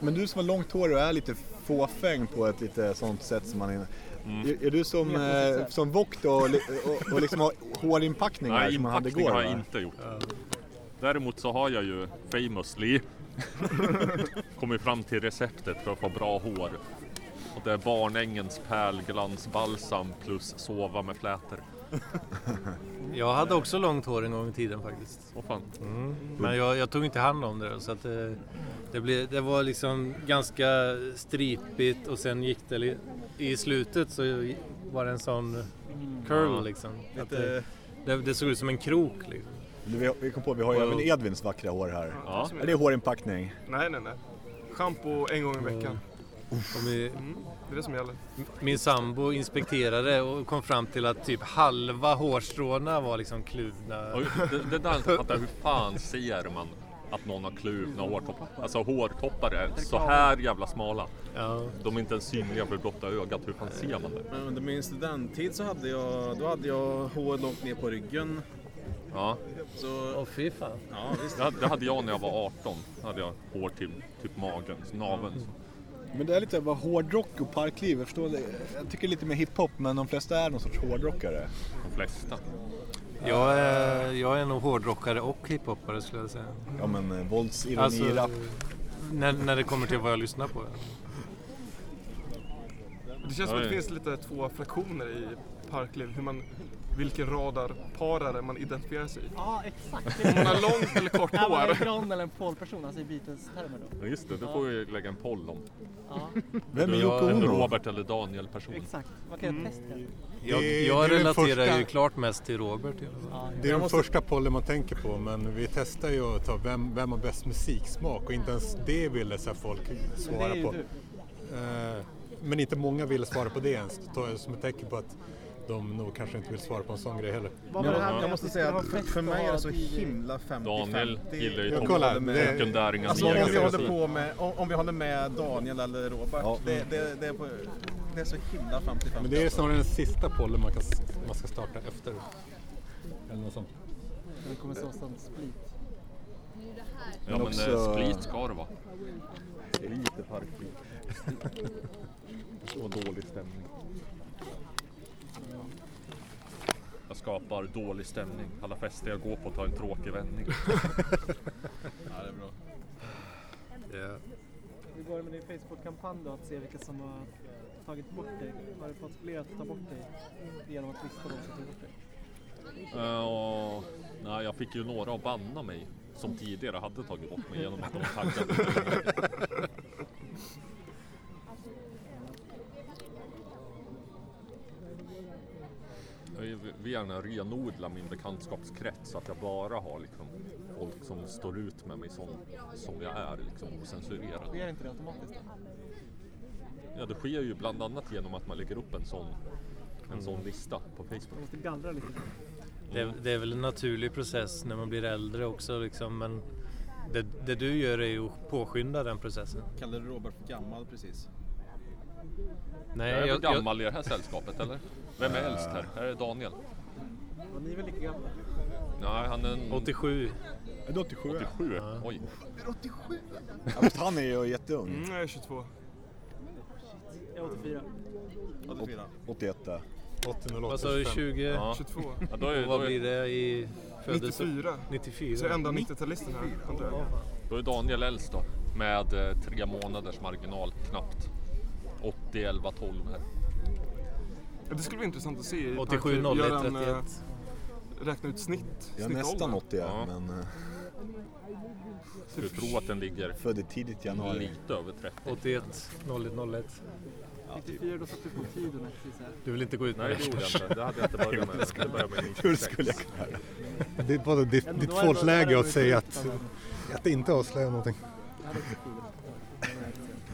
Speaker 4: Men du som har långt hår och är lite fåfäng på ett lite sånt sätt som man är.
Speaker 5: Mm.
Speaker 4: Är, är du som, eh, som vokt och, li- och, och liksom har hårinpackningar
Speaker 5: Nej,
Speaker 4: som man hade
Speaker 5: inpackning
Speaker 4: igår?
Speaker 5: har
Speaker 4: va?
Speaker 5: jag inte gjort. Däremot så har jag ju famously kommit fram till receptet för att få bra hår. Och det är Barnängens pärlglansbalsam plus sova med flätor.
Speaker 2: Jag hade också långt hår en gång i tiden faktiskt.
Speaker 5: Åh fan.
Speaker 2: Men jag, jag tog inte hand om det då, så att det, det, blev, det var liksom ganska stripigt och sen gick det li- i slutet så var det en sån curl
Speaker 5: Ja.
Speaker 2: liksom. Att det, det, det såg ut som en krok liksom.
Speaker 4: Du, vi- Vi kom på att vi har ju
Speaker 5: Och-
Speaker 4: även Edvins vackra hår här.
Speaker 5: Ja.
Speaker 4: Är det hårinpackning?
Speaker 1: nej, nej, nej. Schampo en gång i veckan.
Speaker 2: Och min,
Speaker 1: Det är det som gäller.
Speaker 2: min sambo inspekterade och kom fram till att typ halva hårstråna var liksom kluvna.
Speaker 5: Och det, det där har jag inte fattar, hur fan ser man att någon har kluvna hårtoppar? Alltså hårtoppar är så här jävla smala.
Speaker 2: Ja.
Speaker 5: De är inte ens synliga för blotta ögat, hur fan ser man det?
Speaker 6: Men under min studenttid så hade jag, då hade jag hår långt ner på ryggen.
Speaker 5: Ja,
Speaker 6: Så,
Speaker 2: Åh fy fan.
Speaker 6: ja, visst.
Speaker 5: det, hade- det hade jag när jag var 18. Då hade jag hår till typ magen, så naveln.
Speaker 4: Men det är lite bara hårdrock och parkliv. Jag, förstår det. jag tycker lite mer hiphop men de flesta är någon sorts hårdrockare.
Speaker 5: De flesta.
Speaker 2: Jag är, jag är nog hårdrockare och hiphoppare skulle jag säga.
Speaker 4: Ja men eh, våldsironi,
Speaker 2: Alltså,
Speaker 4: rap.
Speaker 2: när, när det kommer till vad jag lyssnar på.
Speaker 1: Det känns som att det
Speaker 5: Oj.
Speaker 1: finns lite två fraktioner i parkliv. Hur man, vilken radarparare man identifierar sig i.
Speaker 10: Ja, exakt.
Speaker 1: Om man har långt eller kort
Speaker 10: Är man en
Speaker 1: hår.
Speaker 10: grön eller en polperson, alltså i Beatles-termer då?
Speaker 5: Ja, just det, det får vi lägga en poll om.
Speaker 10: Ja,
Speaker 4: Vem är
Speaker 5: Du,
Speaker 4: Yoko
Speaker 5: en
Speaker 4: Ono?
Speaker 5: Robert eller Daniel-person.
Speaker 10: exakt. Man kan
Speaker 1: Mm.
Speaker 10: göra ett test här.
Speaker 2: Jag,
Speaker 3: Det-
Speaker 2: jag
Speaker 3: det är den
Speaker 2: relaterar
Speaker 3: första-
Speaker 2: ju klart mest till Robert. i alla fall.
Speaker 3: Det är den första pollen man tänker på, men vi testar ju att ta vem, vem har bäst musiksmak och inte ens det ville så här folk
Speaker 10: Men det är
Speaker 3: svara
Speaker 10: ju
Speaker 3: på.
Speaker 10: du.
Speaker 3: Eh, Men inte många ville svara på det ens. Det tar jag som ett tecken på att
Speaker 11: de nog kanske inte vill svara på en sån grej heller.
Speaker 10: Vad var det här med
Speaker 6: Jag måste
Speaker 10: att
Speaker 6: säga
Speaker 10: det
Speaker 6: att
Speaker 10: var fett
Speaker 6: för mig är det så
Speaker 10: att ha i-
Speaker 6: himla 50-50.
Speaker 5: Daniel gillar ju
Speaker 11: Jag
Speaker 5: Tom
Speaker 11: kollar,
Speaker 5: Holland
Speaker 11: det-
Speaker 5: och Gundäringens
Speaker 6: Alltså om
Speaker 5: egen
Speaker 6: vi håller
Speaker 5: fantasi.
Speaker 6: på med, om, om vi håller med Daniel eller Robert. Det, det, det, är på, det är så himla 50-50.
Speaker 11: Men det är snarare den sista pollen man, kan, man ska starta efter. Eller något sånt.
Speaker 10: Det kommer så som split.
Speaker 5: Ja men
Speaker 4: också-
Speaker 5: eh, split ska det vara.
Speaker 4: Lite parkliv. Så dålig stämning.
Speaker 5: Jag skapar dålig stämning. Alla fester jag går på tar en tråkig vändning.
Speaker 10: Hur går det med din Facebook-kampanj då? Att se vilka som har tagit bort dig? Har du fått fler att ta bort dig genom att lista de som tog bort dig?
Speaker 5: Eh, och, nej, jag fick ju några att banna mig som tidigare hade tagit bort mig genom att de taggade mig. Jag vill- vill gärna renodla min bekantskapskrets så att jag bara har liksom folk som står ut med mig som, som jag är liksom, och censurerad.
Speaker 10: Sker inte det automatiskt? då?
Speaker 5: Ja, det sker ju bland annat genom att man lägger upp en sån, en sån lista på
Speaker 10: Man
Speaker 5: Facebook.
Speaker 10: måste gallra lite.
Speaker 2: Det är, det är väl en naturlig process när man blir äldre också liksom, men det, det du gör är ju att påskynda den processen.
Speaker 6: Kallade du Robert för gammal precis?
Speaker 2: Nej,
Speaker 5: Jag är väl
Speaker 2: jag, jag,
Speaker 5: gammal i det här sällskapet eller? Vem är äldst här? Är det Daniel?
Speaker 10: Och ni är väl lika gamla?
Speaker 5: Nej, han är en...
Speaker 2: 87.
Speaker 4: Är det 87?
Speaker 5: 87? Oj.
Speaker 4: Ja, fast han är ju jätteung.
Speaker 1: Mm, jag är 22.
Speaker 10: Jag är 84.
Speaker 5: Mm.
Speaker 6: 84.
Speaker 4: 81 där.
Speaker 11: 80
Speaker 2: Vad sa du, 20?
Speaker 5: Ja.
Speaker 1: 22.
Speaker 5: Ja, då, är,
Speaker 2: Alltså, Och
Speaker 5: då,
Speaker 2: vad blir
Speaker 5: är,
Speaker 2: det i födelse?
Speaker 1: 94. Så
Speaker 2: 94.
Speaker 1: jag är enda 90-talisten här, antar jag.
Speaker 5: då är Daniel äldst då. Med eh, tre månaders marginal, knappt. 80, 11, 12 här.
Speaker 1: Ja, Det skulle vara intressant att se. i
Speaker 2: 87,
Speaker 1: parkliv.
Speaker 2: 01,
Speaker 1: Göra en, eh,
Speaker 2: 31.
Speaker 1: Räkna ut snitt.
Speaker 4: Jag är
Speaker 1: snittåldern.
Speaker 4: nästan 80
Speaker 5: Ja.
Speaker 4: ja. men eh,
Speaker 5: Du tror att den ligger
Speaker 4: född i tidigt januari.
Speaker 5: lite över 30.
Speaker 2: 81, 01,
Speaker 10: 84 då satte du på tiden här precis här.
Speaker 2: Du vill inte gå ut med
Speaker 5: Nej, det gjorde jag inte. Det hade jag inte börjat med. Det började med
Speaker 4: Hur
Speaker 5: 96.
Speaker 4: skulle jag kunna göra?
Speaker 11: Det är bara
Speaker 10: Ja,
Speaker 11: ditt,
Speaker 10: men
Speaker 11: ditt
Speaker 10: då är det- där är
Speaker 11: fålläge
Speaker 10: du
Speaker 11: att säga att,
Speaker 10: utan-
Speaker 11: att inte avslöja någonting.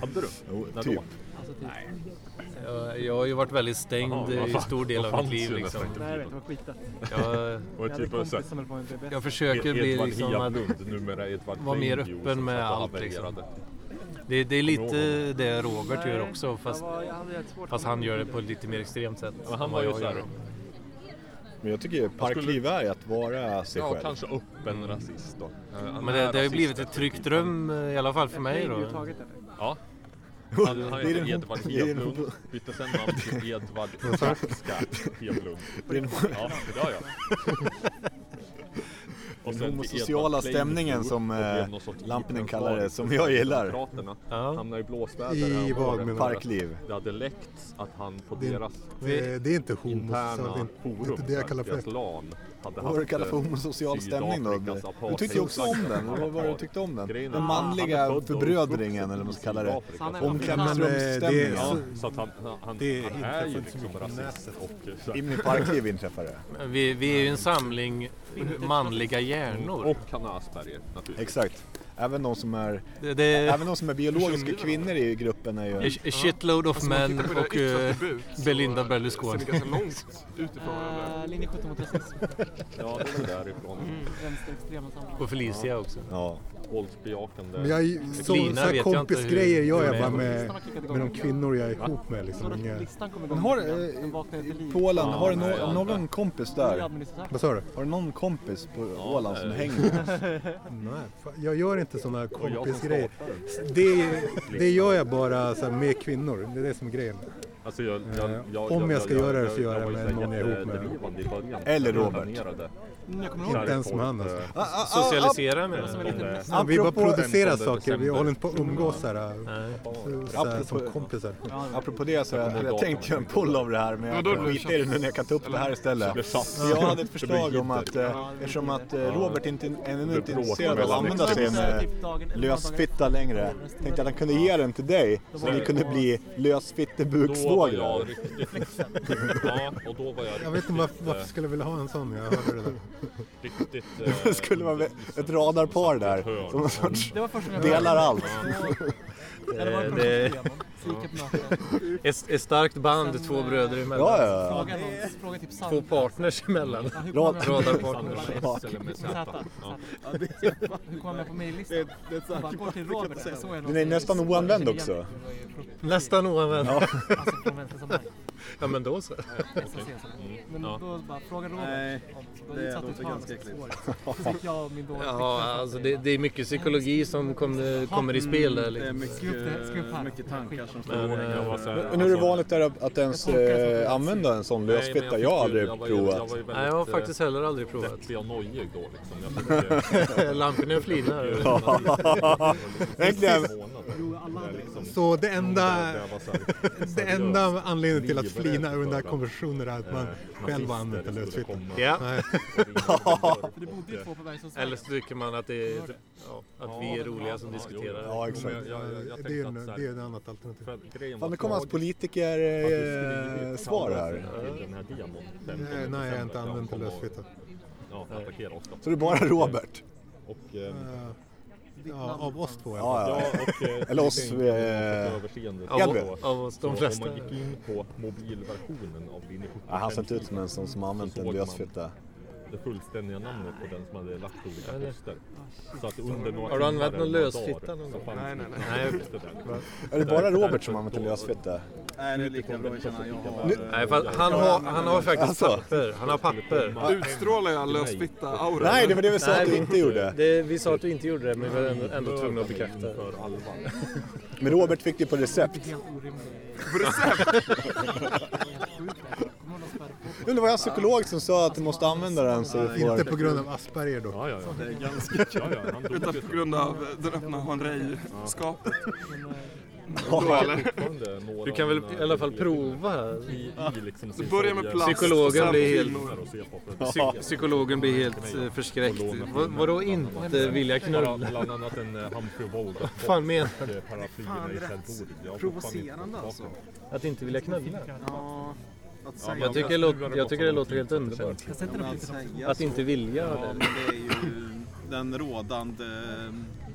Speaker 5: Hade du?
Speaker 4: Jo,
Speaker 5: När
Speaker 4: typ.
Speaker 5: då?
Speaker 10: Alltså typ. Nej,
Speaker 2: Jag, jag har ju varit väldigt stängd
Speaker 5: Jaha, vad
Speaker 2: i
Speaker 5: fan.
Speaker 2: stor del
Speaker 5: Vad
Speaker 2: av mitt
Speaker 5: fanns
Speaker 2: liv.
Speaker 5: ju
Speaker 2: Liksom.
Speaker 5: nästan inte.
Speaker 10: jag vet. Det var skitat.
Speaker 2: Jag,
Speaker 5: Och
Speaker 10: Jag hade
Speaker 5: typ
Speaker 10: en
Speaker 5: bara så här,
Speaker 10: kompis som höll på med BBS.
Speaker 2: jag försöker bli
Speaker 5: Edvard
Speaker 2: liksom att
Speaker 5: Hedlund, numera Edvard
Speaker 2: vara mer
Speaker 5: Klingby,
Speaker 2: öppen
Speaker 5: som
Speaker 2: med
Speaker 5: satt och
Speaker 2: allt, liksom.
Speaker 5: havererade.
Speaker 2: det, det är lite
Speaker 5: ihåg
Speaker 2: det Robert gör
Speaker 10: Nej,
Speaker 2: också fast,
Speaker 10: jag var- jag hade jävligt svårt
Speaker 2: fast
Speaker 10: med
Speaker 2: han gör det
Speaker 10: tiden.
Speaker 2: på ett lite mer extremt sätt.
Speaker 5: Men
Speaker 2: än
Speaker 5: han var ju
Speaker 2: jag gör.
Speaker 5: såhär,
Speaker 4: Men jag tycker ju parkliv är ju att vara sig
Speaker 5: ja
Speaker 4: själv.
Speaker 5: kanske öppen rasist då. Eh, han
Speaker 2: Men det,
Speaker 5: är
Speaker 2: det har ju
Speaker 5: rasist
Speaker 2: blivit ett
Speaker 5: efter
Speaker 2: tryggt
Speaker 5: typ.
Speaker 2: rum eh, i alla fall för mig
Speaker 10: Jag är ju
Speaker 2: då.
Speaker 10: taget eller?
Speaker 5: Ja. Han, han
Speaker 4: Det är
Speaker 5: heter
Speaker 4: den-
Speaker 5: Edvard
Speaker 4: det är den-
Speaker 5: Hedlund, bytte sen namn till Edvard Jacka Hedlund. Ja, det har jag. Och
Speaker 4: Den
Speaker 5: sen till
Speaker 4: homosociala
Speaker 5: Edvard Klingby
Speaker 4: stämningen
Speaker 5: och
Speaker 4: som,
Speaker 5: blev
Speaker 4: eh,
Speaker 5: någon sorts
Speaker 4: Lampinen
Speaker 5: Hitlerförsvarare
Speaker 4: kallar det, som
Speaker 5: för
Speaker 4: jag gillar.
Speaker 5: Demokraterna.
Speaker 2: Ja.
Speaker 5: Hamnade i blåsväder.
Speaker 11: I
Speaker 5: här om
Speaker 11: vad
Speaker 5: året.
Speaker 11: menar du?
Speaker 4: Parkliv.
Speaker 5: Det hade läckts att han på
Speaker 11: Det-
Speaker 5: deras
Speaker 11: Eh, Det, det är inte homo,
Speaker 5: interna
Speaker 11: så det, det är
Speaker 5: forum,
Speaker 11: inte det jag kallar för.
Speaker 5: deras LAN, hade
Speaker 4: Vad var det du kallar för
Speaker 5: eh,
Speaker 4: homosocial stämning då?
Speaker 5: Sydafrikas
Speaker 4: Du
Speaker 5: apartheid-
Speaker 4: tyckte ju också om den. Vad var det du tyckte om den?
Speaker 5: Grejen är
Speaker 4: Den
Speaker 5: att han- han är
Speaker 4: manliga
Speaker 5: född och
Speaker 4: förbrödringen
Speaker 5: uppvuxen
Speaker 4: eller vad man
Speaker 5: i
Speaker 4: ska kalla det.
Speaker 5: Sydafrika.
Speaker 10: Så han är-
Speaker 11: Men, eh, det,
Speaker 4: Omklädningsrumsstämning.
Speaker 11: är-
Speaker 5: Ja,
Speaker 11: så-
Speaker 5: så att han, han, han
Speaker 11: Det
Speaker 5: är
Speaker 11: inträffar
Speaker 5: ju
Speaker 11: inte så
Speaker 5: liksom
Speaker 11: mycket på
Speaker 5: rasist
Speaker 11: nätet.
Speaker 5: och eh, så här,
Speaker 4: In i parkliv inträffar det.
Speaker 2: Vi, vi är ju en samling manliga hjärnor.
Speaker 5: Och han har Asperger naturligtvis.
Speaker 4: Exakt. Även de som är,
Speaker 2: Det, det,
Speaker 4: även de som är biologiska kvinnor i gruppen är
Speaker 2: A
Speaker 4: ju...
Speaker 2: a shitload of
Speaker 1: Alltså, om man
Speaker 2: men
Speaker 1: tittar på det
Speaker 2: och
Speaker 1: yttre
Speaker 2: eh,
Speaker 1: attribut så
Speaker 2: Belinda
Speaker 1: Ser
Speaker 2: Berlusconi.
Speaker 1: det ganska långt ut ifrån varandra.
Speaker 10: Eh, Linje 17 mot rasism.
Speaker 5: Ja, det är därifrån.
Speaker 10: Mm. Vänsterextrema
Speaker 11: Eh,
Speaker 10: samlingar.
Speaker 2: och Felicia också.
Speaker 4: Ja.
Speaker 5: Våldsbejakande.
Speaker 11: Men jag, är- så,
Speaker 2: Lina
Speaker 11: så här
Speaker 2: vet jag inte
Speaker 11: kompisgrejer
Speaker 2: hur-
Speaker 11: gör
Speaker 2: hur
Speaker 11: jag
Speaker 2: det
Speaker 11: bara
Speaker 2: är.
Speaker 11: med,
Speaker 10: Listan har kickat igång
Speaker 11: med de
Speaker 10: lite
Speaker 11: kvinnor jag är ihop med.
Speaker 10: grann. Så
Speaker 11: Liksom.
Speaker 10: då
Speaker 11: Inga,
Speaker 10: listan kommer igång
Speaker 4: Men har,
Speaker 10: lite grann. Den
Speaker 4: eh,
Speaker 10: vaknar till liv.
Speaker 4: Polen, har du
Speaker 5: nej,
Speaker 4: no- någon kompis där?
Speaker 10: Administratör.
Speaker 11: vad sa du?
Speaker 4: Har du någon kompis på Åland som
Speaker 5: eh.
Speaker 4: hänger Ah, med?
Speaker 11: Nej, fan, jag gör inte sådana
Speaker 5: Och jag som
Speaker 11: kompisgrejer.
Speaker 5: startar den.
Speaker 11: Det, det gör jag bara så här, med kvinnor. Det är det som är grejen.
Speaker 5: Alltså jag,
Speaker 11: Eh, om jag ska göra det så gör jag
Speaker 5: var ju
Speaker 11: med
Speaker 5: så här
Speaker 11: någon jag är ihop med.
Speaker 5: jättedrivande i början.
Speaker 4: Eller
Speaker 5: Jag
Speaker 4: Robert.
Speaker 5: planerade.
Speaker 10: Jag kommer ihåg
Speaker 5: Kärlek
Speaker 11: Inte ens med
Speaker 5: och,
Speaker 11: han,
Speaker 5: eh,
Speaker 11: alltså.
Speaker 2: Socialisera med
Speaker 10: som
Speaker 2: den.
Speaker 10: en liten
Speaker 5: eh,
Speaker 10: fest.
Speaker 11: Ja, vi bara
Speaker 4: ah, Apropå-
Speaker 11: producerar
Speaker 5: 15
Speaker 11: saker, vi
Speaker 5: december.
Speaker 11: håller inte på att umgås så här, eh,
Speaker 2: Nej.
Speaker 11: så, så här, som
Speaker 4: Apropå-
Speaker 11: kompisar.
Speaker 4: Apropå det så jag, jag tänkte göra en poll av det här men
Speaker 1: Ja,
Speaker 4: jag
Speaker 1: då
Speaker 4: kan
Speaker 1: blir det
Speaker 4: skita i det
Speaker 1: satt.
Speaker 4: nu när jag kan ta upp det här istället.
Speaker 5: blev satt.
Speaker 4: Jag hade ett
Speaker 5: Det
Speaker 4: förslag
Speaker 5: blir
Speaker 4: om att
Speaker 5: Hitler.
Speaker 4: eh, eftersom att eh, Robert inte, ännu
Speaker 5: blir
Speaker 4: inte är
Speaker 5: bråk
Speaker 4: intresserad av att
Speaker 5: mellan
Speaker 4: använda
Speaker 5: experter.
Speaker 4: sin eh, lösfitta längre tänkte jag att han kunde ge den till dig så ni kunde bli
Speaker 5: Då var
Speaker 4: lösfittebuksvågrar.
Speaker 5: jag riktigt... ja, och då var jag
Speaker 11: Jag vet
Speaker 5: riktigt,
Speaker 11: inte varför,
Speaker 5: eh,
Speaker 11: varför skulle jag vilja ha en sån när jag hörde det där.
Speaker 5: riktigt... eh,
Speaker 4: Det skulle vara ett radarpar där som någon sorts
Speaker 10: Det var första gången jag
Speaker 4: delar allt.
Speaker 10: Eller var det
Speaker 2: Det-
Speaker 10: det... besviken på mötet.
Speaker 2: Ett, ett starkt band, två bröder emellan.
Speaker 4: Ja, ja, ja.
Speaker 10: Fråga, någon, fråga typ Sandra.
Speaker 2: Två partners emellan.
Speaker 10: Ja, hur kom
Speaker 4: Rad-
Speaker 10: jag med-
Speaker 2: Radarpartners.
Speaker 10: Sandra.
Speaker 5: eller med
Speaker 10: Med
Speaker 5: Z.
Speaker 10: Z.
Speaker 5: Ja.
Speaker 10: Hur kom jag med på mejllistan?
Speaker 1: Det- det är ett
Speaker 10: Han bara,
Speaker 1: säkert-
Speaker 10: Gå till Robert. där, så är någon
Speaker 4: Den är
Speaker 10: som-
Speaker 4: nästan oanvänd också.
Speaker 2: Nästan oanvänd. Ja.
Speaker 10: Alltså från vänster som mig.
Speaker 2: men då så.
Speaker 10: Nästan ser som mig.
Speaker 2: Mm.
Speaker 10: Men
Speaker 5: Ja.
Speaker 10: då bara fråga Robert.
Speaker 6: Nej,
Speaker 10: Då
Speaker 6: det
Speaker 10: satt
Speaker 6: låter
Speaker 10: ett
Speaker 6: ganska
Speaker 10: par år. Så fick jag och min dåvarande
Speaker 2: Ja, alltså det, det är mycket psykologi som kom, kommer i spel där.
Speaker 6: Det är
Speaker 2: Liksom.
Speaker 10: Ska upp det- ska upp här.
Speaker 6: mycket, mycket tankar som
Speaker 5: Men,
Speaker 6: står.
Speaker 5: jag var så här-
Speaker 4: Men hur är det vanligt där att att ens eh, använda en sån
Speaker 5: Nej, men
Speaker 4: lösfitta?
Speaker 5: fick
Speaker 4: Jag har
Speaker 5: ju-
Speaker 4: aldrig
Speaker 5: var ju-
Speaker 4: provat.
Speaker 5: var ju väldigt,
Speaker 2: Nej, jag har
Speaker 5: eh,
Speaker 2: faktiskt heller aldrig provat.
Speaker 5: deppig och nojig då liksom. Jag fick, eh,
Speaker 2: Lamporna flinar.
Speaker 5: liksom-
Speaker 4: Egentligen,
Speaker 3: Så det enda,
Speaker 5: jag var så här- eh,
Speaker 3: det enda anledningen till att
Speaker 5: livberedd
Speaker 3: flina under den där
Speaker 5: för att, Eh,
Speaker 3: konversationen är att man själv har använt en
Speaker 5: nazister skulle
Speaker 3: lösfitta.
Speaker 5: komma.
Speaker 2: Ja.
Speaker 10: För det bodde ju två på Bergsunds
Speaker 2: Eller så tycker man att, det är, ja, att vi är roliga som diskuterar.
Speaker 4: Ja,
Speaker 5: Men
Speaker 4: exakt.
Speaker 5: jag- jag- jag
Speaker 3: Det är,
Speaker 5: tänkte
Speaker 3: en,
Speaker 5: att så här-
Speaker 3: det är ett annat alternativ.
Speaker 5: för att grejen
Speaker 4: Fan,
Speaker 5: var
Speaker 4: nu kommer hans
Speaker 5: att jag- att du skulle
Speaker 4: politiker-svar
Speaker 5: ge
Speaker 4: eh, svar
Speaker 5: till
Speaker 4: här.
Speaker 5: den här demon.
Speaker 3: Nej, nej, jag har inte använt en
Speaker 5: Kom och-
Speaker 3: lösfitta.
Speaker 5: Ja, attackera oss då.
Speaker 4: Så det är bara Robert?
Speaker 5: Och, eh,
Speaker 3: Eh, Ja, av oss två i alla fall.
Speaker 4: Ja, ja.
Speaker 5: ja, och, eh,
Speaker 4: Eller oss,
Speaker 5: det är
Speaker 4: eh,
Speaker 5: överseende.
Speaker 2: Av,
Speaker 4: Edvin.
Speaker 5: Så-
Speaker 2: av oss, de
Speaker 5: så
Speaker 2: flesta.
Speaker 5: Om man gick in på mobilversionen av linje 75.
Speaker 4: Ja, han ser inte ut som en sån som har använt
Speaker 5: så
Speaker 4: en
Speaker 5: såg man
Speaker 4: lösfitta.
Speaker 5: Det fullständiga namnet på den som hade lagt olika poster. Så att under några
Speaker 2: Har du använt
Speaker 5: timmar
Speaker 2: någon
Speaker 5: eller
Speaker 2: lösfitta
Speaker 5: dagar
Speaker 2: någon
Speaker 5: så
Speaker 2: gång?
Speaker 5: fanns
Speaker 1: Nej, nej,
Speaker 5: inte
Speaker 1: nej.
Speaker 5: den listan där.
Speaker 4: Är det bara
Speaker 5: Därför-
Speaker 4: Robert som har använt en
Speaker 5: därför-
Speaker 4: lösfitta?
Speaker 6: Nej, det är lika bra att känna. Jag har...
Speaker 2: Nej, för att han, har, han har faktiskt
Speaker 4: Alltså.
Speaker 2: papper. Han har papper.
Speaker 1: Utstrålar jag lösfitta-aura?
Speaker 4: Nej, det var det vi sa
Speaker 2: Nej,
Speaker 4: att vi
Speaker 2: vi-
Speaker 4: inte gjorde.
Speaker 2: Det, vi sa att du inte gjorde det, men vi var ändå, ändå tvungna att bekräfta.
Speaker 5: För allvar.
Speaker 4: Men Robert fick det på recept.
Speaker 10: Helt orimlig.
Speaker 1: På recept?
Speaker 10: Helt sjuk. Kommer hon att spärra på?
Speaker 4: Men det var en psykolog som sa att du måste använda den så du
Speaker 3: Inte
Speaker 4: får...
Speaker 3: på grund av Asperger dock.
Speaker 5: Ja, ja, ja. Det är ganska ja, ja, han dog
Speaker 1: Utan
Speaker 5: ju
Speaker 1: på grund av eh, den öppna Hanrey-skapet.
Speaker 5: då, eller? Fortfarande några-
Speaker 2: Du kan väl i alla fall prova här.
Speaker 5: I, i liksom sin
Speaker 1: Börja med
Speaker 5: sorg-
Speaker 1: plast.
Speaker 2: Psykologen
Speaker 1: och sen
Speaker 2: blir helt-
Speaker 1: kvinnor.
Speaker 5: Här och se på för-
Speaker 2: Psy- psykologen blir helt eh, förskräckt. Vad- Vadå inte vilja
Speaker 5: Bara
Speaker 2: knulla?
Speaker 5: Bland annat en eh, Humphrey Bogart.
Speaker 2: fan menar
Speaker 5: Bort, eh, paraplyerna
Speaker 6: Fan,
Speaker 5: i
Speaker 6: rätt
Speaker 5: Selborg. Jag har fortfarande
Speaker 6: Provocerande
Speaker 5: inte
Speaker 6: alltså.
Speaker 2: Att inte vilja knulla?
Speaker 6: Ja, att säga,
Speaker 2: Jag tycker, det låter- jag tycker det låter helt underbart.
Speaker 10: Jag sätter upp
Speaker 6: att
Speaker 10: lite.
Speaker 6: säga
Speaker 2: Att inte vilja
Speaker 6: Ja,
Speaker 2: det.
Speaker 6: men det är ju den rådande eh,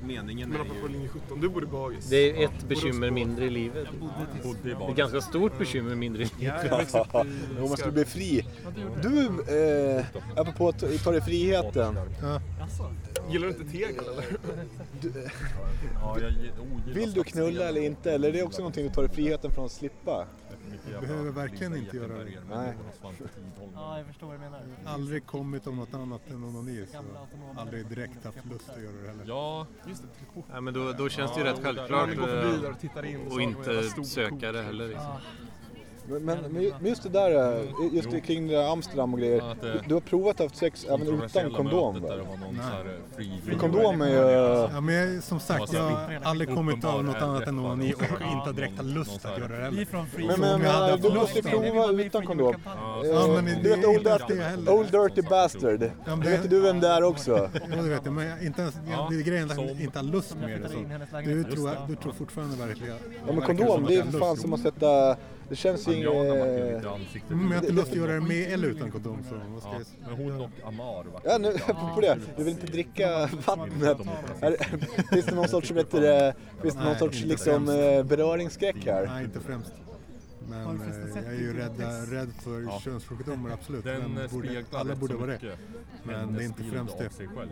Speaker 6: meningen.
Speaker 1: Men
Speaker 6: Är
Speaker 1: apropå
Speaker 6: ju...
Speaker 1: linje 17, du borde bagis.
Speaker 2: Det är ett bekymmer mindre i livet.
Speaker 5: Bodde i
Speaker 2: Det är
Speaker 5: barn.
Speaker 2: ett ganska stort bekymmer mindre i livet.
Speaker 4: Jo, man skulle bli fri. Du, eh, apropå att ta dig friheten.
Speaker 1: Gillar du inte tegel eller?
Speaker 5: Ja, jag gi- ogillar
Speaker 4: Vill du
Speaker 5: faktiskt
Speaker 4: knulla
Speaker 5: det.
Speaker 4: eller inte? Eller är det också någonting du tar dig friheten från att slippa?
Speaker 5: Mycket jävla
Speaker 3: Behöver verkligen inte
Speaker 5: Linda
Speaker 3: göra det.
Speaker 5: Gettenberger,
Speaker 4: Nej.
Speaker 5: Jonas Svante Tidholm.
Speaker 10: Ja, jag förstår vad du menar.
Speaker 3: Aldrig kommit om något annat än onani. Så
Speaker 10: Gamla autonoma.
Speaker 3: aldrig direkt haft lust att göra det heller.
Speaker 5: Ja,
Speaker 2: Ja, men då, då känns det ju rätt självklart
Speaker 1: Man går förbi
Speaker 2: eh,
Speaker 1: där och tittar in.
Speaker 2: att inte söka det heller. Liksom.
Speaker 4: Men, men, men ju- men just det där, eh, just det kring det där Amsterdam och grejer.
Speaker 5: Att, eh,
Speaker 4: Du, du har provat att ha haft sex även utan
Speaker 5: kontroversiella
Speaker 4: kondom
Speaker 5: mötet där det
Speaker 4: va?
Speaker 5: var någon så här eh, fri-
Speaker 4: Kondom är ju...
Speaker 3: Ja, men jag, som sagt, jag har aldrig kommit av något annat än onani och inte har direkt haft lust att göra det
Speaker 10: Vi
Speaker 3: heller.
Speaker 10: är från Free.
Speaker 4: Men,
Speaker 3: Så om
Speaker 4: men,
Speaker 3: jag hade
Speaker 4: men
Speaker 3: haft
Speaker 4: du
Speaker 3: lust
Speaker 4: måste
Speaker 3: då?
Speaker 4: prova utan kondom. Eh,
Speaker 3: Ja, men det-
Speaker 4: du vet Old,
Speaker 3: det är inte det
Speaker 4: Dirty,
Speaker 3: heller.
Speaker 4: old Dirty Bastard.
Speaker 3: men
Speaker 4: Du
Speaker 3: det-
Speaker 4: vet du vem det är också?
Speaker 3: Ja, det vet jag. Men jag, inte ens, jag, det är grejen att jag inte har lust
Speaker 10: Jag
Speaker 3: med det.
Speaker 10: flyttade in i
Speaker 3: Så.
Speaker 10: hennes lägenhet.
Speaker 3: Du, tror, du tror fortfarande verkligen...
Speaker 4: Ja men
Speaker 3: verkar som
Speaker 4: kondom,
Speaker 3: att
Speaker 4: det
Speaker 3: jag
Speaker 4: är
Speaker 3: har
Speaker 4: för
Speaker 3: lust
Speaker 4: fan
Speaker 3: då.
Speaker 4: som att sätta... Det känns ju
Speaker 5: Ja, när man kunde
Speaker 4: inget...
Speaker 5: inte ansiktet.
Speaker 3: Mm, Men jag har inte lust att göra det med eller utan kondom. Så vad ska
Speaker 5: Ja,
Speaker 3: jag...
Speaker 5: men hon och Amar var
Speaker 4: Ja, nu, på det. Du vill inte dricka vattnet. Är- Finns det någon sorts, vet du, det, finns det någon
Speaker 3: Nej,
Speaker 4: sorts
Speaker 3: inte
Speaker 4: liksom, eh, beröringsskräck här?
Speaker 3: Nej, inte främst. Men eh, jag är ju rädd, rädd för könssjukdomar, absolut.
Speaker 5: Den
Speaker 3: Men
Speaker 5: eh,
Speaker 3: borde,
Speaker 5: speglar
Speaker 3: alla
Speaker 5: rätt
Speaker 3: borde
Speaker 5: så
Speaker 3: vara det.
Speaker 5: mycket
Speaker 3: Men
Speaker 5: hennes
Speaker 3: det är inte
Speaker 5: bild
Speaker 3: främst
Speaker 5: av
Speaker 3: det.
Speaker 5: sig själv.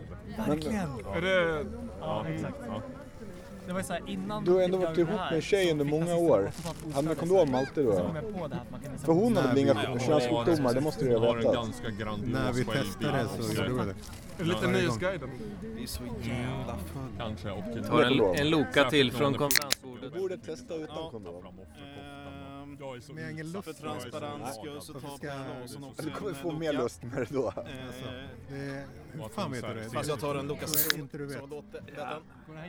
Speaker 3: Verkligen!
Speaker 1: Är det
Speaker 10: Ja, exakt.
Speaker 5: Ja.
Speaker 10: Det var ju så här, innan
Speaker 4: Du har
Speaker 10: vi
Speaker 4: ändå
Speaker 10: fick
Speaker 4: varit
Speaker 10: göra det
Speaker 4: ihop
Speaker 10: här
Speaker 4: med en tjej
Speaker 10: så
Speaker 4: under
Speaker 10: fick
Speaker 4: många
Speaker 10: nazisterna
Speaker 4: år.
Speaker 10: totalt osanna
Speaker 4: Hade man
Speaker 10: sig.
Speaker 4: kondom alltid
Speaker 10: Så kom
Speaker 4: då?
Speaker 10: jag på det här att man liksom- kunde
Speaker 4: För hon hade väl
Speaker 3: Nej,
Speaker 4: inga könssjukdomar, det måste du ju
Speaker 5: Hon
Speaker 4: ha
Speaker 5: har en
Speaker 4: vetat.
Speaker 5: ganska grandios
Speaker 11: Alltså,
Speaker 3: När vi
Speaker 5: självbild
Speaker 3: testade så
Speaker 5: också.
Speaker 3: gjorde vi det.
Speaker 1: lite Nöjesguiden?
Speaker 6: Det är så jävla full.
Speaker 5: Kanske. Och
Speaker 2: Tar en, en loka till från konferensbordet.
Speaker 4: Borde testa utan kondom.
Speaker 6: Ehm,
Speaker 5: Jag är så
Speaker 3: Men jag har ingen
Speaker 5: utsatt.
Speaker 3: lust
Speaker 6: För transparens skull så tar
Speaker 3: Ska-
Speaker 6: Pernilla Olsson också
Speaker 4: Du kommer
Speaker 6: en
Speaker 4: få
Speaker 6: Loka.
Speaker 4: mer lust med det då.
Speaker 6: Eh,
Speaker 3: Det är- Hur fan vet du det?
Speaker 6: Fast jag tar en Loka
Speaker 3: tror jag inte du vet.
Speaker 6: som låter bättre.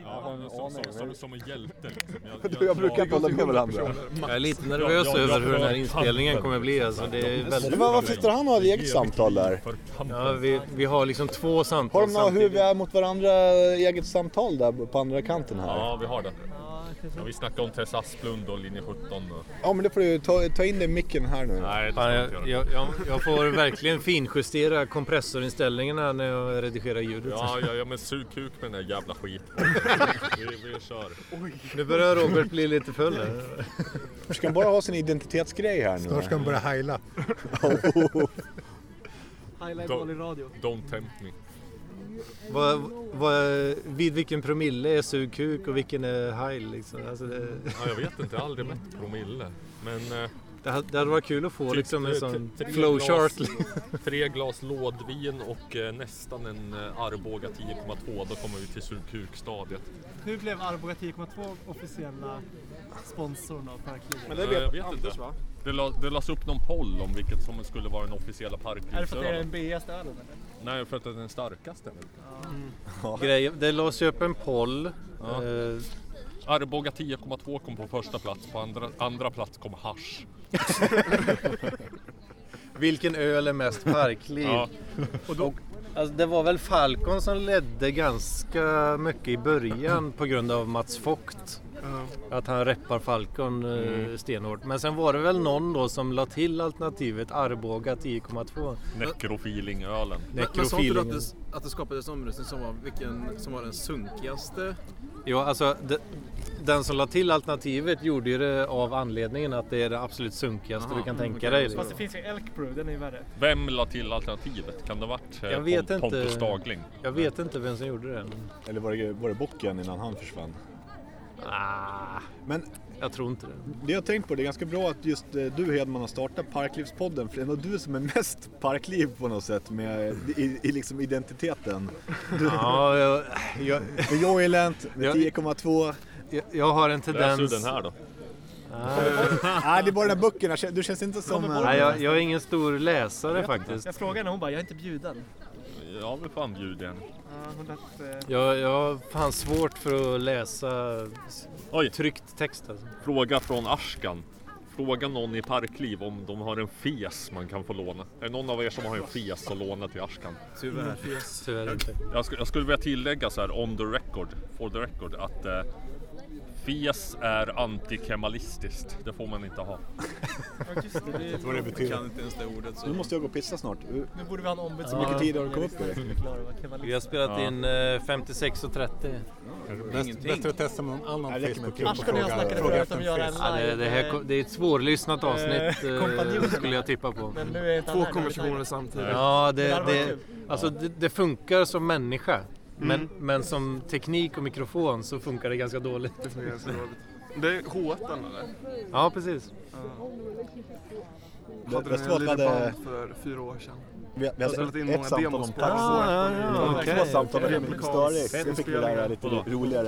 Speaker 5: Ja, men som, som, som, som en hjälte liksom.
Speaker 4: Du, Jag brukar inte hålla med varandra.
Speaker 2: Jag är lite nervös över hur den här inspelningen kommer bli. Alltså, det är
Speaker 4: Men
Speaker 2: väldigt...
Speaker 4: vad- Varför sitter han och har ett eget samtal där?
Speaker 5: För kampen.
Speaker 2: ja, vi, vi har liksom två
Speaker 4: Har
Speaker 2: samtal
Speaker 4: de några hur vi
Speaker 2: samtidigt.
Speaker 4: är mot varandra eget samtal där på andra kanten här?
Speaker 5: Ja, vi har det. Ja, vi snackade om Tess Asplund och linje 17. Och...
Speaker 4: Ja, men det får du ta, ta in den i micken här nu.
Speaker 5: Nej,
Speaker 2: Fan,
Speaker 5: det ska jag
Speaker 2: jag,
Speaker 5: inte göra.
Speaker 2: jag, jag, jag får verkligen finjustera kompressorinställningarna när jag redigerar ljudet.
Speaker 5: Ja, ja, ja, men sug kuk med den där jävla skiten. Vi, vi kör.
Speaker 2: Nu börjar Robert bli lite full. här.
Speaker 4: Ska han bara ha sin identitetsgrej här nu?
Speaker 8: Snart ska de börja heila.
Speaker 10: Highlight
Speaker 5: Då-
Speaker 10: Ball i radio.
Speaker 5: Don't tempt me.
Speaker 2: Vad, vad, vid vilken promille är sug kuk och vilken är heil? Liksom? Alltså det,
Speaker 5: Ja, jag vet inte, jag har aldrig mätt promille. Men eh,
Speaker 2: det, hade, det hade varit kul att få
Speaker 5: Typ,
Speaker 2: liksom en
Speaker 5: eh,
Speaker 2: sån
Speaker 5: tre- tre
Speaker 2: flowchart. liksom.
Speaker 5: glas. tre glas lådvin och eh, nästan en eh, Arboga 10,2. Då kommer vi till sug kuk-stadiet.
Speaker 10: Nu blev Arboga 10,2 officiella sponsorn av
Speaker 1: Men
Speaker 10: Parklivet.
Speaker 1: det
Speaker 5: Ja, Eh, jag
Speaker 1: vet
Speaker 5: vet
Speaker 1: Anders
Speaker 5: inte.
Speaker 1: va?
Speaker 5: Det, la, det lades upp någon poll om vilket som skulle vara den officiella
Speaker 10: Är det för att det är den
Speaker 5: parkriksölen.
Speaker 10: billigaste ölen eller?
Speaker 5: Nej, för att det är den starkaste.
Speaker 2: Grejen, det lades ju upp en poll.
Speaker 5: Ja.
Speaker 2: Eh,
Speaker 5: Arboga 10,2 kom på första plats. På andra, andra plats kom hasch.
Speaker 2: vilken öl är mest parkliv?
Speaker 5: Ja.
Speaker 2: Och, alltså, det var väl Falcon som ledde ganska mycket i början på grund av Mats Vogt. Att han reppar Falcon eh,
Speaker 5: Mm.
Speaker 2: stenhårt. Men sen var det väl någon då som la till alternativet Arboga 10,2.
Speaker 5: Necrofeelingölen.
Speaker 6: Men, men sa inte du att
Speaker 2: Nekrofilingen.
Speaker 6: det, att det skapades en omröstning som var, vilken, som var den sunkigaste?
Speaker 2: Jo, alltså de, den som la till alternativet gjorde ju det av anledningen att det är det absolut sunkigaste
Speaker 6: Aha,
Speaker 2: du kan
Speaker 6: mm,
Speaker 2: tänka
Speaker 6: okej.
Speaker 2: dig. liksom.
Speaker 10: Fast det finns ju Elk Brew, den är ju värre.
Speaker 5: Vem la till alternativet? Kan det ha varit eh,
Speaker 2: Jag vet
Speaker 5: Pont-
Speaker 2: inte.
Speaker 5: Pontus Dagling?
Speaker 2: Jag vet inte vem som gjorde det.
Speaker 4: Eller var det, var det bocken innan han försvann? Men
Speaker 2: Ah, Jag tror inte det.
Speaker 4: det jag har tänkt på, det är ganska bra att just eh, du Hedman har startat Parklivspodden för det är nog du som är mest parkliv på något sätt med, i, i liksom identiteten.
Speaker 2: Ja, jag, jag,
Speaker 4: Med Joylent, med
Speaker 2: Ja.
Speaker 4: 10,2.
Speaker 2: jag, jag har en
Speaker 5: Läs ur
Speaker 2: tendens...
Speaker 5: den här då.
Speaker 4: Nej, det är bara den här böckerna. Du känns inte som...
Speaker 2: Nej,
Speaker 4: eh,
Speaker 2: jag, jag är ingen stor läsare faktiskt.
Speaker 10: Jag frågade henne hon bara, jag är inte bjuden.
Speaker 5: Ja, vi får bjuda igen.
Speaker 10: Uh, hon lät, eh,
Speaker 2: Jag, jag har fan svårt för att läsa s-
Speaker 5: Oj.
Speaker 2: tryckt text. Alltså.
Speaker 5: Fråga från Ashkan. Fråga någon i Parkliv om de har en fes man kan få låna. Är det någon av er som har en fes att låna till Ashkan?
Speaker 6: Tyvärr.
Speaker 2: Tyvärr inte.
Speaker 5: Jag, sk- jag skulle vilja tillägga så här on the record, for the record, att eh, fes är antikemalistiskt. Det får man inte ha.
Speaker 10: Ja just det, det,
Speaker 11: Vad det
Speaker 6: Jag
Speaker 11: betyder.
Speaker 6: kan inte ens det ordet. Så.
Speaker 4: Nu måste jag gå och pissa snart.
Speaker 10: nu borde vi ha en ombudsman.
Speaker 2: Hur mycket
Speaker 4: tid har du kommit på det?
Speaker 2: Vi har spelat in eh, 56.30.
Speaker 11: Bäst, bättre att testa någon annan
Speaker 4: Nej, det räcker med
Speaker 11: Facebookgrupp och
Speaker 10: Ashkan och jag
Speaker 11: fråga,
Speaker 10: snackade
Speaker 11: fråga
Speaker 10: förut
Speaker 11: efter
Speaker 10: om att
Speaker 11: en
Speaker 10: göra
Speaker 11: fest.
Speaker 10: en
Speaker 2: Ja, det,
Speaker 10: live.
Speaker 2: det, här, ko- det är ett svårlyssnat avsnit
Speaker 10: Eh, kompanjonerna.
Speaker 2: eh, skulle jag tippa på.
Speaker 10: Men nu är inte han
Speaker 1: Två
Speaker 10: här, nu är
Speaker 1: konversationer
Speaker 10: det
Speaker 1: samtidigt.
Speaker 2: Ja,
Speaker 10: Det
Speaker 2: det,
Speaker 10: hade varit
Speaker 2: det,
Speaker 10: kul.
Speaker 2: alltså, det, det funkar som människa. Men, men som teknik och mikrofon så funkar det ganska dåligt.
Speaker 1: Det fungerar så dåligt. Det är H1 eller?
Speaker 2: Ja, precis.
Speaker 1: Hade
Speaker 4: bäst
Speaker 1: den
Speaker 4: var
Speaker 1: en
Speaker 4: att vi
Speaker 1: liten
Speaker 4: hade-
Speaker 1: band för fyra år sedan.
Speaker 4: Vi, vi
Speaker 1: Jag har spelat in
Speaker 4: hade ett
Speaker 1: många
Speaker 4: samtal
Speaker 1: demos
Speaker 4: om
Speaker 1: på
Speaker 4: park.
Speaker 1: Parkliv.
Speaker 2: Ah, ja,
Speaker 4: Det var
Speaker 2: okej.
Speaker 4: två samtal om
Speaker 1: Okej.
Speaker 4: Störix. Sen fick vi det här lite
Speaker 5: Vadå?
Speaker 4: roligare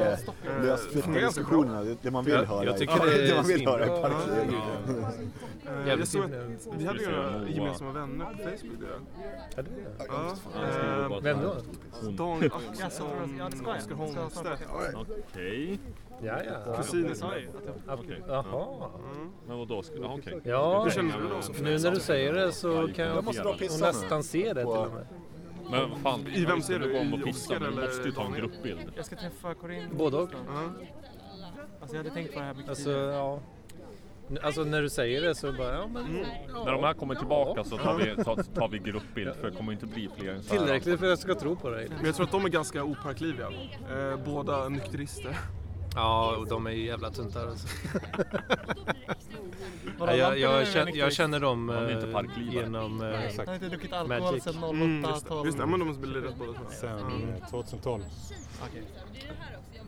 Speaker 4: lösflyttade
Speaker 1: Fungerar ganska
Speaker 4: diskussionerna. Det- Det man vill
Speaker 2: Jag-
Speaker 4: höra.
Speaker 2: jag
Speaker 4: i-
Speaker 2: tycker det är
Speaker 4: man vill höra i
Speaker 2: svinbra.
Speaker 4: parkliv.
Speaker 1: Eh,
Speaker 2: Jävligt
Speaker 1: Jag såg
Speaker 2: trevligt.
Speaker 1: att vi hade ju
Speaker 5: Just det,
Speaker 1: några
Speaker 5: Moa.
Speaker 1: gemensamma vänner på Facebook. Det. Ja, eh,
Speaker 2: Vem då?
Speaker 1: Dan
Speaker 10: Jaså, tror du-
Speaker 1: Axelsson,
Speaker 10: ja, det ska jag.
Speaker 1: Oskar
Speaker 10: Ska jag snart
Speaker 1: Holmstedt,
Speaker 5: Okej.
Speaker 2: Ja, ja.
Speaker 1: kusiner som
Speaker 5: Okej.
Speaker 2: Jaha.
Speaker 5: Men vadå? Skulle- ja, Okej.
Speaker 2: Ja,
Speaker 1: Hur känner du då som
Speaker 2: nu när du säger det så kan
Speaker 5: Jag
Speaker 2: jag
Speaker 5: måste dra och
Speaker 4: pissa nu.
Speaker 2: nästan se det till och med.
Speaker 5: Men vad fan, vi
Speaker 1: I vem
Speaker 5: måste
Speaker 1: ser du?
Speaker 5: gå om
Speaker 1: I
Speaker 5: och pissa,
Speaker 1: Oscar
Speaker 5: men vi
Speaker 1: eller
Speaker 5: måste ju ta en
Speaker 1: Daniel?
Speaker 5: gruppbild.
Speaker 10: Jag ska träffa Corinne.
Speaker 2: Både och.
Speaker 10: Alltså jag hade tänkt på det här mycket
Speaker 2: Alltså,
Speaker 10: tidigare.
Speaker 2: ja. N- Alltså när du säger det så bara, ja men... Ja.
Speaker 5: När de här kommer tillbaka så tar vi, tar, tar vi gruppbild för det kommer inte bli fler än så här.
Speaker 2: Tillräckligt för att jag ska tro på dig.
Speaker 1: Men jag tror att de är ganska oparkliviga. Eh, båda nykterister.
Speaker 2: Ja, och de är ju jävla tuntar alltså.
Speaker 10: Vadå,
Speaker 2: Ja, jag,
Speaker 10: lamporna är
Speaker 2: jag,
Speaker 10: ju
Speaker 2: känner, jag
Speaker 10: nykterist.
Speaker 2: känner dem
Speaker 5: är inte
Speaker 2: eh,
Speaker 5: parklivare.
Speaker 2: genom... eh,
Speaker 10: Han har inte druckit alkohol
Speaker 2: Magic.
Speaker 10: sedan
Speaker 1: Mm, just det.
Speaker 10: 08-12.
Speaker 1: Just det. Ja, men de har lirat båda två.
Speaker 11: Sen eh, 2012.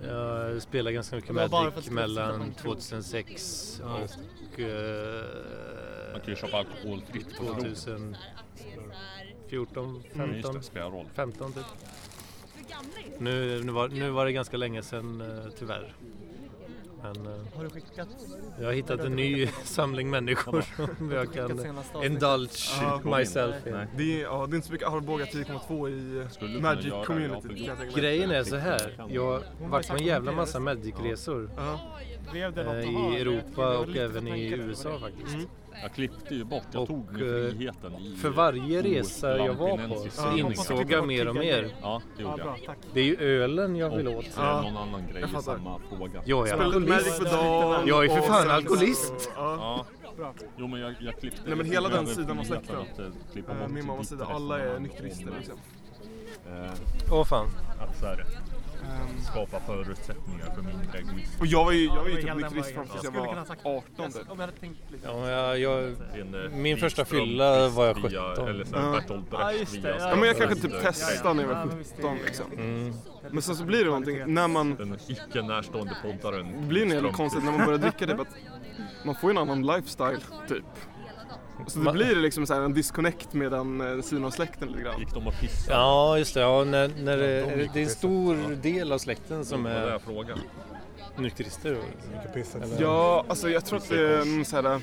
Speaker 2: Jag spelade ganska mycket
Speaker 10: Det var bara för
Speaker 2: Magic
Speaker 10: att skriva
Speaker 2: mellan
Speaker 10: siffran.
Speaker 2: 2006 och
Speaker 5: Man kan ju
Speaker 2: eh,
Speaker 5: köpa alkoholfritt på krogen.
Speaker 2: 2014,
Speaker 5: Mm, just
Speaker 2: 15,
Speaker 5: det, spelar roll.
Speaker 2: 15 typ. Nu, nu, var, nu var det ganska länge sedan eh, tyvärr. Men eh,
Speaker 10: Har du skickat?
Speaker 2: jag har hittat en ny samling människor som jag
Speaker 10: skickat
Speaker 2: kan
Speaker 10: senaste avsnittet?
Speaker 1: Ah,
Speaker 2: indulge myself in.
Speaker 1: Det är, ja, det är inte så mycket Arboga 10,2 i
Speaker 5: Skulle du kunna
Speaker 1: Magic
Speaker 5: göra det,
Speaker 1: Community.
Speaker 5: ja,
Speaker 1: kan jag tänka mig.
Speaker 2: Grejen är så här, jag har varit på en jävla massa Magic-resor
Speaker 1: Ja.
Speaker 10: Blev det något
Speaker 2: eh,
Speaker 10: att ha,
Speaker 2: i
Speaker 10: eller?
Speaker 2: Europa
Speaker 10: Jag
Speaker 2: och
Speaker 10: lite
Speaker 2: även i
Speaker 10: förtankad.
Speaker 2: USA faktiskt.
Speaker 5: Jag klippte ju bort, jag
Speaker 2: Och,
Speaker 5: tog mig
Speaker 2: eh,
Speaker 5: friheten i
Speaker 2: För varje resa jag var på
Speaker 5: Lampinensis
Speaker 2: så
Speaker 5: syn.
Speaker 2: insåg jag mer och mer.
Speaker 5: Ja, det
Speaker 10: Ja,
Speaker 5: gjorde
Speaker 10: bra,
Speaker 5: jag.
Speaker 10: tack.
Speaker 2: Det är ju ölen jag vill åt.
Speaker 5: Och eh, någon annan grej
Speaker 1: Jag
Speaker 5: i
Speaker 1: fattar.
Speaker 5: samma fråga.
Speaker 2: Jag är
Speaker 1: Spelade Magic
Speaker 2: alkoholist.
Speaker 1: for Dawn
Speaker 2: Jag är för
Speaker 1: och
Speaker 2: fan
Speaker 1: sen-
Speaker 2: alkoholist.
Speaker 1: Ja.
Speaker 5: Ja. Jo men jag, jag klippte. liksom
Speaker 1: Nej, men hela den
Speaker 5: över
Speaker 1: sidan var
Speaker 5: för
Speaker 1: släkt,
Speaker 5: att, eh, klippa
Speaker 1: Eh,
Speaker 5: bort
Speaker 1: Min mammas
Speaker 5: ditt
Speaker 1: sida, alla
Speaker 5: resonemang
Speaker 1: är
Speaker 5: om-
Speaker 1: nykterister liksom.
Speaker 5: eh,
Speaker 2: Åh fan.
Speaker 5: Att så här,
Speaker 1: Ehm.
Speaker 5: skapa förutsättningar för mindre egoism.
Speaker 1: Och jag var ju, jag var ju
Speaker 10: Jag
Speaker 1: typ
Speaker 10: var helt
Speaker 1: nykterist fram
Speaker 10: den
Speaker 1: tills jag
Speaker 10: vägen. Jag skulle kunna
Speaker 1: var
Speaker 10: ha
Speaker 1: typ.
Speaker 10: sagt-
Speaker 1: 18
Speaker 10: Alltså,
Speaker 1: där.
Speaker 10: Om jag hade tänkt lite.
Speaker 2: Ja, men jag, jag,
Speaker 5: En, eh,
Speaker 2: Min första
Speaker 5: Wikström
Speaker 2: fylla var jag
Speaker 5: via-
Speaker 2: 17.
Speaker 5: Eller så här, Bertolt
Speaker 10: Ja,
Speaker 5: Brecht
Speaker 10: just det.
Speaker 5: via
Speaker 10: Ja,
Speaker 5: Star
Speaker 1: Ja, men jag
Speaker 5: Trek.
Speaker 1: kanske typ testade när jag var 17 liksom.
Speaker 2: Mm.
Speaker 1: Men sen så blir det någonting när man
Speaker 5: Den icke närstående poddaren.
Speaker 1: Det blir en hel
Speaker 5: Wikström.
Speaker 1: del konstigt när man börjar dricka typ att man får ju en annan lifestyle typ. Så det blir liksom så här en disconnect med den eh, sidan av släkten lite grann.
Speaker 5: Gick de och pissade?
Speaker 2: ja just det. Ja, när, när det, det är en stor del av släkten som
Speaker 5: Det var det
Speaker 2: är
Speaker 5: jag frågade.
Speaker 2: nykterister.
Speaker 11: Mycket pissat.
Speaker 1: Ja, alltså jag tror att det är en så här... eh,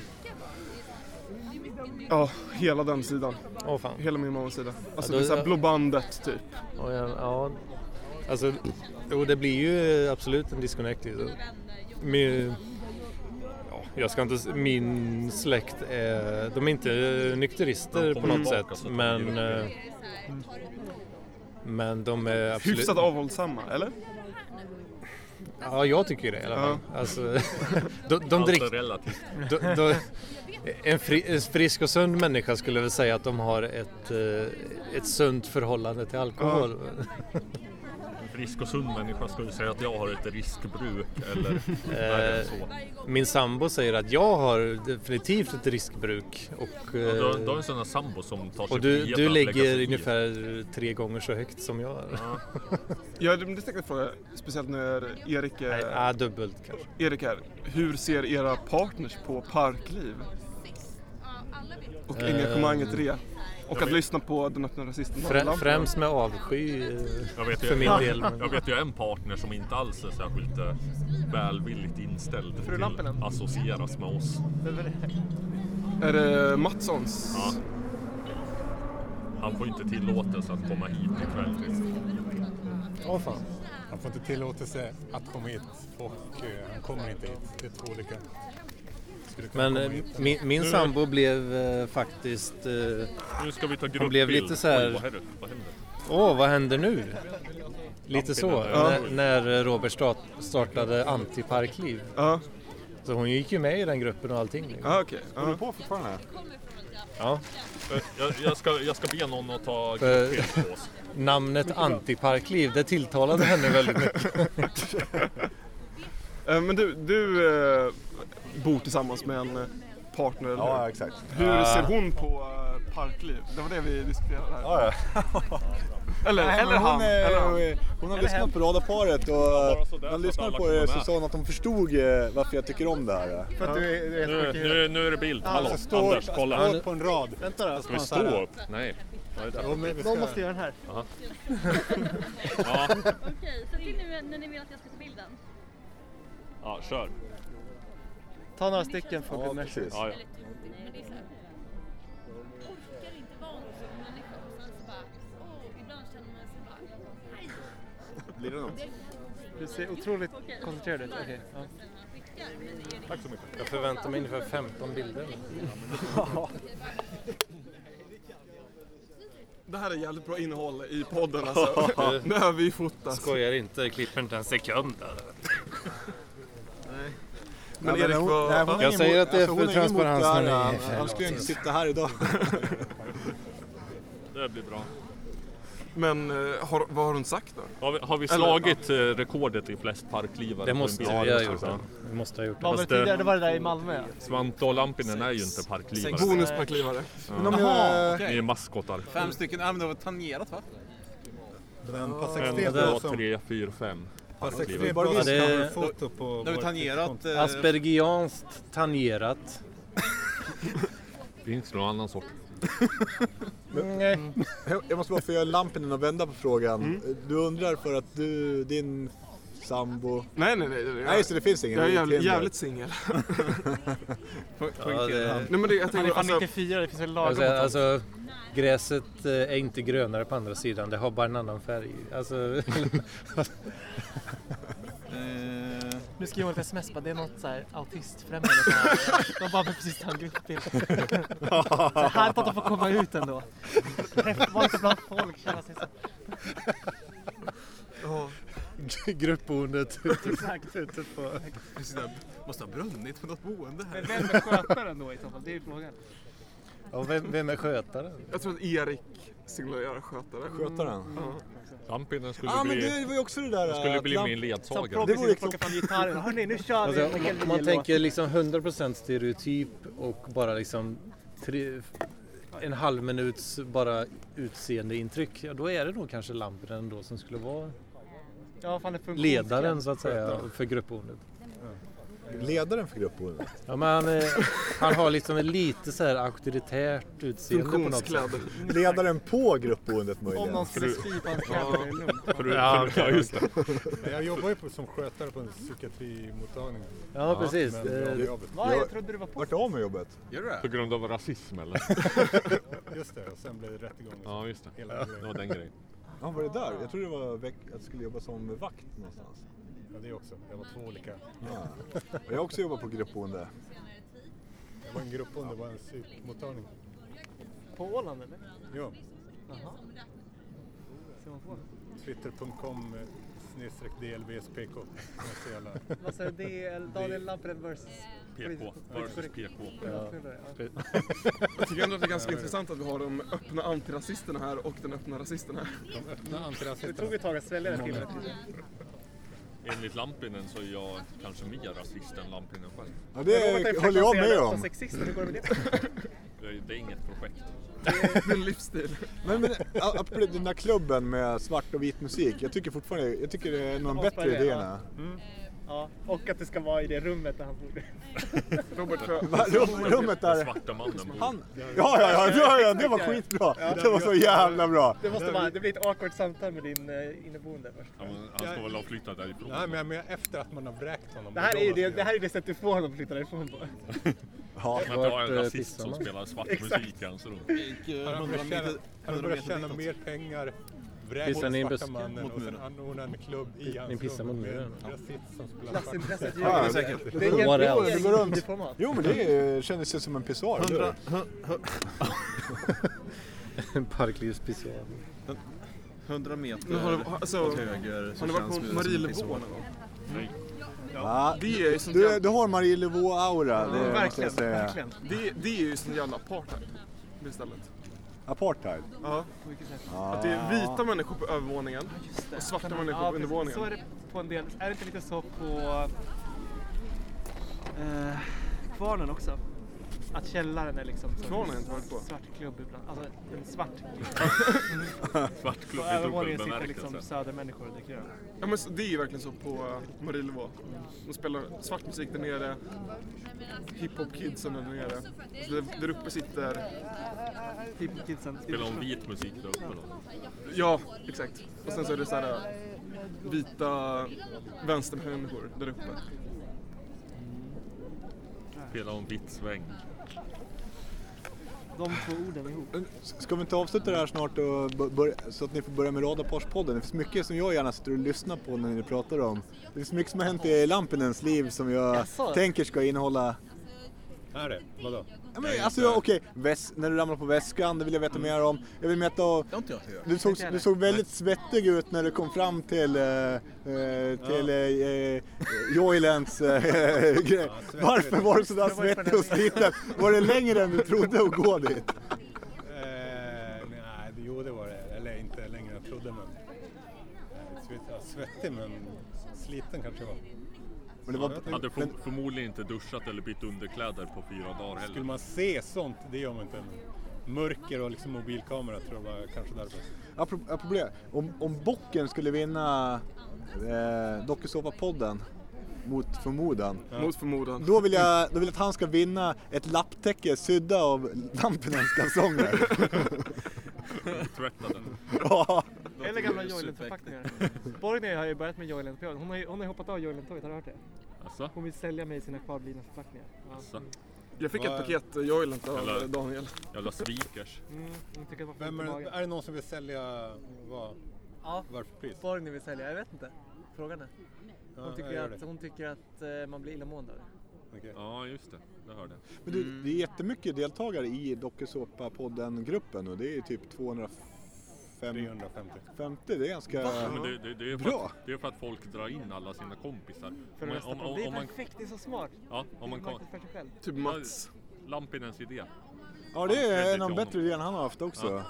Speaker 1: Ja, hela den sidan.
Speaker 2: Åh fan.
Speaker 1: Hela min mammas sida. Alltså
Speaker 2: Ja, då-
Speaker 1: det är såhär Blå bandet typ.
Speaker 2: Ja, ja, ja. Alltså, jo, det blir ju absolut en disconnect. Liksom. Med, ja, jag ska inte, s- min släkt är, de är inte nykterister
Speaker 5: De
Speaker 2: på
Speaker 5: kommer
Speaker 2: något
Speaker 5: tillbaka
Speaker 2: sätt
Speaker 5: så att de
Speaker 2: men,
Speaker 5: blir
Speaker 2: eh, men de är absolut...
Speaker 1: Hyfsat avhållsamma, eller?
Speaker 2: Ja, jag tycker det i alla fall. Alltså, de, de
Speaker 5: Allt
Speaker 2: drick,
Speaker 5: är Alltså, relativt.
Speaker 2: de, de, en, fri, en frisk och sund människa skulle väl säga att de har ett, eh, ett sunt förhållande till alkohol.
Speaker 5: Frisk och sund människa skulle säga att jag har ett riskbruk
Speaker 2: Eh,
Speaker 5: eller värre än så.
Speaker 2: Min sambo säger att jag har definitivt ett riskbruk. Och,
Speaker 5: Du har,
Speaker 2: eh,
Speaker 5: du har en sån där sambo som tar sig
Speaker 2: och du,
Speaker 5: friheten
Speaker 2: du
Speaker 5: att lägga sig
Speaker 2: ligger
Speaker 5: i.
Speaker 2: ungefär tre gånger så högt som jag. Ja,
Speaker 1: Ja, det det tänkte jag fråga, speciellt när Erik är,
Speaker 2: ja dubbelt kanske.
Speaker 1: Erik är. Hur ser era partners på parkliv? Och
Speaker 2: Eh,
Speaker 1: engagemanget i det? Och att lyssna på den öppna rasisten.
Speaker 2: Frä, främst med avsky eh,
Speaker 5: Jag vet, ju-
Speaker 2: för min del. Men,
Speaker 5: Jag vet ju en partner som inte alls är särskilt eh, välvilligt inställd till
Speaker 1: Lampinen.
Speaker 5: associeras med oss.
Speaker 1: Är det Mattssons?
Speaker 5: Ja. Han får inte tillåtelse att komma hit ikväll. liksom.
Speaker 2: Åh, fan.
Speaker 11: Han får inte tillåtelse att komma hit och eh, han kommer inte hit. Det är två olika. Skulle kunna
Speaker 2: men
Speaker 11: komma
Speaker 2: eh,
Speaker 11: hit.
Speaker 2: min, min sambo blev eh, faktiskt... eh,
Speaker 5: Nu ska vi ta gruppbild.
Speaker 2: blev lite så här-
Speaker 5: Oj, vad händer? Vad händer?
Speaker 2: Åh, vad händer nu? Lite så,
Speaker 5: Ja.
Speaker 2: när, när eh, Robert start, startade Antiparkliv.
Speaker 1: Ja,
Speaker 2: Så hon gick ju med i den gruppen och allting. liksom.
Speaker 1: ja okej.
Speaker 4: Håller
Speaker 1: Ja.
Speaker 4: du på fortfarande?
Speaker 2: Ja.
Speaker 5: Eh, Jag, jag, ska, jag ska be någon att ta
Speaker 2: För-
Speaker 5: gruppbild på oss.
Speaker 2: Namnet Antiparkliv, det tilltalade henne väldigt mycket.
Speaker 1: Eh, Men du, du eh, bor tillsammans med en eh, partner, eller
Speaker 4: Ja,
Speaker 1: hur?
Speaker 4: exakt.
Speaker 2: Ah.
Speaker 1: Hur ser hon på eh, parkliv? Det var det vi diskuterade här.
Speaker 4: Ja, ja.
Speaker 1: Eller, eller,
Speaker 4: Ah. Men
Speaker 1: han,
Speaker 4: hon, eh,
Speaker 1: eller han.
Speaker 4: hon har lyssnat på radarparet och eh,
Speaker 5: så där
Speaker 4: när
Speaker 5: så att
Speaker 4: hon lyssnade
Speaker 5: alla
Speaker 4: på
Speaker 5: kommer
Speaker 4: det så
Speaker 5: med.
Speaker 4: sa hon att hon förstod eh, varför jag tycker om det här. eh.
Speaker 11: För att du är, du är
Speaker 5: Nu,
Speaker 11: helt sjuk i
Speaker 5: nu, nu är det bild. Hallå,
Speaker 11: Alltså stå,
Speaker 5: Anders, kolla.
Speaker 11: stå upp på en rad.
Speaker 10: Vänta då.
Speaker 5: Ska vi stå upp? Nej. Vad är det?
Speaker 11: Jo, men vi
Speaker 10: Någon
Speaker 11: ska-
Speaker 10: måste göra den här.
Speaker 12: Okej,
Speaker 5: Ja,
Speaker 12: så till nu när ni vill att jag ska ta bilden.
Speaker 5: ja kör.
Speaker 10: Ta några stycken från
Speaker 4: Ja,
Speaker 10: Gunners.
Speaker 4: precis.
Speaker 5: Ja, ja.
Speaker 12: Men det är så här, orkar inte vara en sån människa. Och Sen så bara, åh, ibland känner man sig bara, nej,
Speaker 4: Blir det något?
Speaker 10: Du ser otroligt koncentrerad ut. Okej. ja.
Speaker 12: han skickar. Men det är
Speaker 5: Tack så mycket.
Speaker 2: Jag förväntar mig ungefär 15 bilder.
Speaker 1: Det här är jävligt bra innehåll i podden alltså. nu har vi fotat.
Speaker 2: Skojar inte, klipper inte en sekund.
Speaker 1: Men
Speaker 4: Nej,
Speaker 1: Erik,
Speaker 4: hon-
Speaker 1: vad...
Speaker 4: nej, hon
Speaker 1: ja.
Speaker 4: har ingen
Speaker 2: säger
Speaker 4: mot-
Speaker 2: att det är
Speaker 4: alltså,
Speaker 2: för
Speaker 4: hon ingen
Speaker 2: transparens
Speaker 4: mot det här,
Speaker 2: när ni-
Speaker 4: eh, Han skulle ju inte sitta här idag.
Speaker 5: Det blir bra.
Speaker 1: Men eh, har, vad har hon sagt då?
Speaker 5: Har vi, har vi
Speaker 1: Eller-
Speaker 5: slagit eh, rekordet i flest parklivare?
Speaker 2: Det
Speaker 5: på en
Speaker 2: måste vi
Speaker 5: bild?
Speaker 2: ha gjort. det. Vi måste ha gjort
Speaker 10: Vad
Speaker 2: det.
Speaker 10: var det
Speaker 5: Fast, eh,
Speaker 10: tidigare? Det var det där i Malmö.
Speaker 5: Svante och Lampinen är ju inte parklivare.
Speaker 1: Bonusparklivare.
Speaker 11: Men om jag...
Speaker 5: Ni är maskotar.
Speaker 6: Fem stycken, ja men det var tangerat va?
Speaker 11: Den pass
Speaker 5: En,
Speaker 11: 63
Speaker 5: två,
Speaker 11: på som...
Speaker 5: tre, fyra, fem.
Speaker 11: Pass
Speaker 5: kliver.
Speaker 11: 63 på
Speaker 2: Ja,
Speaker 11: som
Speaker 2: det-
Speaker 11: coverfoto på...
Speaker 6: Det var
Speaker 11: vårt
Speaker 6: tangerat. eh,
Speaker 2: Aspergianskt tangerat.
Speaker 5: Finns det någon annan sort?
Speaker 4: Jag måste bara få göra lampen och vända på frågan.
Speaker 5: Mm.
Speaker 4: Du undrar för att du, din sambo...
Speaker 1: Nej, nej, nej. nej,
Speaker 4: Nej just det, det finns ingen.
Speaker 1: Jag är
Speaker 4: Det
Speaker 1: jävligt,
Speaker 4: är Tinder.
Speaker 1: jävligt singel.
Speaker 2: Ja, det,
Speaker 1: Nej men det, jag
Speaker 10: Han är
Speaker 1: tänker
Speaker 10: fan
Speaker 1: alltså,
Speaker 10: 94, det finns väl
Speaker 2: jag
Speaker 10: lagom.
Speaker 2: vill säga, alltså, gräset eh, är inte grönare på andra sidan, det har bara en annan färg. Alltså,
Speaker 6: eh,
Speaker 10: Nu skriver hon ett sms bara, det är något så här autistfrämmande. som har- De bara, men precis han gruppbild. Så härligt att de får komma ut ändå. Träffa inte bland folk, känna sig så.
Speaker 6: Ja.
Speaker 2: Gruppboendet.
Speaker 10: Exakt.
Speaker 2: Ute på...
Speaker 6: Precis, det måste ha brunnit på något boende här.
Speaker 10: Men vem är skötaren då i så fall? Det är ju frågan.
Speaker 2: Ja, vem, vem är skötaren?
Speaker 1: Jag tror att Erik signalerar skötare.
Speaker 4: Skötaren?
Speaker 5: Mm.
Speaker 1: Ja.
Speaker 5: Lampinen skulle
Speaker 4: Ja ah,
Speaker 5: bli...
Speaker 4: men det var ju också det där...
Speaker 5: Jag skulle
Speaker 4: att
Speaker 5: bli
Speaker 4: lamp-
Speaker 5: min ledsagare.
Speaker 4: Det vore ju liksom klockan
Speaker 10: Hörni, nu kör vi
Speaker 2: Alltså,
Speaker 10: Michael
Speaker 2: om man
Speaker 10: Wiel-låt.
Speaker 2: tänker liksom 100% stereotyp och bara liksom tre, en halv minuts bara utseende ja då är det nog kanske Lampinen då som skulle vara
Speaker 10: Ja, fan, det funkar.
Speaker 2: ledaren så att säga för gruppboendet.
Speaker 4: Ledaren för gruppboendet?
Speaker 2: Ja, men han, eh, han har liksom en lite så här auktoritärt utseende på något sätt.
Speaker 4: Ledaren på gruppboendet möjligen.
Speaker 10: Om någon skulle spy på hans kläder, det är lugnt.
Speaker 5: Ja, ja, just det.
Speaker 11: Men Jag jobbar ju på, som skötare på en psykiatrimottagning.
Speaker 2: Ja, precis.
Speaker 11: Men jag har
Speaker 2: Eh,
Speaker 11: jobbet.
Speaker 10: Va, jag trodde du var på.
Speaker 4: Vart av med jobbet?
Speaker 6: Gör du det?
Speaker 5: På grund av rasism eller?
Speaker 11: Just det, och sen blev det rättegång. och så.
Speaker 5: Ja, just det.
Speaker 11: Hela grejen.
Speaker 5: Det var den grejen.
Speaker 4: Ja, var det där? Jag trodde det var veck- att jag skulle jobba som vakt någonstans.
Speaker 11: Ja, det också. Det var två olika.
Speaker 4: Ja. Och Jag har också jobbat på gruppboende.
Speaker 11: Det var en grupp under, det var en psykmottagning.
Speaker 10: På Åland eller?
Speaker 11: Ja,
Speaker 10: Jaha. Ser man på?
Speaker 11: twitter.com eh, snedstreck dlbspk. Något så jävla-
Speaker 10: Vad säger DL, Alltså, Daniel Lampren versus...
Speaker 5: PK versus PK.
Speaker 10: Ja.
Speaker 1: Jag tycker ändå att det är ganska intressant att vi har de öppna antirasisterna här och den öppna rasisten här.
Speaker 11: De öppna
Speaker 10: Det
Speaker 11: antirasisterna.
Speaker 10: tog ett tag att svälja det till.
Speaker 5: Enligt Lampinen så är jag kanske mer rasist än Lampinen själv.
Speaker 4: Ja, det håller jag med
Speaker 10: Som
Speaker 4: om.
Speaker 10: sexist, hur går det med det?
Speaker 5: Det är, det är inget projekt.
Speaker 1: Det är en livsstil.
Speaker 4: Men, men a- apropå den där klubben med svart och vit musik. Jag tycker fortfarande, jag tycker det är en av de bättre
Speaker 10: Avsparkar,
Speaker 4: idéerna.
Speaker 10: Ja, och att det ska vara i det rummet där han bor.
Speaker 1: Robert Frö.
Speaker 4: Va, rum, rummet
Speaker 5: Den
Speaker 4: där...
Speaker 5: svarta mannen bor...
Speaker 4: Han... Ja, ja, ja, ja, ja, det var skitbra. Det var så jävla bra.
Speaker 10: Det måste vara, det blir ett awkward samtal med din eh, inneboende först.
Speaker 5: Ja, men Han ska väl ha flyttat därifrån.
Speaker 11: Nej, men jag menar efter att man har vräkt honom.
Speaker 10: Det här är ju
Speaker 11: Då-
Speaker 10: det, det, här är det sätt du får honom att flytta därifrån på.
Speaker 4: Ja,
Speaker 5: Men att ha
Speaker 2: Vart,
Speaker 5: en
Speaker 2: eh,
Speaker 5: rasist
Speaker 2: pissar
Speaker 5: som
Speaker 2: man?
Speaker 5: spelar svart
Speaker 10: Exakt.
Speaker 5: musik i hans rum.
Speaker 6: Gick,
Speaker 11: Han
Speaker 6: eh,
Speaker 11: har
Speaker 6: 100
Speaker 11: börjat
Speaker 6: meter-
Speaker 11: tjäna, han har
Speaker 6: 100
Speaker 11: börjat
Speaker 6: meter
Speaker 11: tjäna
Speaker 6: ditåt.
Speaker 11: mer pengar, vräkt
Speaker 2: Pissar ni i en
Speaker 11: den svarta
Speaker 2: buske?
Speaker 11: mannen
Speaker 6: Mot
Speaker 11: och sen
Speaker 6: muren.
Speaker 11: anordnar en klubb i hans
Speaker 2: pissar mot
Speaker 11: rum med en
Speaker 2: muren.
Speaker 11: rasist som spelar svart.
Speaker 10: Klassintresset
Speaker 4: Ja,
Speaker 10: ljuger
Speaker 4: det-
Speaker 10: säkert. Det är
Speaker 2: What
Speaker 10: jättebra
Speaker 2: else?
Speaker 10: i
Speaker 4: Det går runt.
Speaker 10: videoformat.
Speaker 4: Jo, men det eh, kändes ju som en pissoar. eller hur?
Speaker 2: En parklivsspecial.
Speaker 6: 100 meter
Speaker 1: Men har du- alltså,
Speaker 6: åt höger
Speaker 1: Har ni varit på Marielevå någon gång?
Speaker 4: Ja.
Speaker 1: Det är ju sånt
Speaker 4: Du,
Speaker 1: jävla...
Speaker 4: du har Marielevå-aura, det måste
Speaker 10: Verkligen,
Speaker 4: jag säga.
Speaker 10: verkligen.
Speaker 1: Det, det är ju sån jävla apartheid. Det stället.
Speaker 4: Apartheid.
Speaker 1: Ja. Att det är vita människor på övervåningen och svarta människor
Speaker 10: Ja,
Speaker 1: på
Speaker 10: precis. Så är
Speaker 1: undervåningen.
Speaker 10: det på en del. Är det inte lite så på eh, Kvarnen också? Att källaren är liksom som
Speaker 1: Kvarnen har jag inte varit på.
Speaker 10: svart klubb ibland. Alltså en svart klubb.
Speaker 5: Svart klubb
Speaker 10: På
Speaker 5: i
Speaker 10: övervåningen
Speaker 5: dubbel
Speaker 10: sitter liksom
Speaker 5: bemärkelse.
Speaker 10: södermänniskor och dricker öl.
Speaker 1: Ja, men så- det är ju verkligen så på Marielevå. De spelar svart musik där nere, hiphop-kidsen är där nere. Så där, där uppe sitter...
Speaker 10: Typ kidsen.
Speaker 5: Spelar om vit musik där uppe då.
Speaker 1: Ja, exakt. Och sen så är det så här eh, vita vänstermänniskor där uppe.
Speaker 5: Spelar om vitt sväng.
Speaker 10: De två orden ihop.
Speaker 4: Men s- Ska vi inte avsluta det här snart och bör- börja, så att ni får börja med Radarparspodden? Det finns mycket som jag gärna sitter och lyssnar på när ni pratar om. Det finns mycket som har hänt i Lampinens liv som jag
Speaker 10: Jaså?
Speaker 4: tänker ska innehålla...
Speaker 11: Är det? Vadå?
Speaker 4: Ja, men, alltså jag- okej, väs- när du ramlar på väskan, det vill jag veta mer om. Jag vill veta...
Speaker 6: Det har inte jag hört.
Speaker 4: Du såg, du såg väldigt svettig ut när du kom fram till, eh, eh, till eh, eh, Joylens eh, grej. Varför var du sådär svettig och sliten? Var det längre än du trodde att gå dit?
Speaker 11: Eh, nej, det- jo det var det. Eller inte längre än jag trodde men... Eh, svett- ja, Svettig men sliten kanske jag var.
Speaker 4: Men det var,
Speaker 5: Hade för, förmodligen inte duschat eller bytt underkläder på fyra dagar heller.
Speaker 11: Skulle man se sånt, det gör man inte. Mörker och liksom mobilkamera tror jag var kanske därför.
Speaker 4: Apropå, apropå det, om, om Bocken skulle vinna eh, Dokusåpa-podden mot förmodan.
Speaker 1: Mot förmodan.
Speaker 4: Då vill, jag, då vill jag att han ska vinna ett lapptäcke sydda av Lampinens kalsonger.
Speaker 5: Tvätta den.
Speaker 4: ja.
Speaker 10: Eller gamla Joylent-förpackningar. Borgny har ju börjat med joylent Hon har ju hon har ju hoppat av Joylent-tåget, har du hört det?
Speaker 5: Alltså?
Speaker 10: Hon vill sälja mig sina kvarblivna förpackningar. Ja.
Speaker 5: alltså.
Speaker 1: Jag fick ett paket eh, Joylent
Speaker 5: Eller-
Speaker 1: av Daniel.
Speaker 5: Jävla svikers.
Speaker 10: Mm, hon tycker att det var
Speaker 11: Vem
Speaker 10: fint i
Speaker 11: är,
Speaker 10: magen.
Speaker 11: är det någon som vill sälja vad?
Speaker 10: Ja,
Speaker 11: Varför pris?
Speaker 10: Borgny vill sälja, jag vet inte. Frågan är.
Speaker 5: Ja,
Speaker 10: Hon tycker
Speaker 5: jag gör
Speaker 10: att,
Speaker 5: det.
Speaker 10: hon tycker att eh, man blir illamående av det.
Speaker 5: Ja, just det. Det hörde jag.
Speaker 4: Men du, det är jättemycket deltagare i Dokusåpa-podden-gruppen och det är typ 250. 50, det är ganska
Speaker 5: Ja, men det, det, det, är för
Speaker 4: bra.
Speaker 5: att, det är för att folk drar in alla sina kompisar.
Speaker 10: För att rösta på. det är perfekt, det är så smart.
Speaker 5: ja,
Speaker 10: Det är
Speaker 5: om man kan,
Speaker 10: marknadsför sig själv.
Speaker 1: Typ
Speaker 5: Ja, Lampinens idé.
Speaker 4: Ja, det är
Speaker 5: Credit
Speaker 4: en av de
Speaker 5: till
Speaker 4: bättre idén han har haft också.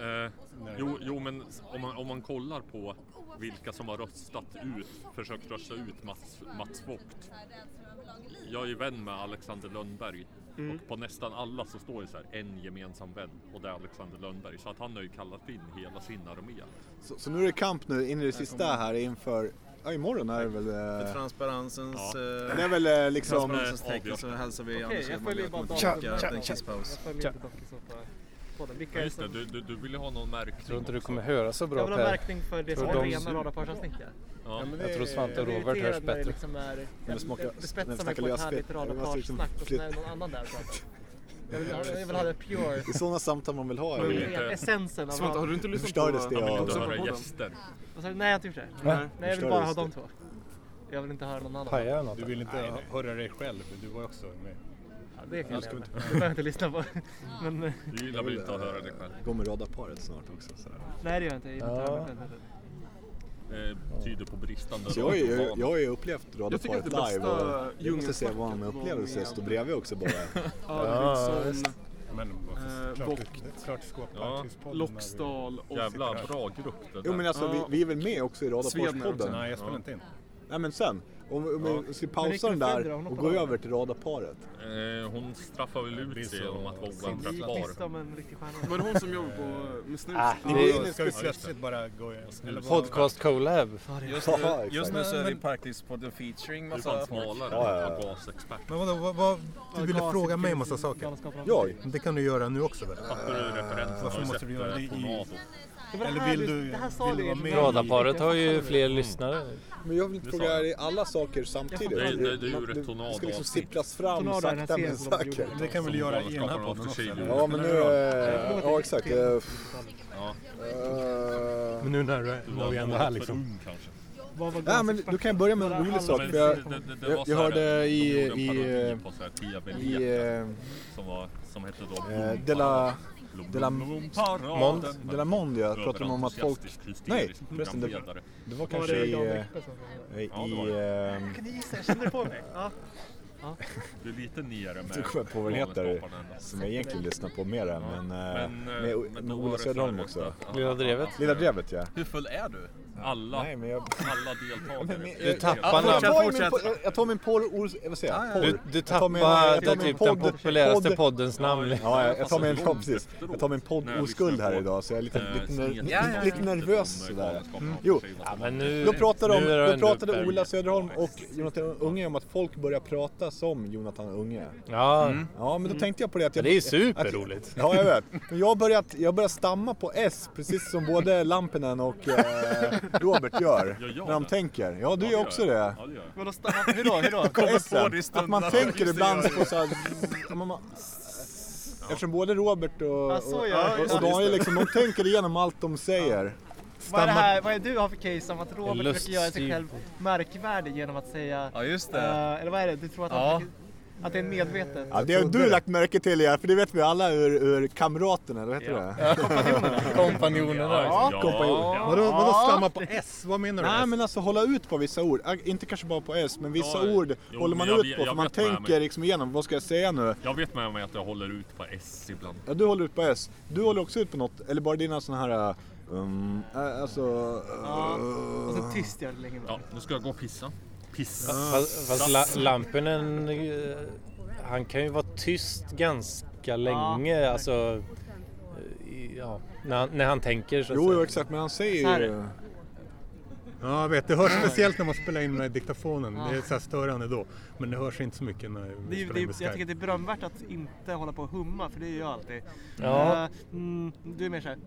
Speaker 5: Eh, jo, jo, men om man, om man kollar på vilka som har röstat ut, försökt rösta ut Mats, Mats Vogt. Jag är ju vän med Alexander Lönnberg
Speaker 1: Mm.
Speaker 5: och på nästan alla så står det så här en gemensam vän och det är Alexander Lönnberg. Så att han har ju kallat in hela sin armé.
Speaker 4: Så, så nu är det kamp nu in i det sista
Speaker 5: kommer-
Speaker 4: här inför, ja imorgon är det väl... eh,
Speaker 6: För transparensens...
Speaker 4: Ja.
Speaker 6: eh,
Speaker 4: Det är väl, eh, liksom-
Speaker 6: Transparensens tecken
Speaker 4: Avgörs.
Speaker 6: så hälsar vi
Speaker 4: Okej,
Speaker 6: Anders
Speaker 4: jag
Speaker 6: Hedman
Speaker 4: följer bara
Speaker 6: välkommen
Speaker 4: Tja,
Speaker 6: tillbaka
Speaker 4: tja.
Speaker 6: efter en kisspaus.
Speaker 10: Jag följer inte dock i så fall. Podden. Vilka
Speaker 5: Ja,
Speaker 10: är
Speaker 5: just det,
Speaker 10: som...
Speaker 5: du, du, du vill ju ha någon märkning.
Speaker 2: tror inte du kommer höra så
Speaker 10: Jag
Speaker 2: bra
Speaker 10: vill ha märkning för det som är rena radarparsavsnickare.
Speaker 2: Ja, men Jag tror Svante och Robert hörs bättre.
Speaker 10: Liksom är,
Speaker 2: Men
Speaker 10: jag
Speaker 2: det smakar-
Speaker 10: jag
Speaker 2: när vi
Speaker 10: bespetsar mig
Speaker 2: snackar
Speaker 10: på ett
Speaker 2: lösfett,
Speaker 10: härligt
Speaker 2: det var liksom
Speaker 10: radarparsnack och sen är det
Speaker 2: flyt.
Speaker 10: någon annan där och pratar. Jag vill, ha- jag vill ha det pure.
Speaker 4: Det är sådana samtal man vill ha.
Speaker 10: Men det är essensen av Svante, har du inte lyssnat
Speaker 4: Förstördes
Speaker 10: på-
Speaker 4: det
Speaker 10: Ja, men
Speaker 4: av-
Speaker 10: inte höra
Speaker 5: gäster.
Speaker 10: Vad sa du? Nej, jag tycker inte
Speaker 4: Nej.
Speaker 10: det. Nej, jag vill
Speaker 4: Förstör
Speaker 10: bara
Speaker 4: det
Speaker 10: ha
Speaker 4: just
Speaker 10: de
Speaker 4: det.
Speaker 10: två. Jag vill inte höra någon annan.
Speaker 11: Du vill inte höra dig själv, du var ju också med.
Speaker 10: Ja, det kan jag
Speaker 11: ska
Speaker 10: leva
Speaker 11: vi
Speaker 10: med. Det behöver jag inte lyssna på. Men, eh,
Speaker 5: Du gillar väl inte att höra det själv?
Speaker 4: Går med radarparet snart också. Sådär.
Speaker 10: Nej, det gör jag inte. Jag gillar inte
Speaker 4: Ja.
Speaker 10: det här med själv.
Speaker 5: Det Eh, tyder på bristande
Speaker 4: Så jag, har ju-
Speaker 5: radiovan.
Speaker 4: jag har ju upplevt radarparet
Speaker 1: Jag tycker att det
Speaker 4: live
Speaker 1: bästa
Speaker 4: och jag måste säga vad en
Speaker 1: djungelsnacket var
Speaker 4: upplevelse är att stå
Speaker 1: med-
Speaker 4: bredvid också bara.
Speaker 1: Arvidsson,
Speaker 11: klart-
Speaker 1: eh, Bock,
Speaker 11: klart skåpar
Speaker 1: ja, Loxdal och...
Speaker 5: Jävla bra grupp det där.
Speaker 4: Jo men alltså vi, vi är väl med också i
Speaker 11: Svedner
Speaker 4: radarparspodden?
Speaker 11: också. Nej, jag spelar inte in.
Speaker 4: Nej men sen, om, om vi ska
Speaker 11: Men Rickard
Speaker 4: pausa den
Speaker 11: Fender, har
Speaker 4: där
Speaker 11: hon
Speaker 4: och
Speaker 11: något
Speaker 4: gå
Speaker 11: på
Speaker 4: över till radarparet.
Speaker 5: Eh, hon straffar väl ut sig genom att vara
Speaker 10: Pista
Speaker 5: oanträffbar.
Speaker 10: om en riktig stjärna.
Speaker 1: Var det hon som jobbade på, eh, med snus?
Speaker 2: Ah,
Speaker 1: Ja,
Speaker 2: det-
Speaker 1: just det.
Speaker 2: ska
Speaker 1: Ja,
Speaker 2: vi
Speaker 1: just det.
Speaker 11: plötsligt bara gå- eller vad-
Speaker 2: Mm. Podcast Colab.
Speaker 11: Just
Speaker 6: Just nu, just nu så är det Parklivspodden featuring
Speaker 5: Du är
Speaker 6: massa
Speaker 5: fan
Speaker 4: Alltså,
Speaker 6: folk.
Speaker 5: smalare än vad gasexpert.
Speaker 11: Men vadå, vad, vad, du ville
Speaker 6: Organ-
Speaker 11: fråga mig en massa saker?
Speaker 6: Jag?
Speaker 11: Det kan du göra nu också väl?
Speaker 5: Fattar du referensen? Har
Speaker 11: Varför
Speaker 5: du
Speaker 11: måste
Speaker 5: sett
Speaker 11: du göra det
Speaker 5: det på
Speaker 11: i...
Speaker 5: Navo?
Speaker 11: Eller vill du, vill du vara med? i-
Speaker 2: Radarparet har ju fler lyssnare.
Speaker 4: Men jag vill inte
Speaker 2: Det
Speaker 4: fråga
Speaker 2: sa
Speaker 4: er i alla saker samtidigt.
Speaker 2: Det är-
Speaker 5: det är ju ett
Speaker 4: Det ska
Speaker 5: tornado
Speaker 4: liksom
Speaker 5: avsnitt.
Speaker 4: sipplas fram
Speaker 11: Tornado är den
Speaker 4: sakta men
Speaker 11: senaste de
Speaker 4: säkert.
Speaker 11: gjorde. Det kan vi väl göra i den här podden också, eller?
Speaker 4: Ja men nu... eh, Ja exakt. eh,
Speaker 5: Ja.
Speaker 4: eh,
Speaker 11: Men nu när, du-
Speaker 5: Du
Speaker 11: när vi
Speaker 5: var
Speaker 11: ändå är
Speaker 5: något
Speaker 11: här
Speaker 5: för
Speaker 11: liksom.
Speaker 5: ung kanske.
Speaker 4: Ja, men då kan jag börja med en rolig sak. För jag,
Speaker 5: Men det- det- det var
Speaker 4: jag,
Speaker 5: så
Speaker 4: jag
Speaker 5: här,
Speaker 4: hörde
Speaker 5: de
Speaker 4: i...
Speaker 5: gjorde en
Speaker 4: i,
Speaker 5: parodi på så här Tia
Speaker 4: eh, i,
Speaker 5: Benita,
Speaker 4: eh,
Speaker 5: som, var, som hette då
Speaker 4: eh,
Speaker 5: Blompa-
Speaker 4: de la... De la
Speaker 5: Blomparaden.
Speaker 4: Mond, de la Mond ja, pratade de om att folk...
Speaker 5: Överentusiastisk,
Speaker 4: Nej,
Speaker 5: hysterisk
Speaker 4: förresten. Det,
Speaker 5: programledare.
Speaker 4: det var
Speaker 10: Var
Speaker 4: kanske
Speaker 10: det
Speaker 4: i...
Speaker 10: Jan
Speaker 4: eh,
Speaker 10: Rippe som var
Speaker 4: i,
Speaker 5: Ja, det var
Speaker 4: eh,
Speaker 10: Jag kunde gissa, jag kände på mig. Ja. Ja.
Speaker 5: Du är lite nere med
Speaker 4: Nu kommer jag på vad den heter,
Speaker 5: galenskaparna ändå.
Speaker 4: som jag egentligen lyssnar på mer än, men, eh,
Speaker 5: Men, eh,
Speaker 4: med,
Speaker 5: men
Speaker 4: med,
Speaker 5: då var
Speaker 4: Ola
Speaker 5: det
Speaker 4: Söderholm
Speaker 5: förut
Speaker 4: också.
Speaker 5: att- Lilla Drevet.
Speaker 4: Lilla Drevet ja.
Speaker 6: Hur full är du?
Speaker 5: Alla,
Speaker 4: Nej, men jag...
Speaker 5: alla deltagare.
Speaker 4: Jag- jag- jag tar min po- jag- Jag tar min porr... or- Vad säger
Speaker 5: Ja,
Speaker 4: jag?
Speaker 5: ja.
Speaker 4: Porr.
Speaker 5: Du-
Speaker 2: du
Speaker 4: Jag tar min-
Speaker 2: tappar
Speaker 4: jag tar
Speaker 2: typ den
Speaker 4: min podd-
Speaker 2: populäräste
Speaker 4: podd-
Speaker 2: poddens namn.
Speaker 4: Ja, jag- jag tar min, ja,
Speaker 2: Alltså,
Speaker 4: precis. Jag tar min poddoskuld här idag så jag är lite, lite, ner-
Speaker 2: Eh, Ja, ja, ja.
Speaker 4: lite nervös sådär. Jo,
Speaker 2: Ja, men nu,
Speaker 4: då pratade,
Speaker 2: nu är det
Speaker 4: de, då
Speaker 2: ändå
Speaker 4: pratade
Speaker 2: uppe.
Speaker 4: Ola Söderholm och Jonathan Unge om att folk börjar prata som Jonathan Unge.
Speaker 2: Ja.
Speaker 4: ja men då tänkte jag på det att jag...
Speaker 2: Mm. Ja, det är superroligt.
Speaker 4: Att, ja, jag vet. Men jag har börjat, jag börjat stamma på S precis som både Lampinen och eh, Robert gör.
Speaker 1: Gör jag
Speaker 4: när de
Speaker 1: det?
Speaker 4: tänker. Ja, du gör också det.
Speaker 10: Vadå, stanna- hur då? Hur då?
Speaker 4: På S-en. Att man tänker ibland på så här... man- man- Eftersom både Robert och,
Speaker 10: Ja,
Speaker 5: Alltså,
Speaker 10: så
Speaker 4: och,
Speaker 10: gör jag.
Speaker 4: och, och Daniel liksom, de tänker igenom allt de säger.
Speaker 10: Vad är, det
Speaker 4: Stammar-
Speaker 10: här, vad är det du har för case om att Robert
Speaker 4: En
Speaker 10: försöker göra sig
Speaker 4: luststyr.
Speaker 10: själv
Speaker 11: typ-
Speaker 10: märkvärdig genom att säga...
Speaker 6: Ja, just det.
Speaker 10: eh, eller vad är det? Du tror att, han
Speaker 6: Ja.
Speaker 10: försöker, att det är medvetet?
Speaker 4: Ja, det har du lagt märke till ja, för det vet vi alla ur, ur kamraterna, eller vad heter det?
Speaker 11: Kompanjonerna.
Speaker 4: Ja,
Speaker 11: Ja.
Speaker 4: kompanjoner.
Speaker 11: Ja. Vadå- vadå stamma på S? Vad menar du med
Speaker 4: Nej
Speaker 11: S?
Speaker 4: men alltså hålla ut på vissa ord, Äh, inte kanske bara på S, men vissa
Speaker 5: Ja,
Speaker 4: ord
Speaker 5: jo,
Speaker 4: håller
Speaker 5: men
Speaker 4: man ut
Speaker 5: jag vet-
Speaker 4: på för
Speaker 5: jag
Speaker 4: man
Speaker 5: vet vad jag
Speaker 4: tänker
Speaker 5: menar.
Speaker 4: liksom igenom, vad ska jag säga nu?
Speaker 5: Jag vet med mig att jag håller ut på S ibland.
Speaker 4: Ja, du håller ut på S, du håller också ut på något, eller bara dina sådana här, äh, um, äh, alltså...
Speaker 10: Ja, och så
Speaker 4: äh,
Speaker 10: tyst gör det länge.
Speaker 5: Ja, nu ska jag gå och pissa. Pissa.
Speaker 2: Fast, fast la, Lampinen, eh, han kan ju vara tyst ganska länge. Alltså, eh, i- ja, när, han, när han tänker så att
Speaker 4: Jo,
Speaker 2: säga.
Speaker 4: jo exakt, men han säger
Speaker 2: Så här
Speaker 4: ju...
Speaker 2: är det.
Speaker 11: Ja, jag vet. Det hörs speciellt när man spelar in med diktafonen. Det är så här störande då. Men det hörs inte så mycket när
Speaker 10: Det är,
Speaker 11: vi
Speaker 10: ju-
Speaker 11: spelar
Speaker 10: det
Speaker 11: in
Speaker 10: är, jag
Speaker 11: med Skype.
Speaker 10: tycker det är berömvärt att inte hålla på och humma, för det gör jag alltid.
Speaker 11: Ja.
Speaker 10: Eh, mm, du är mer såhär,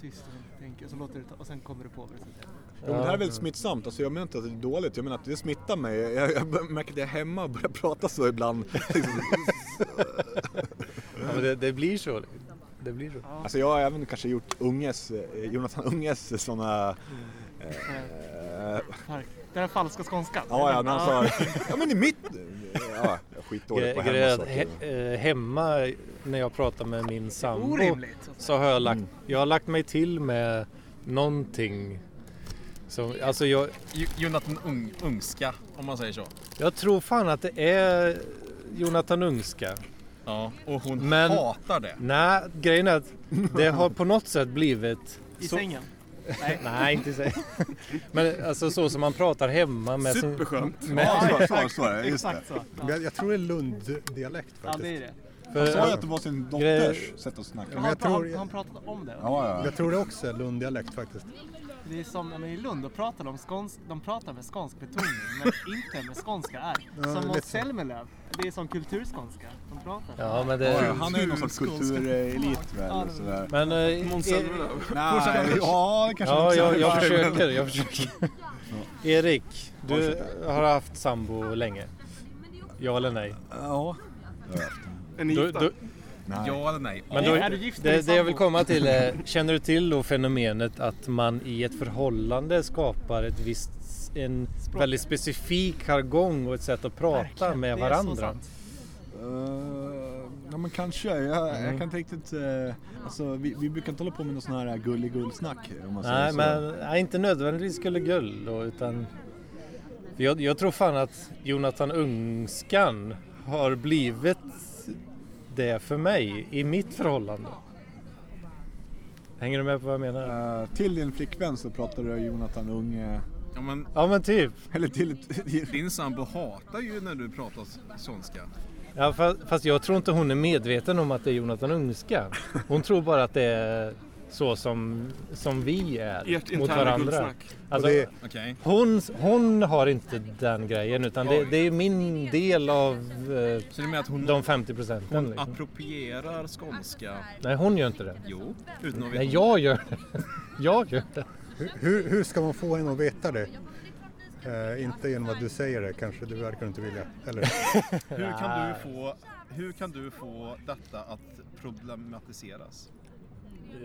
Speaker 10: tyst och tänker, och så låter du ta, och sen kommer du på vad du ska säga.
Speaker 4: Jo, men det här är väl smittsamt, alltså, jag menar inte att det är dåligt, jag menar att det smittar mig. Jag, jag bör- märker att jag är hemma och börjar prata så ibland. Liksom.
Speaker 2: Ja, men det, det blir så. Det blir så.
Speaker 4: Alltså jag har även kanske gjort Unges, eh, Jonathan Unges sådana Eh,
Speaker 10: Den här falska skånskan.
Speaker 4: Ja, ja, när han sa... Ja, men i mitt... Ja, jag är skitdålig på
Speaker 2: Grejen är att
Speaker 4: hemmasaker.
Speaker 2: he- eh, hemma när jag pratar med min sambo
Speaker 10: Orimligt.
Speaker 2: så har jag lagt,
Speaker 4: Mm.
Speaker 2: jag har lagt mig till med någonting. Som, alltså jag,
Speaker 6: Ju- Jonathan Ung, Ungska, om man säger så.
Speaker 2: jag tror fan att det är Jonathan Ungska.
Speaker 6: Ja, och hon
Speaker 2: Men,
Speaker 6: hatar det.
Speaker 2: Nej, grejen är att det har på något sätt blivit...
Speaker 10: I sängen?
Speaker 2: Nej. inte i sängen. Men alltså så som man pratar hemma med sin...
Speaker 8: Superskönt.
Speaker 2: med-
Speaker 8: Ja, så- så- så är det, just
Speaker 11: Exakt så. Men jag- jag tror det är Lund-dialekt faktiskt.
Speaker 10: Ja, det är det.
Speaker 11: Han sa Alltså, ju att det var sin dotters sätt att snacka.
Speaker 10: Men
Speaker 11: Men jag tror...
Speaker 10: han, han pratade om det. va?
Speaker 11: Jag tror det också är Lund-dialekt faktiskt.
Speaker 10: Det är som ja, men i Lund, då pratar de, skåns, de pratar med skånsk betoning, men inte med skånska R.
Speaker 11: Ja,
Speaker 10: Som
Speaker 11: lite
Speaker 10: mot
Speaker 11: så.
Speaker 10: Selmelöv, det är som kulturskånska. De pratar.
Speaker 2: Ja, men det...
Speaker 11: Ja, han är ju någon sorts kulturelit väl?
Speaker 10: Ja,
Speaker 11: och sådär.
Speaker 2: Men... eh,
Speaker 1: Måns
Speaker 2: eh,
Speaker 1: Zelmerlöw.
Speaker 11: Nej, ja, kanske
Speaker 2: Ja,
Speaker 11: inte.
Speaker 2: jag, jag försöker. Jag försöker. Erik, du
Speaker 11: Fortsätt.
Speaker 2: har haft sambo länge. Ja eller nej?
Speaker 11: Ja.
Speaker 1: Är ni
Speaker 2: Du-
Speaker 1: gifta?
Speaker 2: du-
Speaker 6: Ja eller nej?
Speaker 2: Men
Speaker 10: Nej,
Speaker 2: då,
Speaker 10: är du gift med
Speaker 2: det,
Speaker 10: din
Speaker 2: det jag
Speaker 10: sambo?
Speaker 2: vill komma till är, känner du till då fenomenet att man i ett förhållande skapar ett visst, en väldigt specifik jargong och ett sätt att prata
Speaker 10: Verkligen,
Speaker 2: med
Speaker 10: det är så
Speaker 2: varandra?
Speaker 10: sant.
Speaker 4: Eh, ja men kanske. Jag,
Speaker 2: Mm.
Speaker 4: jag kan inte riktigt... eh, alltså, vi, vi brukar inte hålla på med någon sån här gulligull-snack om man säger
Speaker 2: Nej,
Speaker 4: Alltså, så.
Speaker 2: men nej, inte nödvändigtvis skulle gull då, utan för jag, jag tror fan att Jonathan Ungskan har blivit det för mig i mitt förhållande. Hänger du med på vad jag menar?
Speaker 4: Eh, till din flickvän så pratar du Jonathan Unge.
Speaker 6: Ja, men
Speaker 2: Ja men typ.
Speaker 4: Eller till...
Speaker 6: din sambo hatar ju när du pratar s- skånska.
Speaker 2: Ja, fast, fast jag tror inte hon är medveten om att det är Jonathan Ungskan. Hon tror bara att det är så som, som vi är
Speaker 1: Ert
Speaker 2: mot
Speaker 1: interna
Speaker 2: varandra.
Speaker 1: guldsnack.
Speaker 2: Alltså,
Speaker 11: Och det-
Speaker 6: Okej.
Speaker 2: hon, hon har inte den grejen utan det, det är min del av eh,
Speaker 6: Så du menar att hon ah.
Speaker 2: de 50 procenten. Liksom.
Speaker 6: approprierar skånska?
Speaker 2: Nej, hon gör inte det.
Speaker 6: Jo, utan att veta.
Speaker 2: Nej, jag gör det. Jag gör det.
Speaker 11: Hur- Hur, hur ska man få henne att veta det? Eh, inte genom att du säger det kanske, det verkar du inte vilja. Eller?
Speaker 6: Hur kan, du få, hur kan du få detta att problematiseras?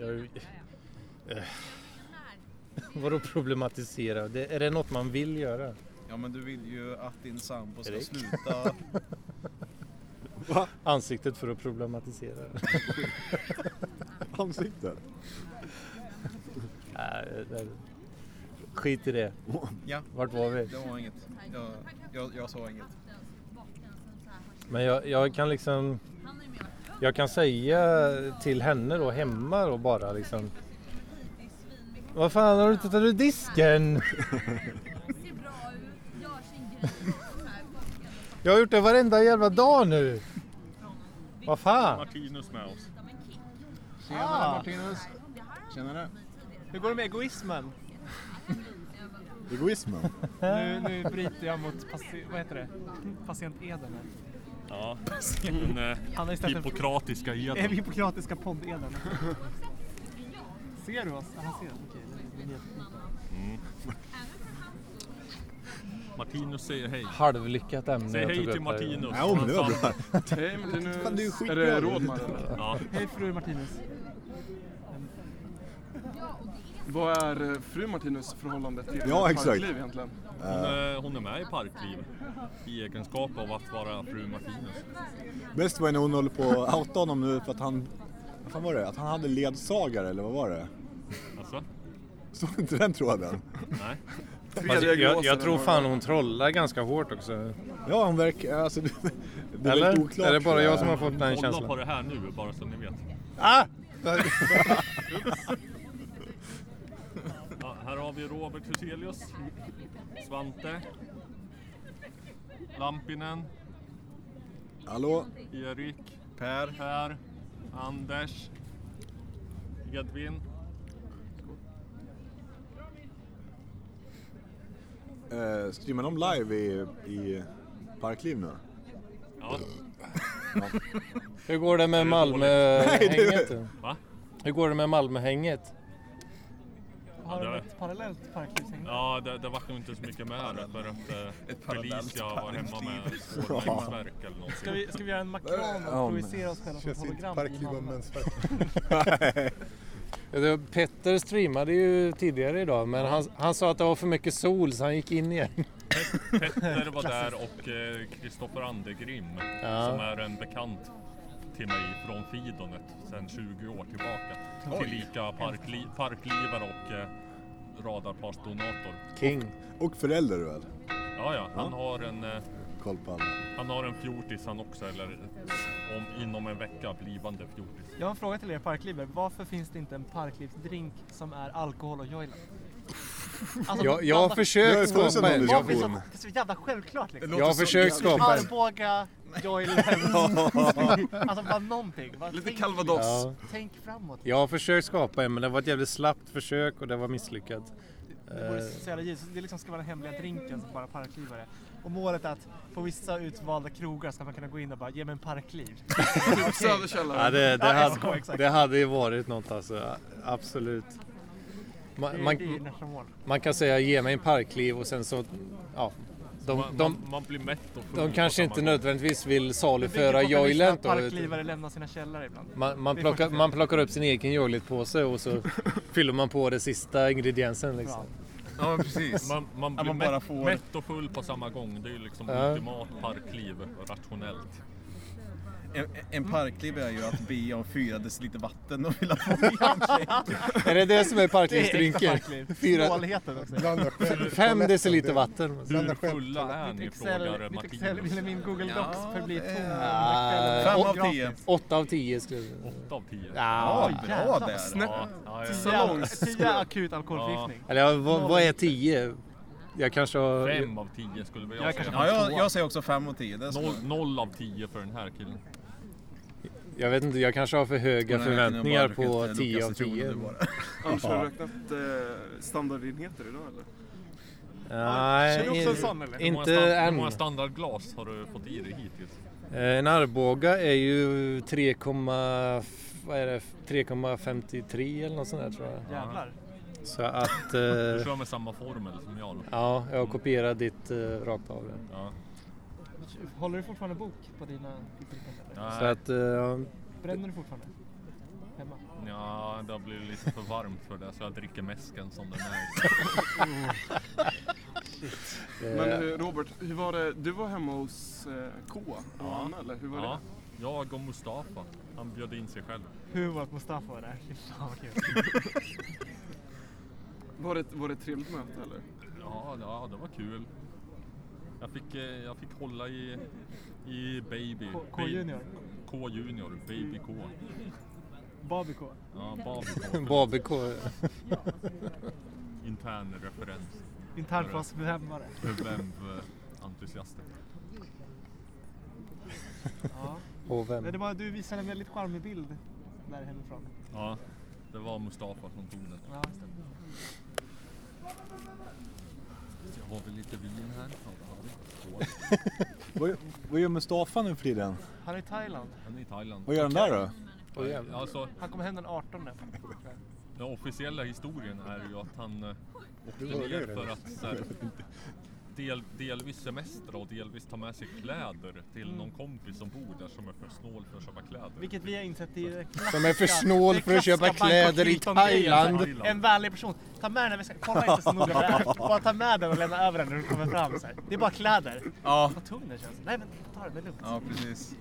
Speaker 2: Jag... Eh. Vadå problematisera? Det, är det något man vill göra?
Speaker 6: Ja, men du vill ju att din sambo ska
Speaker 2: Erik?
Speaker 6: sluta.
Speaker 2: Ansiktet för att problematisera.
Speaker 4: Ansiktet.
Speaker 2: Nej, det- Äh, Skit i det.
Speaker 6: Ja.
Speaker 2: Vart var vi?
Speaker 6: Det var inget. Jag, jag, jag sa inget.
Speaker 2: Men jag, jag kan liksom... Jag kan säga till henne då hemma då bara liksom... Vad fan har du inte tagit ur disken?
Speaker 12: Ser bra ut, gör sin grej. Så här,
Speaker 2: Jag har gjort det varenda jävla dag nu. Vad fan?
Speaker 5: Martinus med oss.
Speaker 10: Tjenare Martinus!
Speaker 4: Tjenare.
Speaker 10: Hur går det med egoismen?
Speaker 4: Egoismen.
Speaker 10: Nu, nu bryter jag mot paci- vad heter det? patient Eden. här.
Speaker 5: Ja, den eh,
Speaker 10: Han har istället en
Speaker 5: hippokratiska
Speaker 10: Är vi
Speaker 5: eden.
Speaker 10: hippokratiska podd-Eden? ser du oss? Ja, Han ser oss. Okej, det är helt
Speaker 5: Martinus säger hej.
Speaker 2: Halvlyckat ämne
Speaker 5: Säg
Speaker 2: jag
Speaker 5: hej
Speaker 2: tog
Speaker 5: till
Speaker 2: upp här.
Speaker 5: Martinus. Alltså,
Speaker 4: Ja, men det var bra.
Speaker 1: Hej Martinus.
Speaker 4: Fan, du är
Speaker 1: är,
Speaker 4: skitbra.
Speaker 1: det Rådman eller?
Speaker 5: Ja,
Speaker 10: Hej fru Martinus.
Speaker 1: Vad är eh, fru Martinus förhållande till
Speaker 4: Ja,
Speaker 1: eh,
Speaker 4: exakt.
Speaker 1: parkliv egentligen?
Speaker 5: hon, eh, hon är med i Parkliv i egenskap av att vara fru Martinus.
Speaker 4: Bäst var ju när hon höll på att outa honom nu för att han... Vad fan var det? Att han hade ledsagare eller vad var det?
Speaker 5: Alltså,
Speaker 4: Såg du inte den tråden?
Speaker 5: nej.
Speaker 2: Fast
Speaker 1: Tredje
Speaker 2: Jag,
Speaker 1: diagnosen
Speaker 2: jag tror
Speaker 1: har-
Speaker 2: fan hon trollar ganska hårt också.
Speaker 4: Ja, hon verkar... Alltså, det det är väldigt
Speaker 2: Eller?
Speaker 4: oklart.
Speaker 2: Är det bara jag som har fått den
Speaker 5: Kolla på
Speaker 2: känslan?
Speaker 5: det här nu bara så ni vet.
Speaker 11: Ah!
Speaker 5: Ja, här har vi Robert Huselius, Svante, Lampinen,
Speaker 4: eh, Hallå?
Speaker 5: Erik,
Speaker 6: Per,
Speaker 5: Per, Anders, Edvin.
Speaker 4: Eh, streamar de live i, i Parkliv nu?
Speaker 5: Ja,
Speaker 2: Hur går det med
Speaker 4: Nej,
Speaker 2: Malmöhänget? då?
Speaker 5: va?
Speaker 2: Hur går det med Malmöhänget?
Speaker 10: Har
Speaker 5: det
Speaker 10: de
Speaker 5: var-
Speaker 10: ett parallellt parklivshäng?
Speaker 5: Ja, det, det vart nog inte så mycket med det för att eh,
Speaker 6: Ett parallellt
Speaker 5: Felicia var hemma med
Speaker 6: parkliv.
Speaker 5: spårvägsvärk eller
Speaker 10: Ska
Speaker 5: någonting.
Speaker 10: vi, ska vi göra en makram och projicera oss själva som ett
Speaker 11: Känns inte
Speaker 10: hologram i
Speaker 11: parkliv av
Speaker 10: Malmö?
Speaker 11: mensvärk.
Speaker 2: Ja, det- Petter streamade ju tidigare idag men han, han sa att det var för mycket sol så han gick in igen.
Speaker 5: Petter var där och Kristoffer Andegrim
Speaker 2: Ja.
Speaker 5: som är en bekant till mig från Fidonet sedan 20 år tillbaka.
Speaker 2: Oj.
Speaker 5: Tillika parkli, parklivare och eh, radarparsdonator.
Speaker 2: King.
Speaker 3: Och förälder väl?
Speaker 5: Ja, ja, han
Speaker 3: Ja.
Speaker 5: har en eh,
Speaker 3: Koll på alla.
Speaker 5: Han har en fjortis han också, eller om, inom en vecka blivande fjortis.
Speaker 10: Jag har en fråga till er parklivare. Varför finns det inte en parklivsdrink som är alkohol och joila? Alltså,
Speaker 2: Jag- jag har
Speaker 10: blanda-
Speaker 2: försökt Jag har skapa funnits en en.
Speaker 10: Varför är det så-
Speaker 2: diskussion.
Speaker 10: liksom- det är så jävla självklart liksom.
Speaker 2: Det låter Jag har som- försökt skapa en.
Speaker 10: Arboga, joila. alltså bara någonting. Bara
Speaker 1: Lite
Speaker 10: tänk-
Speaker 1: calvados.
Speaker 2: Ja.
Speaker 10: Tänk framåt.
Speaker 2: Jag har försökt skapa en men det var ett jävligt slappt försök och det var misslyckat.
Speaker 10: Det vore
Speaker 2: Eh,
Speaker 10: så jävla givet. Det liksom ska vara den hemliga drinken som bara parklivare. Och målet är att på vissa utvalda krogar ska man kunna gå in och bara ge mig en parkliv. Okej.
Speaker 2: Ja, det, det,
Speaker 10: Ja, SK,
Speaker 2: hade,
Speaker 10: exakt.
Speaker 2: det hade ju varit något alltså, absolut.
Speaker 10: Det
Speaker 2: Man,
Speaker 10: är- det är ju
Speaker 2: man,
Speaker 10: nästa mål.
Speaker 2: man kan säga ge mig en parkliv och sen så, ja. De,
Speaker 5: Man,
Speaker 2: de,
Speaker 5: man, man blir mätt och full
Speaker 2: de
Speaker 5: på
Speaker 2: kanske
Speaker 5: samma
Speaker 2: inte
Speaker 5: gång.
Speaker 2: nödvändigtvis vill
Speaker 10: Det bygger på
Speaker 2: saluföra
Speaker 10: att man lyssnar
Speaker 2: joilent
Speaker 10: att
Speaker 2: då.
Speaker 10: Parklivare lämnar sina källare ibland.
Speaker 2: Man, man,
Speaker 10: Det är
Speaker 2: plockar,
Speaker 10: första
Speaker 2: man plockar upp sin egen joilent-påse och så fyller man på den sista ingrediensen liksom.
Speaker 5: Ja, precis. Man, man
Speaker 3: Ja,
Speaker 5: blir
Speaker 3: man bara
Speaker 5: mätt,
Speaker 3: får-
Speaker 5: mätt och full på samma gång. Det är ju liksom
Speaker 2: Ja.
Speaker 5: ultimat parkliv, rationellt.
Speaker 6: En, en parkliv är ju att be om fyra deciliter vatten och vilja få igen
Speaker 2: Är det det som är parklivsdrinken?
Speaker 6: Det är äkta parkliv.
Speaker 2: Fyra-
Speaker 6: Snålheten också. Blanda själv.
Speaker 2: Fem
Speaker 6: Toaletten,
Speaker 2: deciliter
Speaker 6: det-
Speaker 2: vatten.
Speaker 6: Blanda själv.
Speaker 5: Fulla är ni,
Speaker 10: Mitt Excel,
Speaker 5: frågar
Speaker 10: mitt Excel
Speaker 5: Martinus.
Speaker 10: ville min Google Docs
Speaker 6: Ja,
Speaker 10: förbli
Speaker 6: det är-
Speaker 10: tom.
Speaker 2: Ah,
Speaker 10: Fem av
Speaker 2: åt-
Speaker 10: tio.
Speaker 2: Åtta av tio skulle jag
Speaker 5: Åtta av tio?
Speaker 2: Ja,
Speaker 10: Oj, jävlar.
Speaker 2: där.
Speaker 10: Snäpp.
Speaker 2: Ja,
Speaker 5: ja, ja.
Speaker 10: Tio, tio akut alkoholförgiftning.
Speaker 2: Eller ja, vad, vad är tio? Jag kanske har...
Speaker 5: Fem av tio skulle jag,
Speaker 10: Jag
Speaker 5: säga.
Speaker 10: kanske- Ja, jag- jag
Speaker 6: säger också fem av tio.
Speaker 5: Noll, noll av tio för den här killen.
Speaker 2: Jag vet inte, jag kanske har för höga
Speaker 5: Den här
Speaker 2: förväntningar
Speaker 5: räkningen har
Speaker 2: på
Speaker 5: bara lyckats
Speaker 2: tio
Speaker 5: Lukas
Speaker 2: av
Speaker 5: i
Speaker 2: tio.
Speaker 5: tronen nu bara.
Speaker 1: Annars har du räknat eh, standardenheter idag eller?
Speaker 2: Nej,
Speaker 1: Kör du också en sån, eller?
Speaker 2: in-
Speaker 5: Hur många
Speaker 2: inte
Speaker 5: stan- Hur
Speaker 2: än.
Speaker 5: många standardglas har du fått i dig hittills?
Speaker 2: Eh, En Arboga är ju 3, vad är det, 3,53 eller något sånt där tror jag.
Speaker 5: Jävlar.
Speaker 2: Så att...
Speaker 5: Du
Speaker 2: Eh,
Speaker 5: kör med samma formel som jag. då.
Speaker 2: ja, jag kopierar ditt eh, rakt av det.
Speaker 5: Ja.
Speaker 10: Håller du fortfarande bok på dina drinkandeller?
Speaker 2: Så att... Eh, ja.
Speaker 10: Bränner du fortfarande? Hemma?
Speaker 5: Ja, det har blivit lite för varmt för det så jag dricker mäsken som den är.
Speaker 1: Men eh, Robert, hur var det? Du var hemma hos eh, K och Anna eller hur var
Speaker 5: ja.
Speaker 1: det?
Speaker 5: Jag och Mustafa, han bjöd in sig själv.
Speaker 10: Hur var att Mustafa var där? Fy fan vad kul.
Speaker 1: Var det, var det ett trevligt möte eller?
Speaker 5: Ja, ja det var kul. Jag fick, eh, jag fick hålla i, i Baby.
Speaker 10: K- K Junior.
Speaker 5: K Junior, Baby K.
Speaker 10: Babiko.
Speaker 5: Ja, Baby K.
Speaker 2: Babek och-
Speaker 5: Intern referens.
Speaker 10: Intern för oss bevämmare.
Speaker 5: Bevämv-entusiaster.
Speaker 10: Ja.
Speaker 2: Och vem?
Speaker 10: Nej, Det var, du visade en väldigt charmig bild där hemifrån.
Speaker 5: Ja, det var Mustafa som tog den.
Speaker 10: Ja, just det.
Speaker 5: Jag har väl lite vin här.
Speaker 4: vad, vad gör Mustafa nu för tiden?
Speaker 10: Han är i Thailand.
Speaker 5: Han är i Thailand.
Speaker 4: Vad gör han där då?
Speaker 5: Oj, jävlar. Alltså,
Speaker 10: Han kommer hem den 18.
Speaker 5: Den officiella historien är ju att han eh, åkte
Speaker 10: Du hörde ju
Speaker 5: ner
Speaker 10: det.
Speaker 5: för att så här, del, delvis semestra och delvis ta med sig kläder till
Speaker 10: Mm.
Speaker 5: någon kompis som bor där som är för snål för att köpa kläder.
Speaker 10: Vilket vi har insett är det klassiska-
Speaker 2: Som är för snål
Speaker 10: det
Speaker 2: för att köpa
Speaker 10: klassiska
Speaker 2: kläder
Speaker 10: Bangkok
Speaker 2: i
Speaker 10: Hilton-grejen.
Speaker 2: Thailand.
Speaker 10: En vänlig person. Ta med den, vi ska- kolla inte så noga vad det är. Bara ta med den och lämna över den när du kommer fram. Så här. Det är bara kläder.
Speaker 6: Ja.
Speaker 10: Vad tung den känns. Nej men ta den, det är lugnt.
Speaker 6: Ja, precis.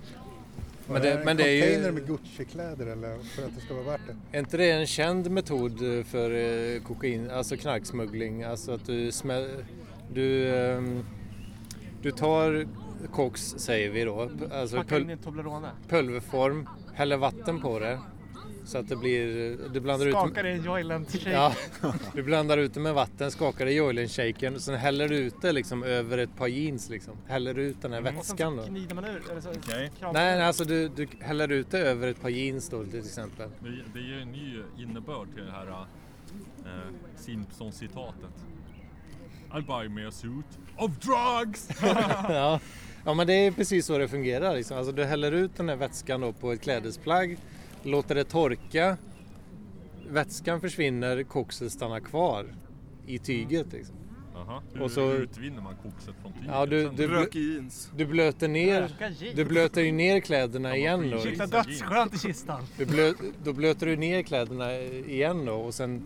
Speaker 2: Men det, men det är
Speaker 3: Container
Speaker 2: ju...
Speaker 3: med Gucci-kläder eller för att det ska vara värt det?
Speaker 2: Är inte det en känd metod eh, för eh, kokain, alltså knarksmuggling? Alltså att du smä... Du, ehm, du tar koks, säger vi då, p- alltså
Speaker 10: Packa in
Speaker 2: pul-
Speaker 10: i en Toblerone.
Speaker 2: pulverform, häller vatten på det så att det blir... Du blandar ut...
Speaker 10: Skakar i en joyland-shake.
Speaker 2: Ja, du blandar ut det med vatten, skakar i oilen-shaken och sen häller du ut det liksom över ett par jeans liksom. Häller ut den här
Speaker 10: Och sen
Speaker 2: vätskan då.
Speaker 10: så gnider man ur. Eller så, kram-
Speaker 2: Nej, nej, alltså du, du häller ut det över ett par jeans då till exempel.
Speaker 5: Det, det ger en ny innebörd till det här eh, Simpsons-citatet. I buy me a suit of drugs!
Speaker 2: ja. ja, men det är precis så det fungerar. Liksom. Alltså, du häller ut den här vätskan då på ett klädesplagg, låter det torka. Vätskan försvinner, kokset stannar kvar i tyget. Liksom.
Speaker 5: Aha. Hur,
Speaker 2: Och så-
Speaker 5: hur utvinner man kokset från tyget?
Speaker 2: Ja, du, du, blö- du blöter ner,
Speaker 10: Röka jeans.
Speaker 2: du blöter ju ner kläderna igen då. liksom.
Speaker 10: Luktar dödsskönt i kistan.
Speaker 2: Du blö, då blöter du ner kläderna igen då och sen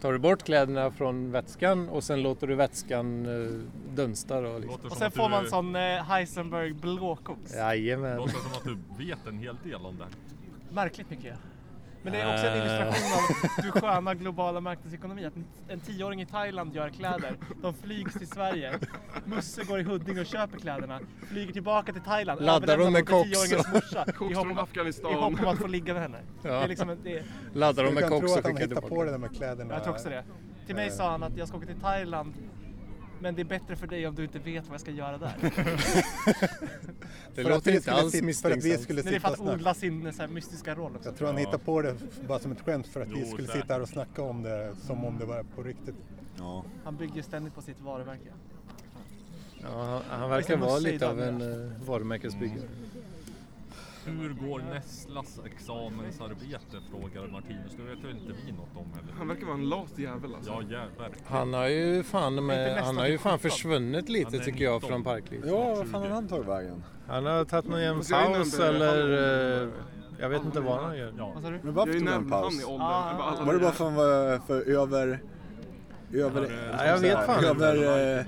Speaker 2: tar du bort kläderna från vätskan och sen låter du vätskan eh, dunsta då. Liksom.
Speaker 10: Och sen får man sån eh, Heisenberg blåkoks.
Speaker 2: Jajamän.
Speaker 5: Låter som att du vet en hel del om det här.
Speaker 10: Märkligt mycket. Men det är också
Speaker 1: Eh.
Speaker 10: en illustration av du sköna globala marknadsekonomi. Att en tioåring i Thailand gör kläder. De flygs till Sverige. Musse går i Huddinge och köper kläderna. Flyger tillbaka till Thailand.
Speaker 2: Laddar
Speaker 10: överlämnar
Speaker 2: hon med
Speaker 10: dem till
Speaker 2: koks?
Speaker 10: tioåringens morsa i
Speaker 1: Koks
Speaker 10: hopp
Speaker 1: från
Speaker 10: om att-
Speaker 1: Afghanistan.
Speaker 10: I hopp om att få ligga med henne.
Speaker 2: Ja.
Speaker 10: Det är liksom en, det är...
Speaker 2: Laddar de
Speaker 3: Skulle
Speaker 2: med
Speaker 3: kunna
Speaker 2: koks
Speaker 3: tro
Speaker 2: och
Speaker 3: att han
Speaker 2: skickar
Speaker 3: hittar
Speaker 2: tillbaka.
Speaker 3: på det där med kläderna.
Speaker 10: Jag tror också det. Till mig
Speaker 3: Eh.
Speaker 10: sa han att jag ska åka till Thailand. Men det är bättre för dig om du inte vet vad jag ska göra där.
Speaker 3: Det För låter att vi inte skulle alls sitta- för att vi misstänksamt. skulle
Speaker 10: Nej, Det är för att
Speaker 3: sitta snabbt.
Speaker 10: odla sin eh, så här, mystiska roll också.
Speaker 3: Jag tror han hittar på det bara som ett skämt för att vi
Speaker 10: Jo,
Speaker 3: skulle
Speaker 10: så här.
Speaker 3: sitta här och snacka om det som om det var på riktigt.
Speaker 10: Han bygger ständigt på sitt varumärke.
Speaker 2: Ja, han, han
Speaker 10: Visst,
Speaker 2: verkar
Speaker 10: jag måste
Speaker 2: vara
Speaker 10: säga
Speaker 2: lite
Speaker 10: det
Speaker 2: av en
Speaker 10: andra.
Speaker 2: eh, varumärkesbyggare.
Speaker 3: Mm.
Speaker 5: Hur går Nesslas examensarbete? Frågar Martinus. Det vet ju inte vi något om heller.
Speaker 1: Han verkar vara en lat jävel alltså.
Speaker 5: Ja, jä- verkligen.
Speaker 2: Han har ju fan,
Speaker 5: Inte
Speaker 2: med,
Speaker 5: nästan
Speaker 2: han har ju
Speaker 5: till
Speaker 2: fan
Speaker 5: sjutton.
Speaker 2: försvunnit lite
Speaker 5: Han är
Speaker 2: tycker jag
Speaker 5: 19.
Speaker 2: från parklivet.
Speaker 4: Ja, vad fan har han tagit vägen?
Speaker 2: Han har tagit någon jävla
Speaker 4: Fast jag är inne
Speaker 2: paus
Speaker 4: under-
Speaker 2: eller eh, jag vet inte vad han gör.
Speaker 4: Men varför
Speaker 1: Jag är
Speaker 4: tog han en
Speaker 1: nämnd han
Speaker 4: paus?
Speaker 1: i åldern. Ah. Alla
Speaker 4: Var det
Speaker 1: andra.
Speaker 4: bara för att han var för över... Över...
Speaker 2: Ja, jag vet fan.
Speaker 4: Över... eh,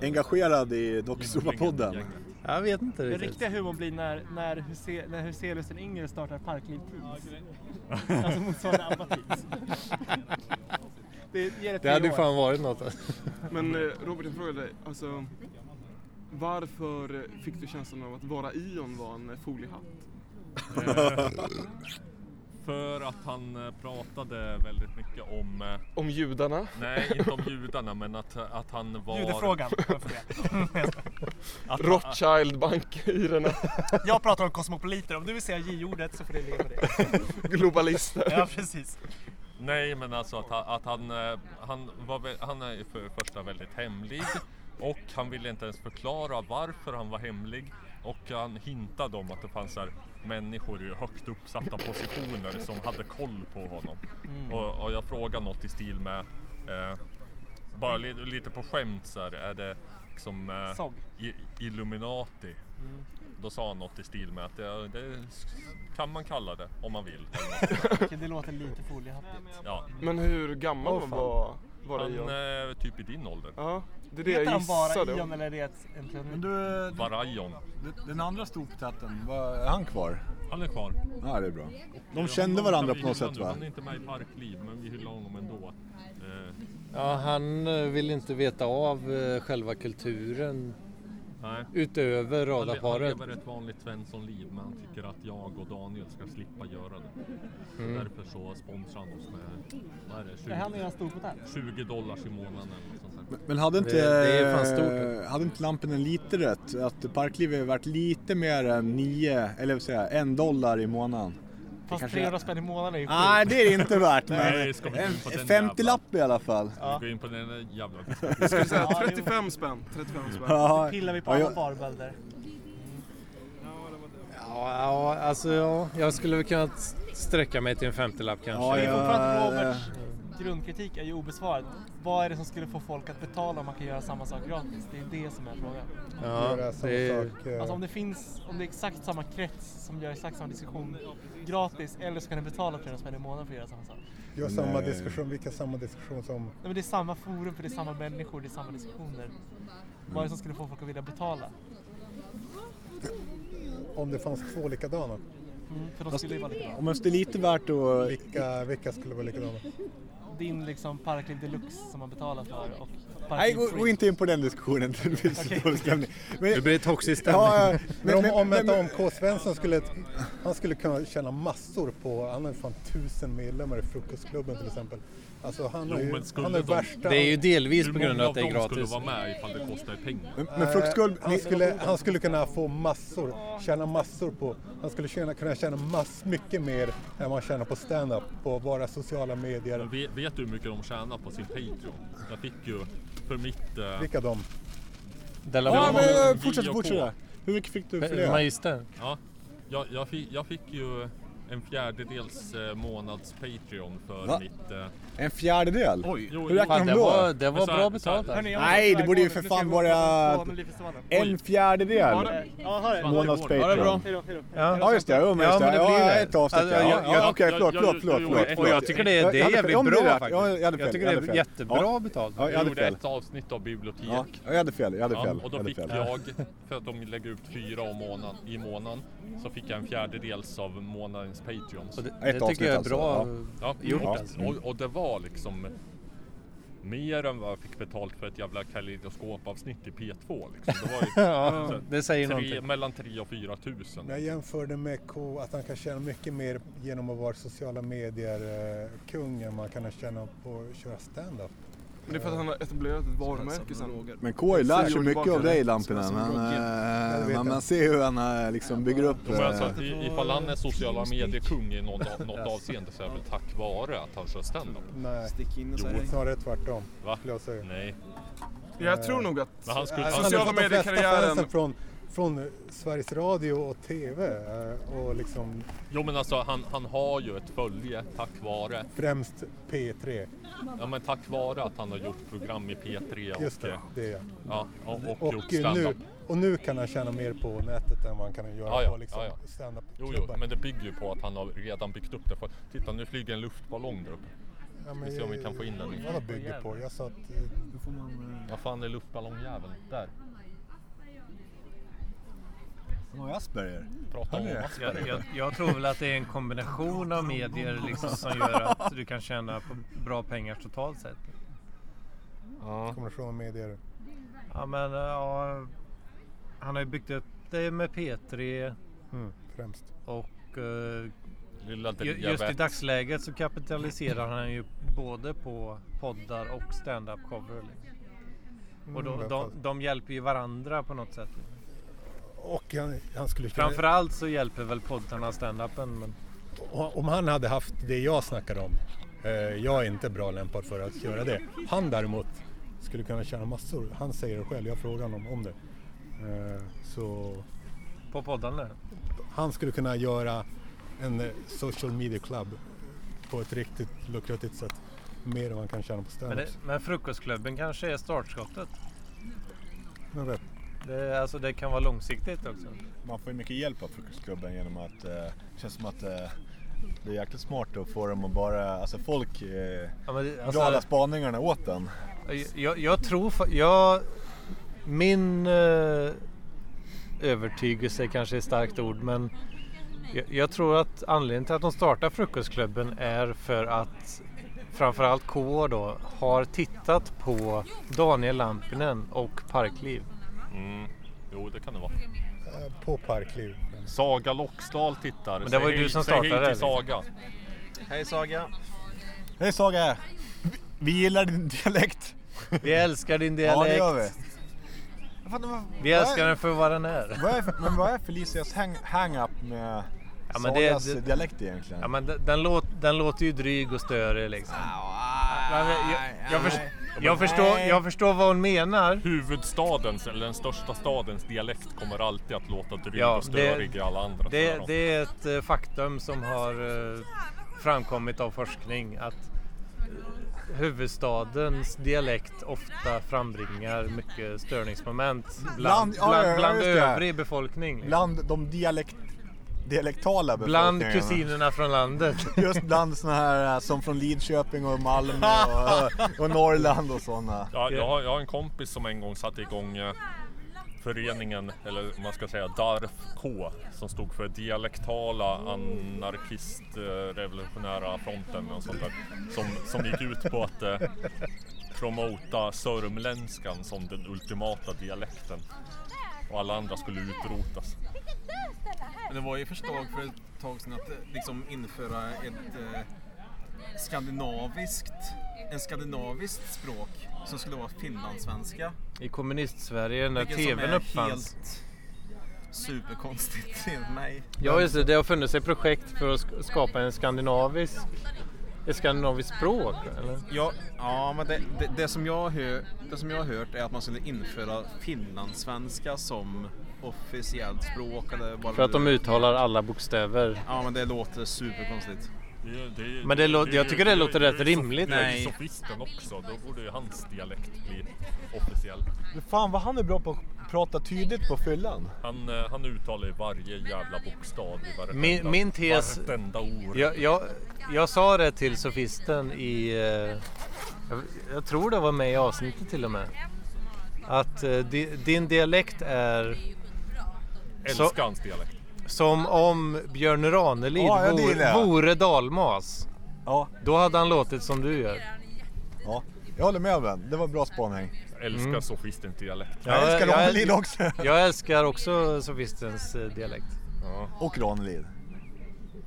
Speaker 4: Engagerad i Dokusåpa-podden.
Speaker 2: Jag vet inte
Speaker 10: Den
Speaker 2: riktigt.
Speaker 10: riktiga humorn blir när, när, Huse, när Huselius den yngre startar Parkliv Teams. alltså motsvarande Abba Teams. Det ger ett
Speaker 2: Det hade ju
Speaker 10: nyår.
Speaker 2: fan varit något. alltså.
Speaker 1: Men eh, Robert, jag frågade dig, alltså varför fick du känslan av att vara Ion var en eh, foliehatt?
Speaker 5: För att han eh, pratade väldigt mycket om... eh,
Speaker 1: Om judarna?
Speaker 5: Nej, inte om judarna, men att, att han var...
Speaker 10: Judefrågan, varför det?
Speaker 5: Att-
Speaker 1: Rothschild-bankhyrorna.
Speaker 10: Jag pratar om kosmopoliter. Om du vill säga J-ordet så får det leva med det.
Speaker 1: Globalister.
Speaker 10: Ja, precis.
Speaker 5: Nej, men alltså att, han- att han, eh, han, var, vä- han är ju för det första väldigt hemlig och han ville inte ens förklara varför han var hemlig och han hintade om att det fanns så här, människor i högt uppsatta positioner som hade koll på honom.
Speaker 13: Mm.
Speaker 5: Och, och jag frågade något i stil med, eh, bara li, lite på skämt så här, är det liksom eh,
Speaker 10: Såg.
Speaker 5: i, Illuminati?
Speaker 10: Mm.
Speaker 5: Då sa han något i stil med att det, det kan man kalla det om man vill.
Speaker 10: Okej, Det låter lite foliehattigt.
Speaker 5: Ja.
Speaker 1: Men hur gammal
Speaker 10: Åh, fan.
Speaker 1: var, var det
Speaker 5: han
Speaker 1: Ion?
Speaker 5: är typ i din ålder.
Speaker 1: Ja, det är det jag
Speaker 10: Heter han bara
Speaker 1: gissade.
Speaker 10: Ion eller är det ett- en
Speaker 4: Men
Speaker 10: pseudonym?
Speaker 4: du,
Speaker 5: Varajon.
Speaker 4: den andra storpotäten, vad- är han kvar?
Speaker 5: Han är kvar.
Speaker 4: Ja, det är bra.
Speaker 5: Ja,
Speaker 4: De kände
Speaker 5: honom
Speaker 4: varandra
Speaker 5: kan vi
Speaker 4: på något
Speaker 5: hylla
Speaker 4: sätt
Speaker 5: nu.
Speaker 4: va?
Speaker 5: Han är inte med i Parkliv, men vi hyllar honom ändå. Eh,
Speaker 2: Ja, han eh, vill inte veta av eh, själva kulturen
Speaker 5: Nej.
Speaker 2: utöver
Speaker 5: han le-
Speaker 2: radarparet.
Speaker 5: Han lever ett vanligt Svensson-liv, men han tycker att jag och Daniel ska slippa göra det.
Speaker 2: Mm.
Speaker 5: Därför så sponsrar han oss med, vad är det, 20,
Speaker 10: Är han en stor potens?
Speaker 5: 20 dollars i månaden eller något sånt där.
Speaker 4: Men hade inte,
Speaker 2: Det- det är fan stort.
Speaker 4: eh, hade inte lampen lite rätt? Att Parkliv har varit lite mer än nio, eller vad säger jag, en dollar i månaden. Det
Speaker 10: Fast
Speaker 4: kanske-
Speaker 10: 300 spänn i månaden är ju
Speaker 4: Nej, det är det inte värt.
Speaker 5: Nej,
Speaker 4: Men
Speaker 5: ska vi
Speaker 4: en
Speaker 5: gå in på den
Speaker 4: 50 lapp i alla fall.
Speaker 5: Ska vi gå in på den där jävla...
Speaker 1: Jag skulle säga 35 spänn. 35 spänn.
Speaker 4: Ja.
Speaker 10: Det pillar vi på
Speaker 4: Ja,
Speaker 10: alla
Speaker 4: jag-
Speaker 10: varbölder.
Speaker 2: Ja, ja, alltså ja, jag skulle väl kunna s- sträcka mig till en femtiolapp kanske.
Speaker 4: Ja,
Speaker 10: Det är fortfarande
Speaker 4: Ja,
Speaker 10: Roberts grundkritik är ju obesvarad. Vad är det som skulle få folk att betala om man kan göra samma sak gratis? Det är det som är frågan.
Speaker 2: Ja,
Speaker 3: Göra samma
Speaker 2: det-
Speaker 3: sak, eh,
Speaker 10: Alltså om det finns, om det är exakt samma krets som gör exakt samma diskussion gratis eller så kan ni betala 300 spänn i månaden för att göra samma sak.
Speaker 3: Gör samma
Speaker 4: Nej.
Speaker 3: diskussion, vilka samma diskussion som...
Speaker 10: Nej, men det är samma forum för det är samma människor, det är samma diskussioner. Vad är det som skulle få folk att vilja betala?
Speaker 3: Om det fanns två likadana.
Speaker 10: Mm, för de skulle ju vara likadana.
Speaker 4: Om det är lite värt att...
Speaker 3: Vilka, vilka skulle vara likadana?
Speaker 10: Din liksom Parkliv Deluxe som man betalar för och
Speaker 4: Nej,
Speaker 10: Parkliv
Speaker 4: gå, gå
Speaker 10: Free.
Speaker 4: inte in på den diskussionen. Det blir så dålig stämning. Men-
Speaker 2: Det blir toxisk stämning.
Speaker 4: Ja, ja.
Speaker 3: Men om, om, vänta,
Speaker 4: men-
Speaker 3: om K. Svensson skulle, han skulle kunna tjäna massor på, han har ju fan tusen medlemmar i Frukostklubben till exempel. Alltså han
Speaker 5: Jo,
Speaker 3: är ju,
Speaker 5: men skulle
Speaker 3: han är
Speaker 5: de-
Speaker 3: värsta...
Speaker 2: Det är ju delvis på grund av att det är
Speaker 5: Hur många av dem
Speaker 2: gratis.
Speaker 5: skulle vara med ifall det kostar pengar?
Speaker 4: Men,
Speaker 3: Eh, han, skulle, han skulle kunna få massor, tjäna massor på, han skulle tjäna, kunna tjäna mass, mycket mer än vad han tjänar på stand-up, på att vara sociala medier.
Speaker 5: Men Vet, vet du hur mycket de tjänar på sin Patreon? Jag fick ju för mitt... eh,
Speaker 3: Vilka de?
Speaker 2: Della
Speaker 5: Ja,
Speaker 2: Valle.
Speaker 5: men, eh,
Speaker 4: Fortsätt,
Speaker 5: JK. Eh,
Speaker 4: fortsätt. Hur mycket fick du för det?
Speaker 2: Magister.
Speaker 5: Ja, jag, jag, fick, jag fick ju en fjärdedels eh, månads Patreon för
Speaker 4: Va?
Speaker 5: mitt... eh,
Speaker 4: En fjärdedel?
Speaker 5: Oj. Jo,
Speaker 4: Hur räknar
Speaker 5: jo.
Speaker 4: de
Speaker 5: Fan,
Speaker 4: då?
Speaker 5: det var- det var Men så här- bra betalt, så här- alltså. Hörni, jag måste
Speaker 4: Nej, det
Speaker 5: iväg
Speaker 4: borde ju
Speaker 5: nu.
Speaker 4: för
Speaker 5: Nu
Speaker 4: fan
Speaker 5: ska jag gå
Speaker 4: vara
Speaker 5: på Melodifestivalen.
Speaker 4: en
Speaker 5: Oj.
Speaker 4: fjärdedel
Speaker 5: Ha det. Ja, ha det.
Speaker 4: månads
Speaker 5: Ha det bra.
Speaker 4: Patreon.
Speaker 5: Hej då, hej då.
Speaker 4: Ja. ja, just det. Jo, men
Speaker 2: Ja,
Speaker 4: just
Speaker 2: men
Speaker 4: det.
Speaker 2: det
Speaker 4: Ja,
Speaker 2: blir det.
Speaker 4: ett avsnitt.
Speaker 2: Alltså,
Speaker 4: ja.
Speaker 2: jag-
Speaker 4: Ja,
Speaker 2: jag-
Speaker 4: Okej,
Speaker 2: jag-
Speaker 4: förlåt,
Speaker 2: jag-
Speaker 4: förlåt, förlåt,
Speaker 2: jag-
Speaker 4: förlåt.
Speaker 2: och jag tycker det är- det är
Speaker 4: Jag hade-
Speaker 2: jävligt
Speaker 4: om det
Speaker 2: bra
Speaker 4: rätt.
Speaker 2: faktiskt.
Speaker 4: Ja, jag hade fel.
Speaker 2: Jag tycker
Speaker 4: hade
Speaker 2: det är
Speaker 4: fel.
Speaker 2: jättebra
Speaker 4: Ja.
Speaker 2: betalt.
Speaker 4: Ja, jag
Speaker 5: jag
Speaker 4: hade
Speaker 5: gjorde
Speaker 4: fel.
Speaker 5: ett avsnitt av bibliotek.
Speaker 4: Ja, jag hade fel, jag hade fel,
Speaker 5: och då
Speaker 4: jag hade
Speaker 5: fick
Speaker 4: fel.
Speaker 5: jag, för att de lägger ut fyra om månaden, i månaden, så fick jag en fjärdedels av månadens Patreon.
Speaker 2: Och det- Ett det tycker avsnitt jag är alltså, bra
Speaker 5: ja.
Speaker 2: gjort
Speaker 5: och,
Speaker 2: alltså.
Speaker 5: och, och det var liksom mer än vad jag fick betalt för ett jävla kaleidoskopavsnitt i P2. Liksom. Det, var ju,
Speaker 2: Ja,
Speaker 5: så här,
Speaker 2: det säger
Speaker 5: tre,
Speaker 2: någonting.
Speaker 5: Mellan 3 och 4 tusen.
Speaker 3: Jag jämförde med K, att han kan tjäna mycket mer genom att vara sociala medier-kung än man kan tjäna på att köra stand-up.
Speaker 1: Men det är för att han har etablerat ett varumärke sen.
Speaker 4: Men K har ju lärt sig
Speaker 1: Sen
Speaker 4: mycket
Speaker 1: gjorde
Speaker 4: av dig
Speaker 1: tillbaka.
Speaker 4: Lampinen.
Speaker 1: Som- som
Speaker 4: Han,
Speaker 1: Rocky.
Speaker 4: eh,
Speaker 1: Jag vet
Speaker 4: man,
Speaker 1: inte.
Speaker 4: man ser hur han eh, liksom bygger upp...
Speaker 5: Jo, men alltså,
Speaker 4: eh,
Speaker 5: att i- ifall han är sociala medier-kung i något, något avseende så är det väl tack vare att han kör standup.
Speaker 3: Nej,
Speaker 6: Stick in och
Speaker 5: Jo.
Speaker 3: det är snarare tvärtom.
Speaker 5: Va?
Speaker 3: skulle jag säga.
Speaker 5: Nej.
Speaker 1: Jag tror nog att
Speaker 5: Men han skulle-
Speaker 3: Eh,
Speaker 5: han-
Speaker 3: har
Speaker 5: sociala
Speaker 3: fått de flesta
Speaker 5: mediekarriären-
Speaker 3: fansen Från, från Sveriges Radio och TV eh, och liksom
Speaker 5: Jo men alltså han, han har ju ett följe tack vare,
Speaker 3: främst P3.
Speaker 5: ja, men tack vare att han har gjort program i P3 och,
Speaker 3: Just det, det är jag.
Speaker 5: ja, och, och,
Speaker 3: Och,
Speaker 5: gjort
Speaker 3: eh, nu,
Speaker 5: standup.
Speaker 3: och nu kan han tjäna mer på nätet än vad han kan göra
Speaker 5: Ja, ja,
Speaker 3: på liksom,
Speaker 5: ja, ja.
Speaker 3: stand-up
Speaker 5: Jo, jo, men det bygger ju på att han har redan byggt upp det. För, titta nu flyger en luftballong där uppe.
Speaker 3: Ja,
Speaker 5: Ska vi se om vi kan få in den.
Speaker 3: Vad det bygger på? Jag sa att... eh,
Speaker 5: Vad fan är luftballongjäveln? Där.
Speaker 4: Han har ju Asperger.
Speaker 5: Prata om Asperger.
Speaker 2: Jag, jag, jag tror väl att det är en kombination av medier liksom som gör att du kan tjäna på bra pengar totalt sett.
Speaker 3: Ja. Kommer från medier.
Speaker 2: Ja, men, eh, ja, han har ju byggt upp det med P3
Speaker 3: Mm, främst.
Speaker 2: och eh,
Speaker 5: Lilla
Speaker 2: ju- just i
Speaker 5: diabet.
Speaker 2: dagsläget så kapitaliserar han ju både på poddar och stand-up cover. Liksom. Och då,
Speaker 3: Mm,
Speaker 2: de, de hjälper ju varandra på något sätt.
Speaker 3: Och han, han skulle kunna-
Speaker 2: Framförallt så hjälper väl poddarna stand-upen. Men...
Speaker 3: Och Om han hade haft det jag snackar om, eh, jag är inte bra lämpad för att göra det. Han däremot skulle kunna tjäna massor. Han säger det själv, jag frågar honom om det. Eh, så
Speaker 2: På poddarna?
Speaker 3: han skulle kunna göra en eh, social media club på ett riktigt lukrativt sätt. Mer än man kan tjäna på
Speaker 2: Men,
Speaker 3: standups.
Speaker 2: det, men frukostklubben kanske är startskottet?
Speaker 3: Men vet.
Speaker 2: Det, alltså det kan vara långsiktigt också.
Speaker 14: Man får ju mycket hjälp av Frukostklubben genom att eh, det känns som att eh, det är jäkligt smart att få dem att bara, alltså folk eh,
Speaker 2: Ja, men det- alltså-
Speaker 14: drar alla spaningarna åt den.
Speaker 2: Jag, jag tror... fa- Jag, min eh, övertygelse kanske är ett starkt ord men jag, jag tror att anledningen till att de startar Frukostklubben är för att framförallt K då har tittat på Daniel Lampinen och Parkliv.
Speaker 5: Mm. Jo det kan det vara.
Speaker 3: På Parkliv.
Speaker 5: Saga Loxdal tittar.
Speaker 2: Men det var ju
Speaker 5: Säg
Speaker 2: du
Speaker 5: hej-
Speaker 2: som
Speaker 5: säg hej
Speaker 2: startade
Speaker 5: till
Speaker 2: det, liksom.
Speaker 5: Saga.
Speaker 6: Hej Saga!
Speaker 14: Hej Saga! Vi gillar din dialekt.
Speaker 2: Vi älskar din
Speaker 14: Ja det gör vi.
Speaker 2: dialekt. Vi älskar den för vad den är.
Speaker 14: Vad är men vad är Felicias hang- hang-up med
Speaker 2: Ja, men det-
Speaker 14: Sagas
Speaker 2: det-
Speaker 14: dialekt egentligen?
Speaker 2: Ja, men den, den, låt, den låter ju dryg och störig liksom. Men jag, jag, jag, förs- jag, förstår, jag förstår vad hon menar.
Speaker 5: Huvudstadens eller den största stadens dialekt kommer alltid att låta dryg och störig i alla andra
Speaker 2: det,
Speaker 5: öron.
Speaker 2: det är ett eh, faktum som har eh, framkommit av forskning att eh, huvudstadens dialekt ofta frambringar mycket störningsmoment bland,
Speaker 14: ja,
Speaker 2: bland,
Speaker 14: ja,
Speaker 2: bland
Speaker 14: just det.
Speaker 2: övrig befolkning. liksom.
Speaker 14: Bland de dialekt, dialektala
Speaker 2: Bland
Speaker 14: befolkningarna.
Speaker 2: kusinerna från landet.
Speaker 14: Just bland såna här eh, som från Lidköping och Malmö
Speaker 3: eh,
Speaker 14: och, och Norrland och sådana.
Speaker 5: Ja, jag, har, jag har en kompis som en gång satte igång eh, föreningen, eller om man ska säga DARF K, som stod för Dialektala Anarkistrevolutionära Fronten och sånt där. Som, som gick ut på att eh, promota sörmländskan som den ultimata dialekten. Och alla andra skulle utrotas.
Speaker 6: Men det var ju förslag för ett tag sedan att eh, liksom införa ett eh, skandinaviskt, en skandinaviskt språk som skulle vara finlandssvenska.
Speaker 2: I kommunist-Sverige när
Speaker 6: Vilket som
Speaker 2: TVn
Speaker 6: är
Speaker 2: uppfanns.
Speaker 6: Helt superkonstigt enligt mig.
Speaker 2: Ja just det, det har funnits ett projekt för att sk- skapa en skandinavisk Ett skandinaviskt språk? Eller?
Speaker 6: Ja, ja men det, det, det, som jag hör, det som jag har hört är att man skulle införa finlandssvenska som officiellt språk. Eller vad
Speaker 2: För att
Speaker 6: det
Speaker 2: de
Speaker 6: nu-
Speaker 2: uttalar alla bokstäver.
Speaker 6: Ja, men det låter superkonstigt.
Speaker 2: Men det lå- jag tycker det låter rätt rimligt.
Speaker 5: Nej.
Speaker 2: Nej.
Speaker 5: Sofisten också, då borde ju hans dialekt bli officiell.
Speaker 3: Fan vad han är bra på att prata tydligt på fyllan.
Speaker 5: Han, eh, han uttalar ju varje jävla bokstav i varenda,
Speaker 2: Min, min tes...
Speaker 5: vartenda ord.
Speaker 2: Jag, jag, jag sa det till sofisten i... eh, Jag, jag tror det var med i avsnittet till och med. Att eh, di, din dialekt är...
Speaker 5: Älskar hans dialekt.
Speaker 2: Som om Björn Ranelid
Speaker 5: Ja, ja, det gillar
Speaker 2: vore,
Speaker 5: jag.
Speaker 2: vore dalmas.
Speaker 3: Ja.
Speaker 2: Då hade han låtit som du gör.
Speaker 3: Ja, jag håller med Ben. Det var bra spaning.
Speaker 5: Jag älskar
Speaker 2: Mm.
Speaker 5: sofistens dialekt.
Speaker 3: Jag älskar
Speaker 2: jag-
Speaker 3: Ranelid också.
Speaker 2: Jag älskar också sofistens eh, dialekt.
Speaker 3: Och Ranelid.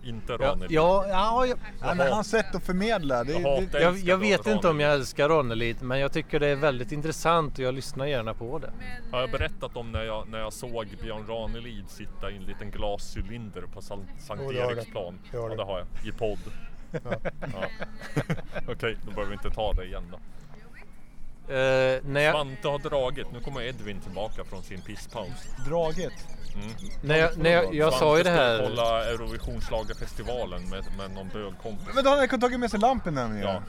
Speaker 5: Inte
Speaker 2: Ja,
Speaker 5: Ranelid.
Speaker 2: ja, ja, jag-
Speaker 3: Ja, men hans sätt att förmedla. Det, det,
Speaker 2: jag, jag vet inte om jag älskar Ranelid, men jag tycker det är väldigt intressant och jag lyssnar gärna på det.
Speaker 5: Har jag berättat om när jag, när jag såg Björn Ranelid sitta i en liten glascylinder på San-
Speaker 2: Jo,
Speaker 5: Sankt
Speaker 2: det har du.
Speaker 5: Eriksplan?
Speaker 2: Det har
Speaker 5: ja,
Speaker 2: du.
Speaker 5: det har jag. I podd.
Speaker 2: Ja.
Speaker 5: Ja. Okej, då behöver vi inte ta det igen då.
Speaker 2: Eh, när jag-
Speaker 5: Svante har dragit. Nu kommer Edvin tillbaka från sin pisspaus.
Speaker 3: Draget.
Speaker 5: Mm.
Speaker 2: När jag- när jag- jag
Speaker 5: Svante
Speaker 2: sa ju det
Speaker 5: skulle
Speaker 2: här-
Speaker 5: kolla Eurovisionsschlagerfestivalen med, med någon bögkompis.
Speaker 3: Men då hade han tagit med sig lampen nämligen. Ja.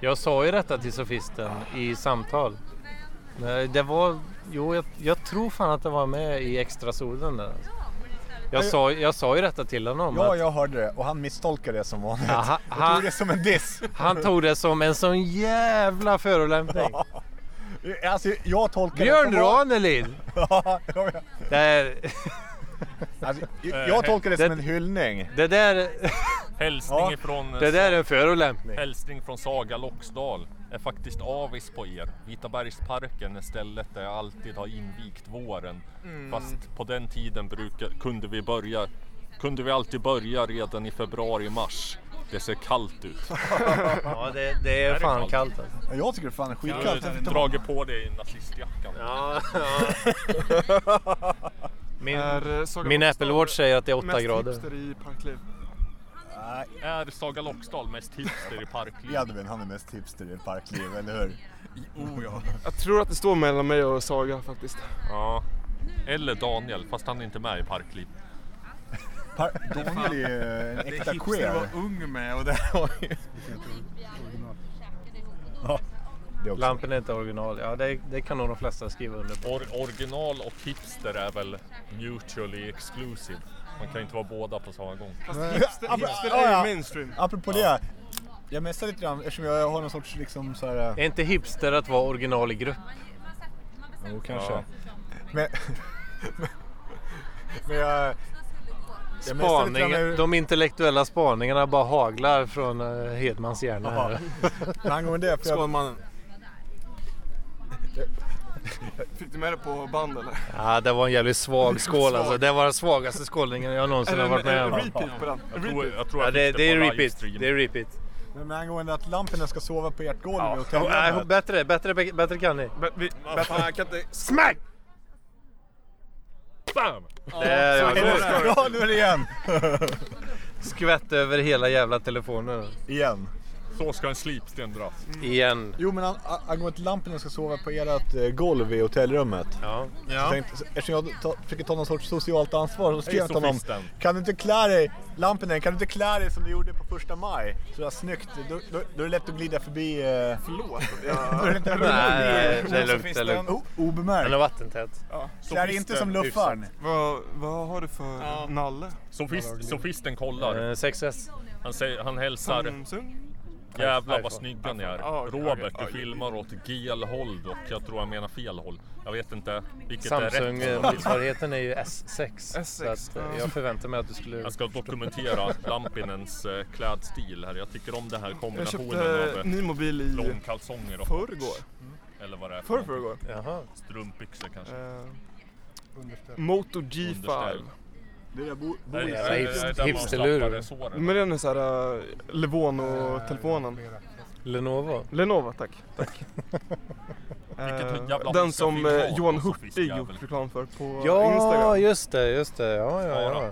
Speaker 2: Jag sa ju detta till sofisten i samtal. Nej, Det var, jo, jag, jag tror fan att det var med i extrasolen där. Jag sa, jag sa ju detta till honom.
Speaker 3: Ja,
Speaker 2: att-
Speaker 3: jag hörde det och han misstolkade det som vanligt.
Speaker 2: Aha,
Speaker 3: Han tog det som en diss.
Speaker 2: Han tog det som en sån jävla förolämpning.
Speaker 3: Alltså, jag tolkar
Speaker 2: Björn
Speaker 3: det som van-
Speaker 2: Ranelid!
Speaker 3: Ja, ja, ja.
Speaker 2: Det är...
Speaker 3: Alltså, jag- jag tolkar det som en hyllning.
Speaker 2: Det där...
Speaker 5: Hälsning
Speaker 2: Ja.
Speaker 5: ifrån...
Speaker 2: Det där är en förolämpning.
Speaker 5: Hälsning från Saga Loxdal. Är faktiskt avis på er. Vitabergsparken är stället där jag alltid har invigt våren.
Speaker 6: Mm.
Speaker 5: Fast på den tiden brukar, kunde vi börja kunde vi alltid börja redan i februari-mars. Det ser kallt ut.
Speaker 2: Ja, det, det är
Speaker 5: Här
Speaker 2: fan kallt alltså.
Speaker 3: Ja, Jag tycker det fan är skitkallt.
Speaker 5: Jag har dragit på dig i nazistjackan.
Speaker 2: Ja, Min,
Speaker 5: Är, eh, Saga
Speaker 2: min
Speaker 5: Loxdal
Speaker 2: Apple Watch säger att det är 8
Speaker 5: mest
Speaker 2: grader.
Speaker 5: hipster
Speaker 1: i Parkliv?
Speaker 5: Är Saga Loxdal mest hipster i Parkliv?
Speaker 3: Edvin, han är mest hipster i parkliv, eller hur?
Speaker 5: Oh, ja.
Speaker 1: Jag tror att det står mellan mig och Saga faktiskt.
Speaker 5: Ja. Eller Daniel, fast han är inte med i Parkliv.
Speaker 3: Daniel är ju en
Speaker 6: Det är
Speaker 3: äkta
Speaker 6: hipster
Speaker 3: queer.
Speaker 6: att vara ung med och det har ju...
Speaker 2: Lampen är inte original. Ja, det, det kan nog de flesta skriva under på.
Speaker 5: Or, original och hipster är väl mutually exclusive. Man kan ju inte vara båda på samma gång.
Speaker 1: mainstream.
Speaker 3: Apropå det. Jag messar lite grann eftersom jag har någon sorts liksom så här...
Speaker 2: Är inte hipster att vara original i grupp?
Speaker 3: Jo, kanske. Men, men jag... jag messar lite grann
Speaker 2: Spaning,
Speaker 3: med-
Speaker 2: de intellektuella spaningarna bara haglar från eh, Hedmans hjärna.
Speaker 3: Jaha.
Speaker 2: Här.
Speaker 3: Men angående det. För jag,
Speaker 1: mannen. Fick du med det på band eller?
Speaker 2: Ja, det var en jävligt svag skål alltså. Det var den svagaste skålningen jag någonsin har varit med om. Ja, det, det är repeat. Det är repeat.
Speaker 3: men, men angående att lamporna ska sova på ert golv och
Speaker 2: Ja, nej,
Speaker 3: tända.
Speaker 2: bättre, bättre, bättre kan ni.
Speaker 1: jag kan inte...
Speaker 2: Smack!
Speaker 5: Bam!
Speaker 2: Där, ja,
Speaker 3: så är
Speaker 2: god.
Speaker 3: det. Ja, nu är det igen.
Speaker 2: Skvätt över hela jävla telefonen.
Speaker 3: Igen.
Speaker 5: Så ska en slipsten dras.
Speaker 2: Igen.
Speaker 3: Jo men an- a- angående lamporna ska sova på ert eh, golv i hotellrummet.
Speaker 2: Ja.
Speaker 3: Så tänkte, så- eftersom jag ta, försöker ta någon sorts socialt ansvar så skrev
Speaker 5: Hej,
Speaker 3: jag till honom.
Speaker 5: sofisten.
Speaker 3: Kan du inte klä dig, lamporna, kan du inte klä dig som du gjorde på första maj? Sådär snyggt. Då, då, då är det lätt att glida förbi... Eh...
Speaker 1: Förlåt.
Speaker 3: då är det lätt att glida
Speaker 2: Nej, nej,
Speaker 3: förbi
Speaker 2: det är lugnt,
Speaker 3: eh,
Speaker 2: det är lugnt.
Speaker 3: O- obemärkt.
Speaker 2: Den är vattentät.
Speaker 3: Klä dig inte som luffaren.
Speaker 1: Vad, vad har du för nalle?
Speaker 5: Sofist, sofisten kollar.
Speaker 2: Eh, 6S.
Speaker 5: Han, säger, han hälsar.
Speaker 1: Mm. Samsung?
Speaker 5: Jävlar vad
Speaker 1: iPhone.
Speaker 5: snygga ni är.
Speaker 1: iPhone. Ah, okej,
Speaker 5: Robert,
Speaker 1: okej.
Speaker 5: du filmar åt gel håll dock. Jag tror jag menar fel håll. Jag vet inte vilket är rätt.
Speaker 2: Samsung-motsvarigheten eh, är ju S6. Så att, eh,
Speaker 5: ja.
Speaker 2: jag förväntar mig att du skulle...
Speaker 5: Jag ska dokumentera Lampinens eh, klädstil här. Jag tycker om den här
Speaker 1: Jag
Speaker 5: kombinationen
Speaker 1: köpte
Speaker 5: av eh,
Speaker 1: ny mobil i
Speaker 5: långkalsonger och
Speaker 1: förrgår.
Speaker 5: Eller vad det är.
Speaker 1: Förr, förrgår.
Speaker 2: Jaha.
Speaker 5: Strumpbyxor kanske.
Speaker 1: Eh, Moto G5.
Speaker 5: Underställ.
Speaker 3: Det där bo,
Speaker 5: bo- Nej, nej, hipster- nej, där man hipsterlur. slappade såren.
Speaker 1: Men den är så här uh, Levono-telefonen.
Speaker 2: Lenovo?
Speaker 1: Lenovo, tack. tack.
Speaker 5: Vilket
Speaker 1: Eh,
Speaker 5: jävla
Speaker 1: den
Speaker 5: massa
Speaker 1: som eh,
Speaker 5: filmat
Speaker 1: Johan
Speaker 5: och så
Speaker 1: Hurtig
Speaker 5: fiskjävel.
Speaker 1: gjort reklam för på Instagram.
Speaker 2: Ja, just det, just det. Ja, ja, ja.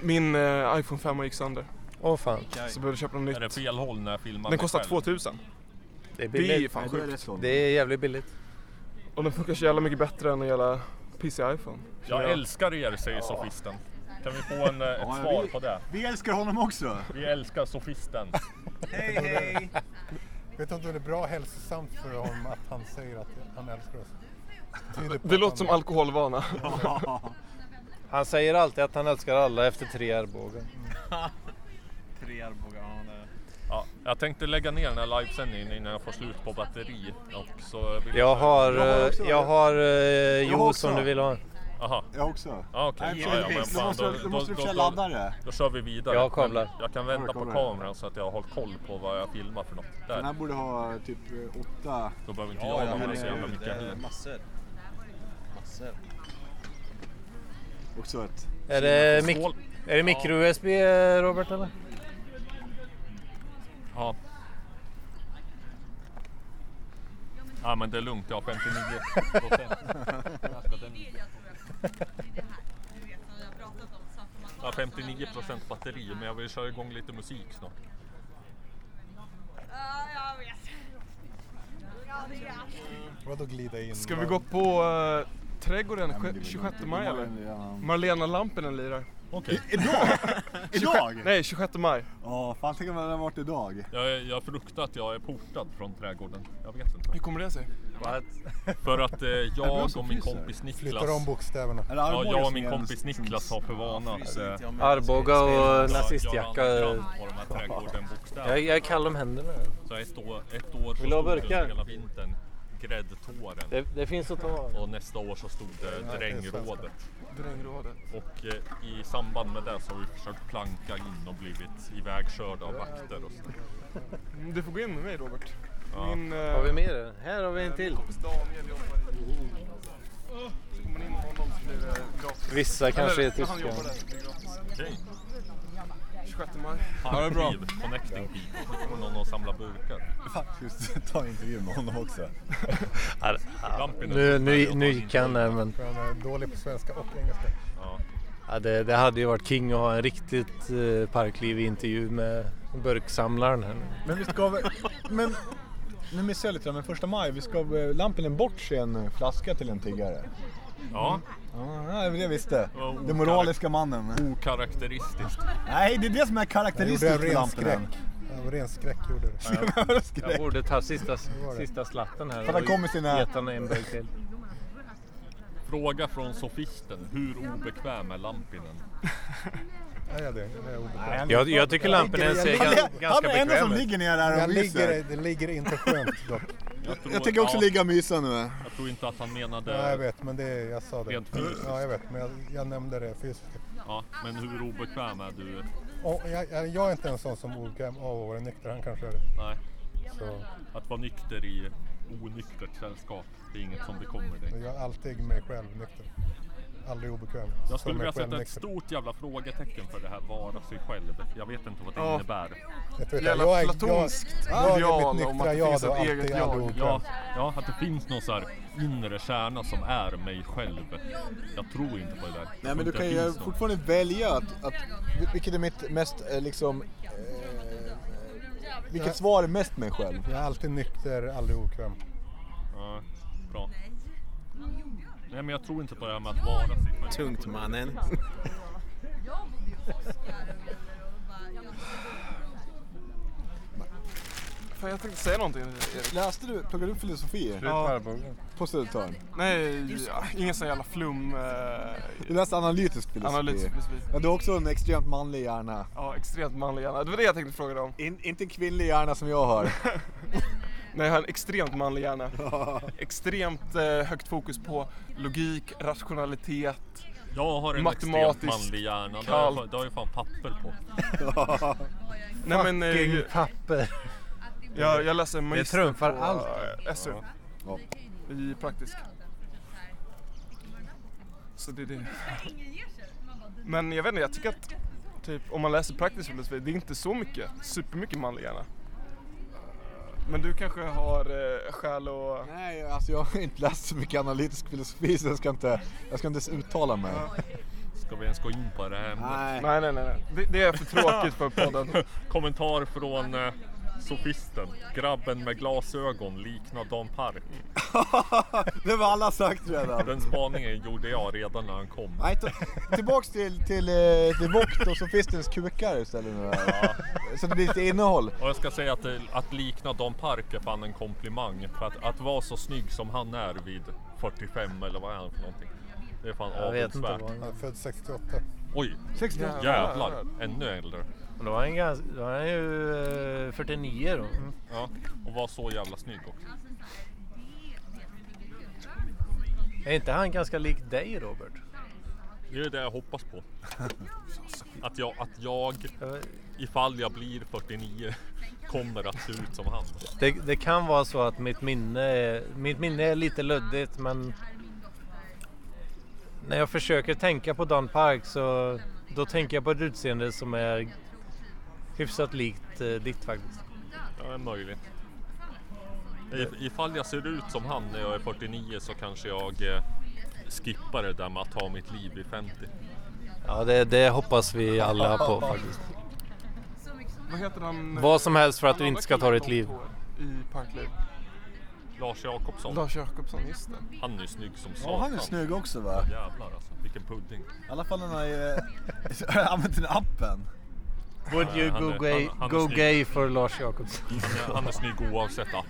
Speaker 1: Min eh, iPhone 5 gick sönder.
Speaker 2: Åh fan.
Speaker 1: Så behöver du köpa något nytt.
Speaker 5: Är det fel håll när jag filmar
Speaker 1: Den
Speaker 5: mig
Speaker 1: kostar
Speaker 5: själv?
Speaker 1: 2000.
Speaker 2: Det är
Speaker 1: Det är ju
Speaker 2: billigt.
Speaker 1: fan
Speaker 2: Ja, det är
Speaker 1: sjukt.
Speaker 2: rätt Det är jävligt billigt.
Speaker 1: Och den funkar så jävla mycket bättre än en jävla pissig iPhone.
Speaker 5: Jag älskar er, säger sofisten. Kan vi få en, eh, ett
Speaker 1: Ja, ja,
Speaker 5: svar
Speaker 1: vi-
Speaker 5: på det?
Speaker 1: vi älskar honom också.
Speaker 5: Vi älskar sofisten.
Speaker 4: Hej hej! Vet du om det är bra hälsosamt för honom att han säger att han älskar oss? Tyder på
Speaker 1: Det
Speaker 4: att
Speaker 1: låter
Speaker 4: han-
Speaker 1: som alkoholvana.
Speaker 2: Han säger alltid att han älskar alla efter tre Arboga.
Speaker 6: Tre Arboga, ja, det-
Speaker 5: Ja, jag tänkte lägga ner den här livesändningen innan jag får slut på batteri. Och så vill
Speaker 2: Jag har, eh, jag har eh,
Speaker 5: Jag har
Speaker 2: juice om
Speaker 5: också.
Speaker 2: du vill ha.
Speaker 5: Aha.
Speaker 3: Jag också.
Speaker 5: Ja, okej.
Speaker 3: Nej,
Speaker 5: ja, ja,
Speaker 3: precis.
Speaker 5: men
Speaker 3: Då
Speaker 5: fan,
Speaker 3: måste- då måste du försöka ladda det.
Speaker 5: Då kör vi vidare.
Speaker 2: Jag kablar.
Speaker 5: Men Jag kan vänta
Speaker 3: Ja,
Speaker 5: på
Speaker 3: kablar.
Speaker 5: kameran så att jag har hållit koll på vad jag filmar för något.
Speaker 3: Den här
Speaker 5: Där.
Speaker 3: borde ha typ eh, åtta...
Speaker 5: Då behöver inte jag ha med så jävla mycket heller.
Speaker 6: Massor. Massor.
Speaker 3: Också ett...
Speaker 2: Är det,
Speaker 3: Skål.
Speaker 2: mik- är det mikro-USB eh, Robert eller?
Speaker 5: Ja. Ja men det är lugnt, jag har 59 Jag har 59 procent batteri men jag vill köra igång lite musik snart.
Speaker 9: Ja, jag vet. Jag vet.
Speaker 4: Vadå glida in?
Speaker 1: Ska vi gå på uh, trädgården
Speaker 4: men det
Speaker 1: sj-
Speaker 4: vill
Speaker 1: 26
Speaker 4: jag inte.
Speaker 1: maj eller?
Speaker 4: Imorgon,
Speaker 1: Marlena Lampinen lirar.
Speaker 5: Okej.
Speaker 1: Idag?
Speaker 3: Idag?
Speaker 1: Nej, 26 maj.
Speaker 3: Ja, fan tänk om den hade varit idag.
Speaker 5: Jag, jag fruktar att jag är portad från trädgården. Jag vet inte.
Speaker 1: Hur kommer det sig?
Speaker 5: För att eh,
Speaker 4: Jag blir
Speaker 5: jag
Speaker 4: så
Speaker 5: och min
Speaker 4: förtjust här.
Speaker 5: kompis Niklas...
Speaker 4: Flyttar om bokstäverna. Är det
Speaker 5: Ja,
Speaker 4: Arboga
Speaker 5: jag och
Speaker 4: som
Speaker 5: min
Speaker 4: är en-
Speaker 5: kompis Niklas har för vana att... eh,
Speaker 2: Arboga och
Speaker 5: Ja,
Speaker 2: nazistjacka.
Speaker 5: göra en kram på de här trädgården-bokstäverna.
Speaker 2: Jag, jag är kall om händerna.
Speaker 5: Så ett år, ett år så
Speaker 2: Vill du ha
Speaker 5: stod
Speaker 2: burkar?
Speaker 5: det hela vintern Gräddtåren.
Speaker 2: Det- det finns att ta av.
Speaker 5: Och nästa år så stod det
Speaker 1: Ja, det är
Speaker 5: Drängrådet.
Speaker 1: Drängrådet.
Speaker 5: Och eh, i samband med det så har vi försökt planka in och blivit ivägkörda av vakter och så.
Speaker 1: Mm, Du får gå in med mig Robert.
Speaker 5: Ja.
Speaker 1: eh,
Speaker 2: Har vi mer? än? Här har vi en till. Vissa kanske är tyska.
Speaker 1: 26 maj.
Speaker 5: Ja, Connecting people. Så kommer någon och samlar burkar.
Speaker 3: Faktiskt, ta intervju med honom också.
Speaker 2: Nu, nu, nu gick han där men...
Speaker 4: Han är dålig på svenska och engelska.
Speaker 2: Ja, det, det hade ju varit king att ha en riktigt eh, parkliv intervju med burksamlaren här nu.
Speaker 3: Men vi ska väl... Men... Nu missade jag lite där, men första maj, vi ska Lampinen bort sig en eh, flaska till en tiggare.
Speaker 5: Ja.
Speaker 3: Ja, det var det jag visste.
Speaker 5: var
Speaker 4: Oh,
Speaker 3: Den moraliska mannen.
Speaker 5: Okaraktäristiskt.
Speaker 3: Nej, det är det som är karaktäristiskt för Lampinen.
Speaker 4: Det var ren skräck gjorde du.
Speaker 2: Jag borde ta sista, sista slatten här
Speaker 3: För han kom med sina-
Speaker 2: gett honom en burk till.
Speaker 5: Fråga från sofisten. Hur obekväm är Lampinen?
Speaker 4: Ja, ja, det är obekvämt.
Speaker 5: han- Jag- jag tycker Lampinen ser gan- ganska
Speaker 3: Han är enda
Speaker 5: bekväm
Speaker 3: som
Speaker 5: ut.
Speaker 3: ligger ner där och
Speaker 4: Jag ligger,
Speaker 3: myser.
Speaker 4: det ligger inte skönt dock.
Speaker 5: Jag, tror-
Speaker 3: Jag tänker också
Speaker 5: ja,
Speaker 3: ligga och mysa nu.
Speaker 8: Alltså,
Speaker 5: Jag tror inte att han menade...
Speaker 4: Ja, jag vet, men det, är- jag sa det.
Speaker 5: Rent fysiskt.
Speaker 4: Ja, jag vet, men jag, jag nämnde det fysiskt.
Speaker 5: Ja, men hur obekväm är du?
Speaker 4: Och jag, jag, jag är inte en sån som obekväm av att vara nykter, han kanske är det.
Speaker 5: Nej.
Speaker 4: Så.
Speaker 5: Att vara nykter i onyktert sällskap, det är inget som bekommer dig.
Speaker 4: Jag är alltid mig själv nykter. Aldrig obekväm.
Speaker 5: Jag
Speaker 4: Som
Speaker 5: skulle vilja
Speaker 4: mig själv
Speaker 5: sätta ett
Speaker 4: nykter.
Speaker 5: stort jävla frågetecken för det här vara sig själv. Jag vet inte vad det
Speaker 1: Ja.
Speaker 5: innebär.
Speaker 4: Jag tror Jävla jag är- jag- platonskt jag är ideal mitt om att nyktra det jag finns då, ett alltid eget jag. allihop.
Speaker 5: Ja, ja, att det finns någon så här inre kärna som är mig själv. Jag tror inte på det där.
Speaker 3: Nej men du
Speaker 5: Jag tror
Speaker 3: kan
Speaker 5: inte det
Speaker 3: ju
Speaker 5: finns någon.
Speaker 3: fortfarande välja att, att vilket är mitt mest eh, liksom, eh, vilket svar är mest mig själv?
Speaker 4: Jag är alltid nykter, aldrig obekväm.
Speaker 5: Ja, bra. Nej men jag tror inte på det här med att vara sig själv.
Speaker 6: Tungt mannen.
Speaker 1: Fan, jag tänkte säga någonting.
Speaker 3: Läste du, pluggade du filosofi?
Speaker 1: Ja.
Speaker 3: På Södertörn?
Speaker 1: Nej, ja, ingen sån jävla flum. eh,
Speaker 3: Du läste analytisk filosofi?
Speaker 1: Analytisk filosofi.
Speaker 3: Ja, du har också en extremt manlig hjärna.
Speaker 1: Ja, extremt manlig hjärna. Det var det jag tänkte fråga dig om.
Speaker 3: In, inte en kvinnlig hjärna som jag har.
Speaker 1: Nej, jag har en extremt manlig hjärna. Extremt eh, högt fokus på logik, rationalitet,
Speaker 5: Jag har en extremt
Speaker 1: matematiskt
Speaker 5: manlig hjärna. Det har, jag,
Speaker 1: kallt.
Speaker 5: fan- det har jag fan papper på.
Speaker 1: Nej, men, eh,
Speaker 2: Fucking papper.
Speaker 1: Jag, jag läser magister
Speaker 2: trumfar
Speaker 1: på
Speaker 2: allt.
Speaker 1: eh, SU.
Speaker 3: Ja.
Speaker 1: I praktisk. Så det är det. Men jag vet inte, jag tycker att typ, om man läser praktisk filosofi, det är inte så mycket, supermycket manlig hjärna. Men du kanske har eh, skäl att...
Speaker 3: Nej, alltså jag har inte läst så mycket analytisk filosofi så jag ska inte, jag ska inte ens uttala mig.
Speaker 5: Ska vi ens gå in på det
Speaker 3: Ah.
Speaker 5: här ämnet?
Speaker 1: Nej. Nej, nej, nej, nej. Det- det är för tråkigt för podden.
Speaker 5: Kommentar från eh, sofisten. Grabben med glasögon liknar Dan Park.
Speaker 3: Det var alla sagt redan.
Speaker 5: Den spaningen gjorde jag redan när han kom.
Speaker 3: Nej, ta, tillbaks till, till, eh, till Vokt och Sofistens kukar istället nu. här. Så det blir lite innehåll.
Speaker 5: Och jag ska säga att, det- att likna Dan Park är fan en komplimang. För att, att vara så snygg som han är vid 45 eller vad är han för någonting. Det är fan avundsvärt.
Speaker 8: Jag är född 68.
Speaker 5: Oj,
Speaker 8: 68.
Speaker 5: jävlar. Ännu äldre.
Speaker 2: Men då var han, gans, då var han ju eh, 49 då.
Speaker 5: Ja, och var så jävla snygg också.
Speaker 2: Är inte han ganska lik dig Robert?
Speaker 5: Det är det jag hoppas på. Att jag, att jag ifall jag blir 49, kommer att se ut som han.
Speaker 2: Det, det kan vara så att mitt minne, är, mitt minne är lite luddigt men när jag försöker tänka på Dan Park så då tänker jag på ett utseende som är hyfsat likt eh, ditt faktiskt.
Speaker 5: Ja, det är möjligt. I- Ifall jag ser ut som han när jag är 49 så kanske jag eh, skippar det där med att ta mitt liv vid 50.
Speaker 2: Ja, det, det hoppas vi alla på faktiskt.
Speaker 1: Vad heter han?
Speaker 2: Vad som helst för att
Speaker 1: Han
Speaker 2: du
Speaker 1: andra
Speaker 2: inte ska ta
Speaker 1: killen
Speaker 2: ditt
Speaker 1: med
Speaker 2: liv.
Speaker 1: långt hår I Parkliv.
Speaker 5: Lars Jakobsson.
Speaker 1: Lars Jakobsson, just det.
Speaker 5: Han är ju snygg som satan.
Speaker 3: Ja, han är snygg också, va?
Speaker 5: Jävlar alltså, vilken pudding.
Speaker 3: I alla fall när han har ju eh, använt den appen.
Speaker 2: Would you
Speaker 5: Ja, han
Speaker 2: go
Speaker 5: är-
Speaker 2: gay,
Speaker 5: han- han är
Speaker 2: go
Speaker 5: snygg.
Speaker 2: gay for Lars Jacobsson?
Speaker 5: Han är, han är snygg oavsett app.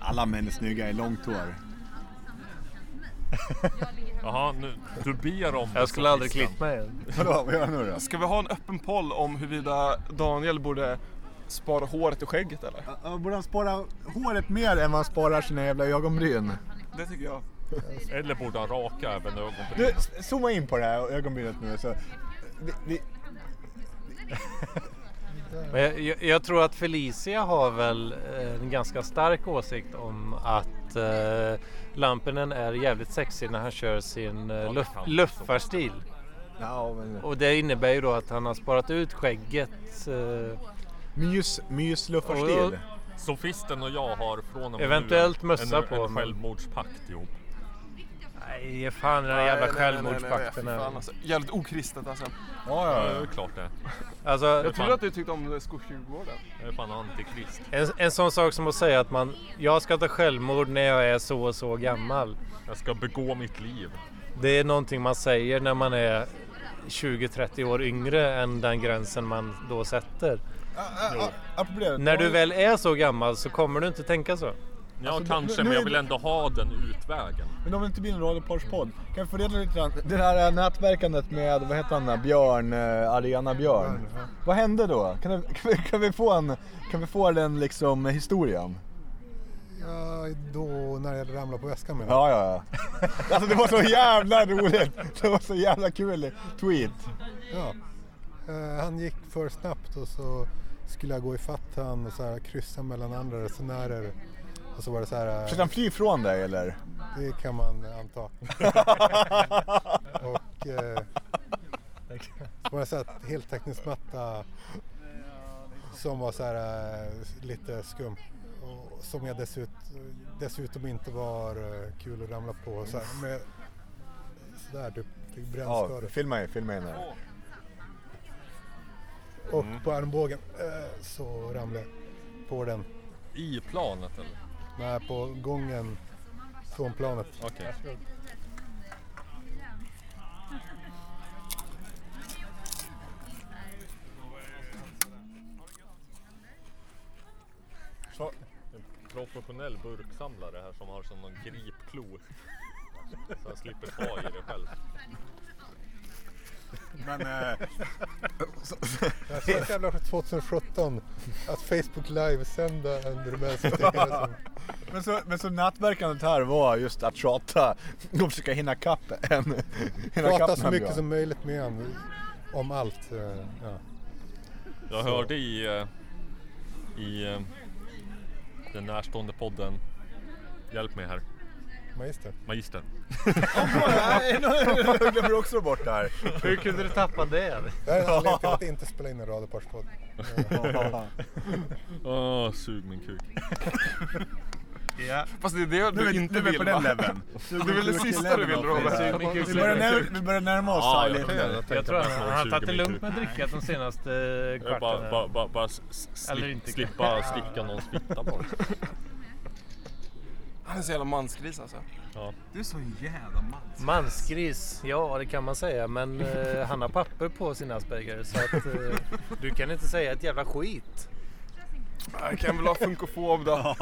Speaker 3: Alla män är snygga i långt hår.
Speaker 5: Jaha, nu, du ber om
Speaker 2: Jag skulle aldrig klippt mig.
Speaker 3: Vadå, vad gör jag nu då?
Speaker 1: Ska vi ha en öppen poll om huruvida Daniel borde spara håret och skägget eller?
Speaker 3: Ja, Borde han spara håret mer än vad han sparar sina jävla ögonbryn?
Speaker 1: Det tycker jag.
Speaker 5: Eller borde han raka även ögonbrynen?
Speaker 3: Du, s- zooma in på det här ögonbrynet nu. Så. Vi, vi,
Speaker 2: Men jag, jag, jag tror att Felicia har väl eh, en ganska stark åsikt om att eh, Lampinen är jävligt sexig när han kör sin eh, luff, luffarstil. Och det innebär ju då att han har sparat ut skägget. Eh,
Speaker 3: mys, mys
Speaker 2: Och-
Speaker 3: luffarstil.
Speaker 5: Sofisten och jag har från och med nu
Speaker 2: Eventuellt
Speaker 5: en,
Speaker 2: mössa
Speaker 5: en,
Speaker 2: på,
Speaker 5: en
Speaker 2: men-
Speaker 5: självmordspakt ihop.
Speaker 2: Nej, ge fan den här
Speaker 1: Nej,
Speaker 2: jävla
Speaker 1: nej, nej, nej, nej,
Speaker 2: självmordspakten.
Speaker 1: fy fan,
Speaker 2: här.
Speaker 1: alltså. Jävligt okristet alltså.
Speaker 5: ja, ja. Ja, det är klart det.
Speaker 2: Alltså,
Speaker 1: jag
Speaker 2: fan.
Speaker 1: trodde att du tyckte om Skogstjugården.
Speaker 5: Jag är fan antikrist.
Speaker 2: En, en sån sak som att säga att man, jag ska ta självmord när jag är så och så gammal.
Speaker 5: Jag ska begå mitt liv.
Speaker 2: Det är någonting man säger när man är 20-30 år yngre än den gränsen man då sätter.
Speaker 3: Apropå det,
Speaker 2: När du
Speaker 3: Daniel-
Speaker 2: väl är så gammal så kommer du inte tänka så.
Speaker 5: Ja,
Speaker 3: Alltså, nu-
Speaker 5: kanske, men
Speaker 3: nu-
Speaker 5: jag vill ändå ha den utvägen.
Speaker 3: Men om det inte blir en radioparspodd, kan vi få reda lite grann? Det här eh, nätverkandet med, vad heter han, där, Björn, eh, Arena Björn. Vad hände då? Kan, du, kan, vi, kan, vi få en, kan vi få den liksom historien?
Speaker 8: Ja, då när jag ramlade på väskan menar
Speaker 3: Ja, ja, ja. Alltså det var så jävla roligt! Det var så jävla kul tweet.
Speaker 8: Ja. Eh, han gick för snabbt och så skulle jag gå ifatt han och så här kryssa mellan andra resenärer. Och så var det så här... eh,
Speaker 3: Försökte han fly ifrån dig eller?
Speaker 8: Det kan man anta. och eh, så var det så här heltäckningsmatta som var så här eh, lite skum. Och som jag dessut, dessutom inte var eh, kul att ramla på. Så här, med, så där typ, fick
Speaker 3: Ja,
Speaker 8: brännskador.
Speaker 3: filma in, filma in här.
Speaker 8: Och på armbågen eh, så ramlade jag på den.
Speaker 5: I planet eller?
Speaker 8: Nej, på gången från planet.
Speaker 5: Okej. En professionell burksamlare här som har som någon gripklo. Så han slipper ta i det själv.
Speaker 3: Men... Eh, så-
Speaker 8: Jag såg jävla 2017 att Facebook livesända en rumänsk täckare som
Speaker 3: men, så, men så nätverkandet här var just att tjata och försöka hinna kapp en. hinna kapp
Speaker 8: pratar så
Speaker 3: den här
Speaker 8: mycket
Speaker 3: Björn.
Speaker 8: som möjligt med honom om allt. eh, Ja.
Speaker 5: Jag
Speaker 8: Så.
Speaker 5: hörde i, eh, i eh, den närstående podden, hjälp mig här,
Speaker 8: Magister.
Speaker 5: Magister.
Speaker 3: Jag glömmer också bort det här.
Speaker 2: Hur kunde du tappa det?
Speaker 8: Det här är en anledning till att inte spela in en radarparspodd.
Speaker 5: Åh, sug min kuk.
Speaker 1: Ja. Fast det är det du
Speaker 3: Nu är-
Speaker 1: inte
Speaker 3: nu är vi
Speaker 1: vill
Speaker 3: på den
Speaker 1: va?
Speaker 3: leveln.
Speaker 1: Det är väl det sista du vill Robert?
Speaker 3: Vi börjar när- vi börjar närma oss här lite.
Speaker 2: Jag tror han han har tagit det lugnt med drickat de senaste eh,
Speaker 5: Bara,
Speaker 2: kvarten.
Speaker 5: bara, bara, bara s- s-
Speaker 2: Eller
Speaker 5: slip,
Speaker 2: inte.
Speaker 5: slippa sticka någon smitta på det.
Speaker 1: Han är så jävla mansgris alltså.
Speaker 6: Du är så jävla mans.
Speaker 2: Mansgris, ja det kan man säga. Men eh, han har papper på sin Asperger så att eh, du kan inte säga ett jävla skit.
Speaker 1: Jag kan väl ha funkofob då.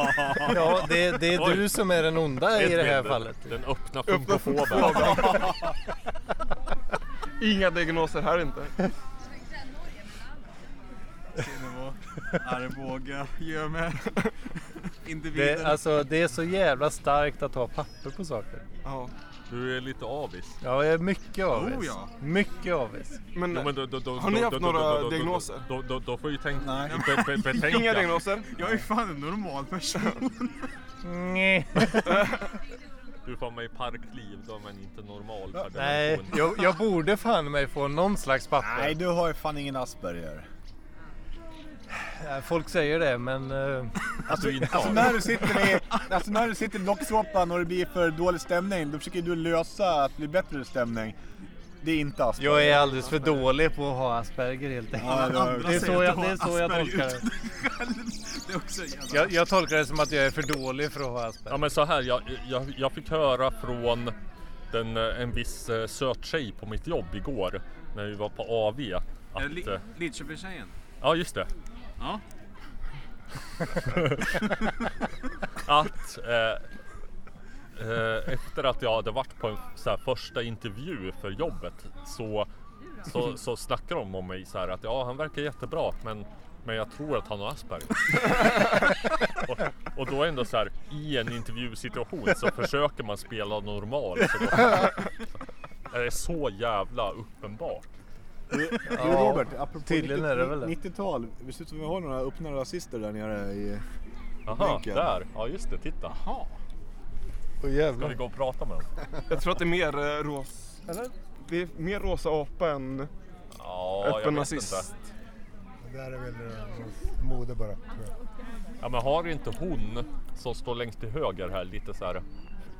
Speaker 2: Ja, det, det är
Speaker 1: Oj.
Speaker 2: du som är den onda i det här
Speaker 1: Edvin,
Speaker 2: fallet.
Speaker 5: Den öppna
Speaker 1: Inga diagnoser här inte.
Speaker 6: Kinnebo, Arboga, Göme. Individen.
Speaker 2: Det, alltså, det är så jävla starkt att ha papper på saker.
Speaker 5: Du är lite avis.
Speaker 2: Ja, jag är mycket avis.
Speaker 5: Oh, ja.
Speaker 2: Mycket avis.
Speaker 1: Men,
Speaker 5: Jo, då- då- då-
Speaker 1: har ni
Speaker 5: då-
Speaker 1: haft
Speaker 5: då- då-
Speaker 1: några
Speaker 5: då- då-
Speaker 1: diagnoser?
Speaker 5: Då, då, då får ju tänka... Be, be, betänka.
Speaker 1: Inga diagnoser?
Speaker 6: Jag är fan en normal person.
Speaker 2: Nej.
Speaker 5: Du får mig parkliv då men inte normal per
Speaker 2: Nej,
Speaker 5: definition.
Speaker 2: jag, jag borde fan mig få någon slags papper.
Speaker 3: Nej, du har ju fan ingen Asperger.
Speaker 2: Eh, Folk säger det, men... eh,
Speaker 3: Alltså när du sitter i, alltså när du sitter i docksåpan och det blir för dålig stämning, då försöker du lösa att bli bättre stämning. Det är inte Asperger.
Speaker 2: Jag är alldeles för dålig på att ha Asperger helt enkelt.
Speaker 3: Ja, det har jag.
Speaker 2: det är så jag, det är så jag tolkar det.
Speaker 6: Det är också en jävla...
Speaker 2: Jag, jag tolkar det som att jag är för dålig för att ha Asperger.
Speaker 5: Ja men så här, jag, jag, jag fick höra från den, eh, en viss eh, söt tjej på mitt jobb igår när vi var på AV
Speaker 6: Är det
Speaker 5: att...
Speaker 6: Li-
Speaker 5: eh,
Speaker 6: Lidköpingstjejen?
Speaker 5: Ja just det.
Speaker 6: Ja.
Speaker 5: att eh, eh, efter att jag hade varit på en så här, första intervju för jobbet så, så, så snackade de om mig så här att ja han verkar jättebra men, men jag tror att han har Asperger. och, och då ändå så här i en intervjusituation så försöker man spela normal. Så då, det är så jävla uppenbart.
Speaker 3: Du Robert, apropå
Speaker 2: tydligen
Speaker 3: 90
Speaker 2: är det väl det.
Speaker 3: 90-tal, det ser ut som vi har några öppna rasister där nere i
Speaker 5: Aha,
Speaker 3: bänken.
Speaker 5: där! Ja just det, titta. Ska vi gå och prata med dem?
Speaker 1: Jag tror att det är mer eh, ros... Eller? Det är mer rosa apa än
Speaker 5: Ja, jag
Speaker 1: öppen
Speaker 5: vet
Speaker 1: nazist.
Speaker 5: inte.
Speaker 8: Det där är väl eh, mode bara. tror jag.
Speaker 5: Ja men har inte hon som står längst till höger här lite så här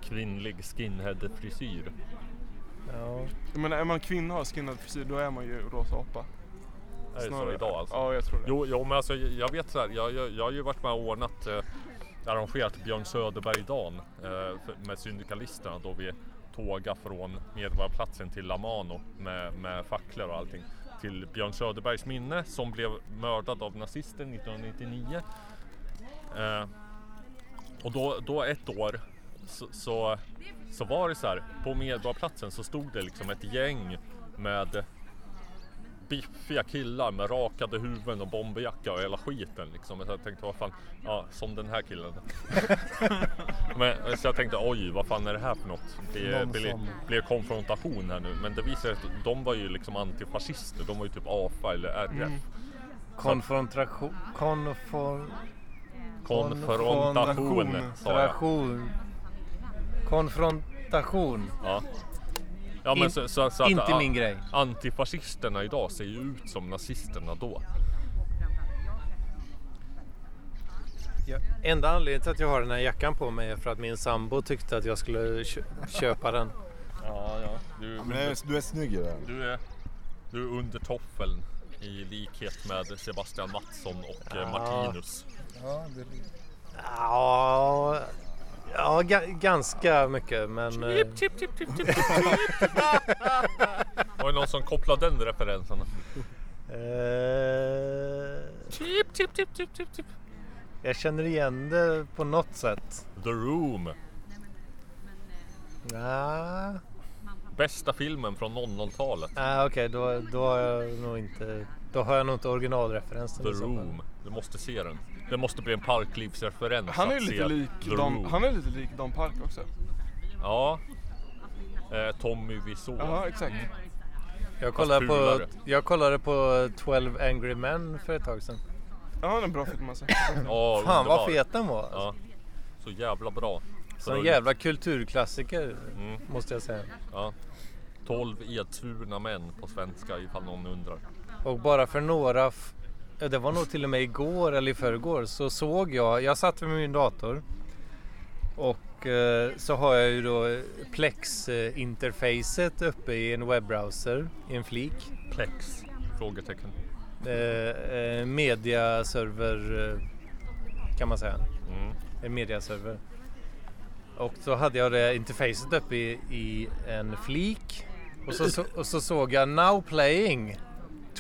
Speaker 5: kvinnlig skinhead frisyr?
Speaker 2: Ja.
Speaker 1: Jag menar, är man kvinna och har skinnad frisyr då är man ju rosa apa.
Speaker 5: Är det så
Speaker 1: Snarare.
Speaker 5: idag alltså?
Speaker 1: Ja, jag tror det.
Speaker 5: Jo, jo men alltså jag- jag vet så här, jag, jag, jag har ju varit med och ordnat, eh, arrangerat Björn Söderberg-dagen eh, för- med syndikalisterna då vi tåga från Medborgarplatsen till Lamano med, med facklor och allting till Björn Söderbergs minne som blev mördad av nazister 1999. Eh, och då, då ett år så, så, så var det så här, på Medborgarplatsen så stod det liksom ett gäng med biffiga killar med rakade huvuden och bomberjacka och hela skiten liksom. Så jag tänkte vad fan, ja, som den här killen. men, så jag tänkte oj, vad fan är det här för något? Det
Speaker 2: Någon
Speaker 5: blir,
Speaker 2: som-
Speaker 5: blir konfrontation här nu. Men det visade sig att de var ju liksom antifascister. De var ju typ AFA eller RF.
Speaker 2: Mm. Konfrontation... Konfor...
Speaker 5: Konfrontation, sa jag.
Speaker 2: Konfrontation. Konfrontation.
Speaker 5: Ja. Ja, men
Speaker 2: In-
Speaker 5: så, så, så att,
Speaker 2: inte
Speaker 5: ja,
Speaker 2: min grej.
Speaker 5: Antifascisterna idag ser ju ut som nazisterna då.
Speaker 2: Enda anledningen till att jag har den här jackan på mig är för att min sambo tyckte att jag skulle kö- köpa den.
Speaker 5: Ja, ja. Du,
Speaker 3: men det är- du är snygg i det.
Speaker 5: Du är, du är under toffeln i likhet med Sebastian Mattsson och eh,
Speaker 2: Ja.
Speaker 5: Martinus.
Speaker 8: Ja, det är...
Speaker 2: Ja, ja ga- ganska mycket men... eh,
Speaker 5: Chip, chip, chip, chip, chip, chip, chip. Var det någon som kopplade den referensen?
Speaker 2: eh,
Speaker 5: Chip, chip, chip, chip, chip, chip.
Speaker 2: jag känner igen det på något sätt.
Speaker 5: The Room.
Speaker 2: Ja,
Speaker 5: Bästa filmen från 00-talet.
Speaker 2: ah, okej då, då har jag nog inte... Då har jag nog inte originalreferensen.
Speaker 5: The
Speaker 2: i så fall.
Speaker 5: Room. Du måste se den. Det måste bli en parklivsreferens
Speaker 1: Han är ju
Speaker 5: att
Speaker 1: lite
Speaker 5: se
Speaker 1: lik
Speaker 5: The
Speaker 1: Dan,
Speaker 5: Room.
Speaker 1: han är lite lik Dan Park också.
Speaker 5: Ja. Eh, Tommy Wiseau.
Speaker 1: Ja, exakt.
Speaker 2: Jag
Speaker 5: Fast
Speaker 2: kollade, på,
Speaker 5: fulare.
Speaker 2: jag kollade på 12 Angry Men för ett tag sedan.
Speaker 1: Ja, han är en bra film alltså.
Speaker 5: Eh. Ja,
Speaker 2: Fan vad
Speaker 5: underbar.
Speaker 2: fet den var.
Speaker 5: Ja. Så jävla bra. För
Speaker 2: Sån
Speaker 5: att-
Speaker 2: jävla kulturklassiker
Speaker 5: Mm.
Speaker 2: måste jag säga.
Speaker 5: Ja. 12 edsvurna män på svenska ifall någon undrar.
Speaker 2: Och bara för några, f- ja, det var nog till och med igår eller i förrgår, så såg jag, jag satt vid min dator Och eh, så har jag ju då Plex-interfacet uppe i en webbrowser, i en flik.
Speaker 5: Plex? Frågetecken.
Speaker 2: Eh, eh, mediaserver eh, kan man säga. En mediaserver. Och så hade jag det interfacet uppe i, i en flik. Och så, så, och så såg jag Now Playing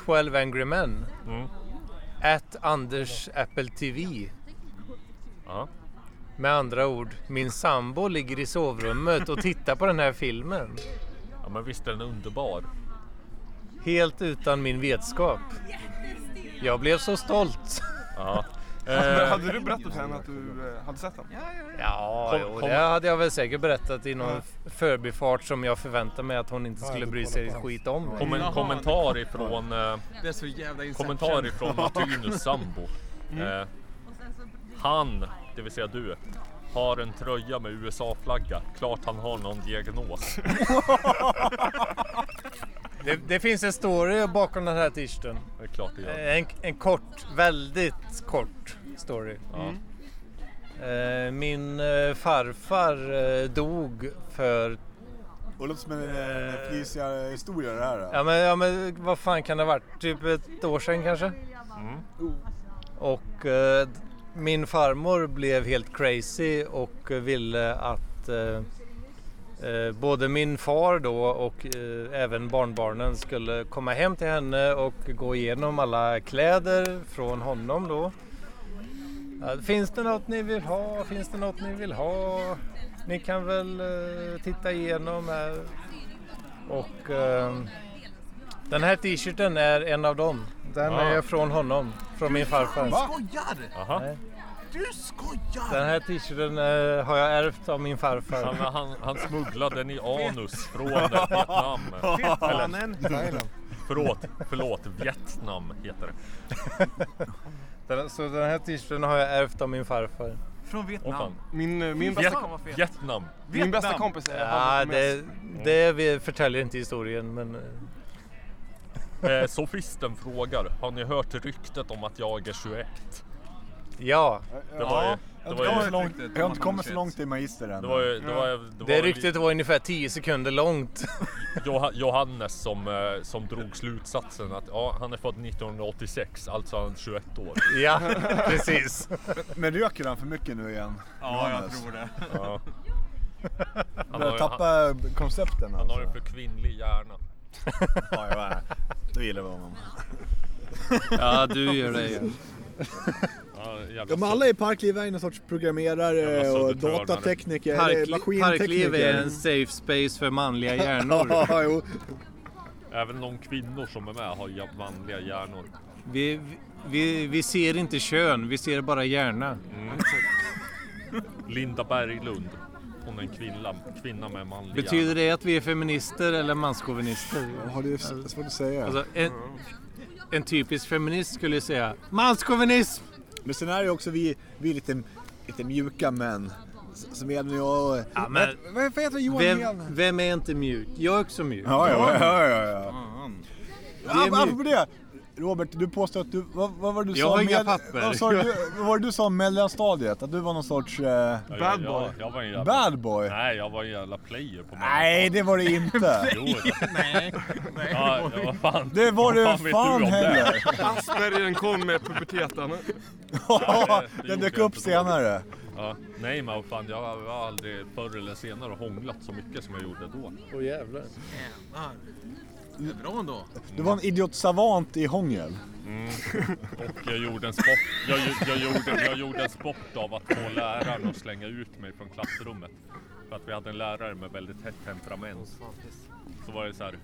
Speaker 2: 12 Angry Men. At Anders Apple TV. Med andra ord, min sambo ligger i sovrummet och tittar på den här filmen.
Speaker 5: Ja men visst är den underbar?
Speaker 2: Helt utan min vetskap. Jag blev så stolt.
Speaker 5: Ja,
Speaker 1: Hade,
Speaker 5: Eh,
Speaker 1: hade du berättat för henne att du eh, hade sett den?
Speaker 2: Ja,
Speaker 1: Kom-
Speaker 2: jo,
Speaker 1: kom-
Speaker 2: det hade jag väl säkert berättat i någon
Speaker 1: Ja.
Speaker 2: f- förbifart som jag förväntade mig att hon inte
Speaker 5: Ja,
Speaker 2: skulle
Speaker 5: du
Speaker 2: bry
Speaker 5: kollar
Speaker 2: sig
Speaker 5: på hans.
Speaker 2: skit om.
Speaker 5: Kom- en kommentar ifrån... eh,
Speaker 6: Det är så jävla Inception.
Speaker 5: kommentar ifrån Martinus sambo. Eh, han, det vill säga du, har en tröja med USA-flagga. Klart han har någon diagnos.
Speaker 2: Det, det finns en story bakom den här t-shirten. Eh,
Speaker 5: Det är klart det gör.
Speaker 2: En, en kort, väldigt kort story.
Speaker 5: Ja.
Speaker 2: Eh, Min eh, farfar eh, dog för
Speaker 3: Och låter som en eh, fnisiga historia det här. eh. då.
Speaker 2: Ja men, ja men vad fan kan det ha varit? Typ ett år sedan kanske? Och eh, d- min farmor blev helt crazy och ville att eh, eh, både min far då och eh, även barnbarnen skulle komma hem till henne och gå igenom alla kläder från honom då. Ja, Finns det något ni vill ha? Finns det något ni vill ha? Ni kan väl eh, titta igenom här. Och ehm, den här t-shirten är en av dem. Den
Speaker 6: Ah.
Speaker 2: är från honom, från min farfar.
Speaker 6: Du skojar!
Speaker 2: Nej.
Speaker 6: Du skojar!
Speaker 2: Den här t-shirten eh, har jag ärvt av min farfar.
Speaker 5: Han, han, han smugglade den i anus från Vietnam.
Speaker 2: Vietnamen. Thailand.
Speaker 5: Förlåt, förlåt. Vietnam heter det.
Speaker 2: Den, så den här t-shirten har jag ärvt av min farfar.
Speaker 10: Från
Speaker 5: Åh, fan.
Speaker 10: Vietnam.
Speaker 1: Min, eh,
Speaker 10: min
Speaker 5: Viet-
Speaker 10: bästa- Fan, vad fet.
Speaker 5: Vietnam.
Speaker 1: Min bästa kompis är
Speaker 2: Ja, det,
Speaker 6: Mm.
Speaker 2: det vi förtäljer inte historien men... eh,
Speaker 5: Eh, sofisten frågar, har ni hört ryktet om att jag är 21?
Speaker 2: Ja.
Speaker 5: Det var ju... Det var ju,
Speaker 3: jag har inte kommit så långt i magister än.
Speaker 5: Det var ju- det var ju- det var
Speaker 2: Det
Speaker 5: väl-
Speaker 2: ryktet var ungefär 10 sekunder långt.
Speaker 5: Joha- Johannes som, eh, som drog slutsatsen att ja, han är född 1986, alltså är han 21 år.
Speaker 2: Ja, precis.
Speaker 3: Men röker han för mycket nu igen?
Speaker 5: Ja, jag
Speaker 3: Johannes?
Speaker 5: tror det. Ja. Han har
Speaker 3: Börjar
Speaker 5: ju-
Speaker 3: tappa koncepten
Speaker 5: Han har
Speaker 3: alltså.
Speaker 5: en för kvinnlig hjärna.
Speaker 3: Ja, ja, ja. Då gillar vi honom.
Speaker 5: Ja, du gör det igen.
Speaker 3: Ja, men alla i Parkliv är ju någon sorts programmerare
Speaker 5: alltså,
Speaker 3: och datatekniker, eller maskintekniker.
Speaker 2: Parkliv är en safe space för manliga hjärnor.
Speaker 3: Ja, jo.
Speaker 5: Även de kvinnor som är med har ju manliga hjärnor.
Speaker 2: Vi, vi, vi ser inte kön, vi ser bara hjärna.
Speaker 5: Linda Berglund, hon är en kvinna, kvinna med manlig
Speaker 2: Betyder det att vi är feminister eller manschauvinister?
Speaker 3: Ja, det är s- svårt att säga.
Speaker 2: Alltså, en, en typisk feminist skulle ju säga Manschauvinism!
Speaker 3: Men sen är det ju också vi, vi är lite, lite mjuka män. S- Som Edvin och jag.
Speaker 2: Ja, men-
Speaker 3: Vad vad heter Johan
Speaker 2: vem,
Speaker 3: igen?
Speaker 2: vem är inte mjuk? Jag är också mjuk.
Speaker 3: Ja, ja, ja, ja, ja.
Speaker 2: är
Speaker 3: Ja, men
Speaker 2: mjukt.
Speaker 3: apropå det. Robert, du påstår att du... Vad, vad var det du
Speaker 2: Jag
Speaker 3: sa?
Speaker 2: har inga
Speaker 3: med-
Speaker 2: papper.
Speaker 3: Vad, sa du, vad var det du sa om mellanstadiet? Att du var någon sorts... Eh,
Speaker 5: Ja, jag- Jag, jag var en jävla,
Speaker 3: Bad boy?
Speaker 5: Nej, jag var en jävla player på mig.
Speaker 3: Nej, det var det inte.
Speaker 5: Jo, det- ja, ja, vad fan.
Speaker 3: Det var det
Speaker 5: Vad vet
Speaker 3: fan
Speaker 5: du om det?
Speaker 3: heller.
Speaker 1: Aspergern kom med puberteten.
Speaker 3: Ja,
Speaker 5: det
Speaker 3: den
Speaker 5: gjorde
Speaker 3: dök
Speaker 5: jag
Speaker 3: upp
Speaker 5: inte.
Speaker 3: senare.
Speaker 5: Ja, nej men vad fan, jag har aldrig förr eller senare hånglat så mycket som jag gjorde då.
Speaker 2: Åh jävlar.
Speaker 6: Jävlar. Det är bra ändå.
Speaker 3: Du var en idiot savant i hångel.
Speaker 5: Och jag gjorde en sport, jag, gjo- jag, gjorde, jag gjorde en sport av att få läraren att slänga ut mig från klassrummet. För att vi hade en lärare med väldigt hett temperament. Så var det så här,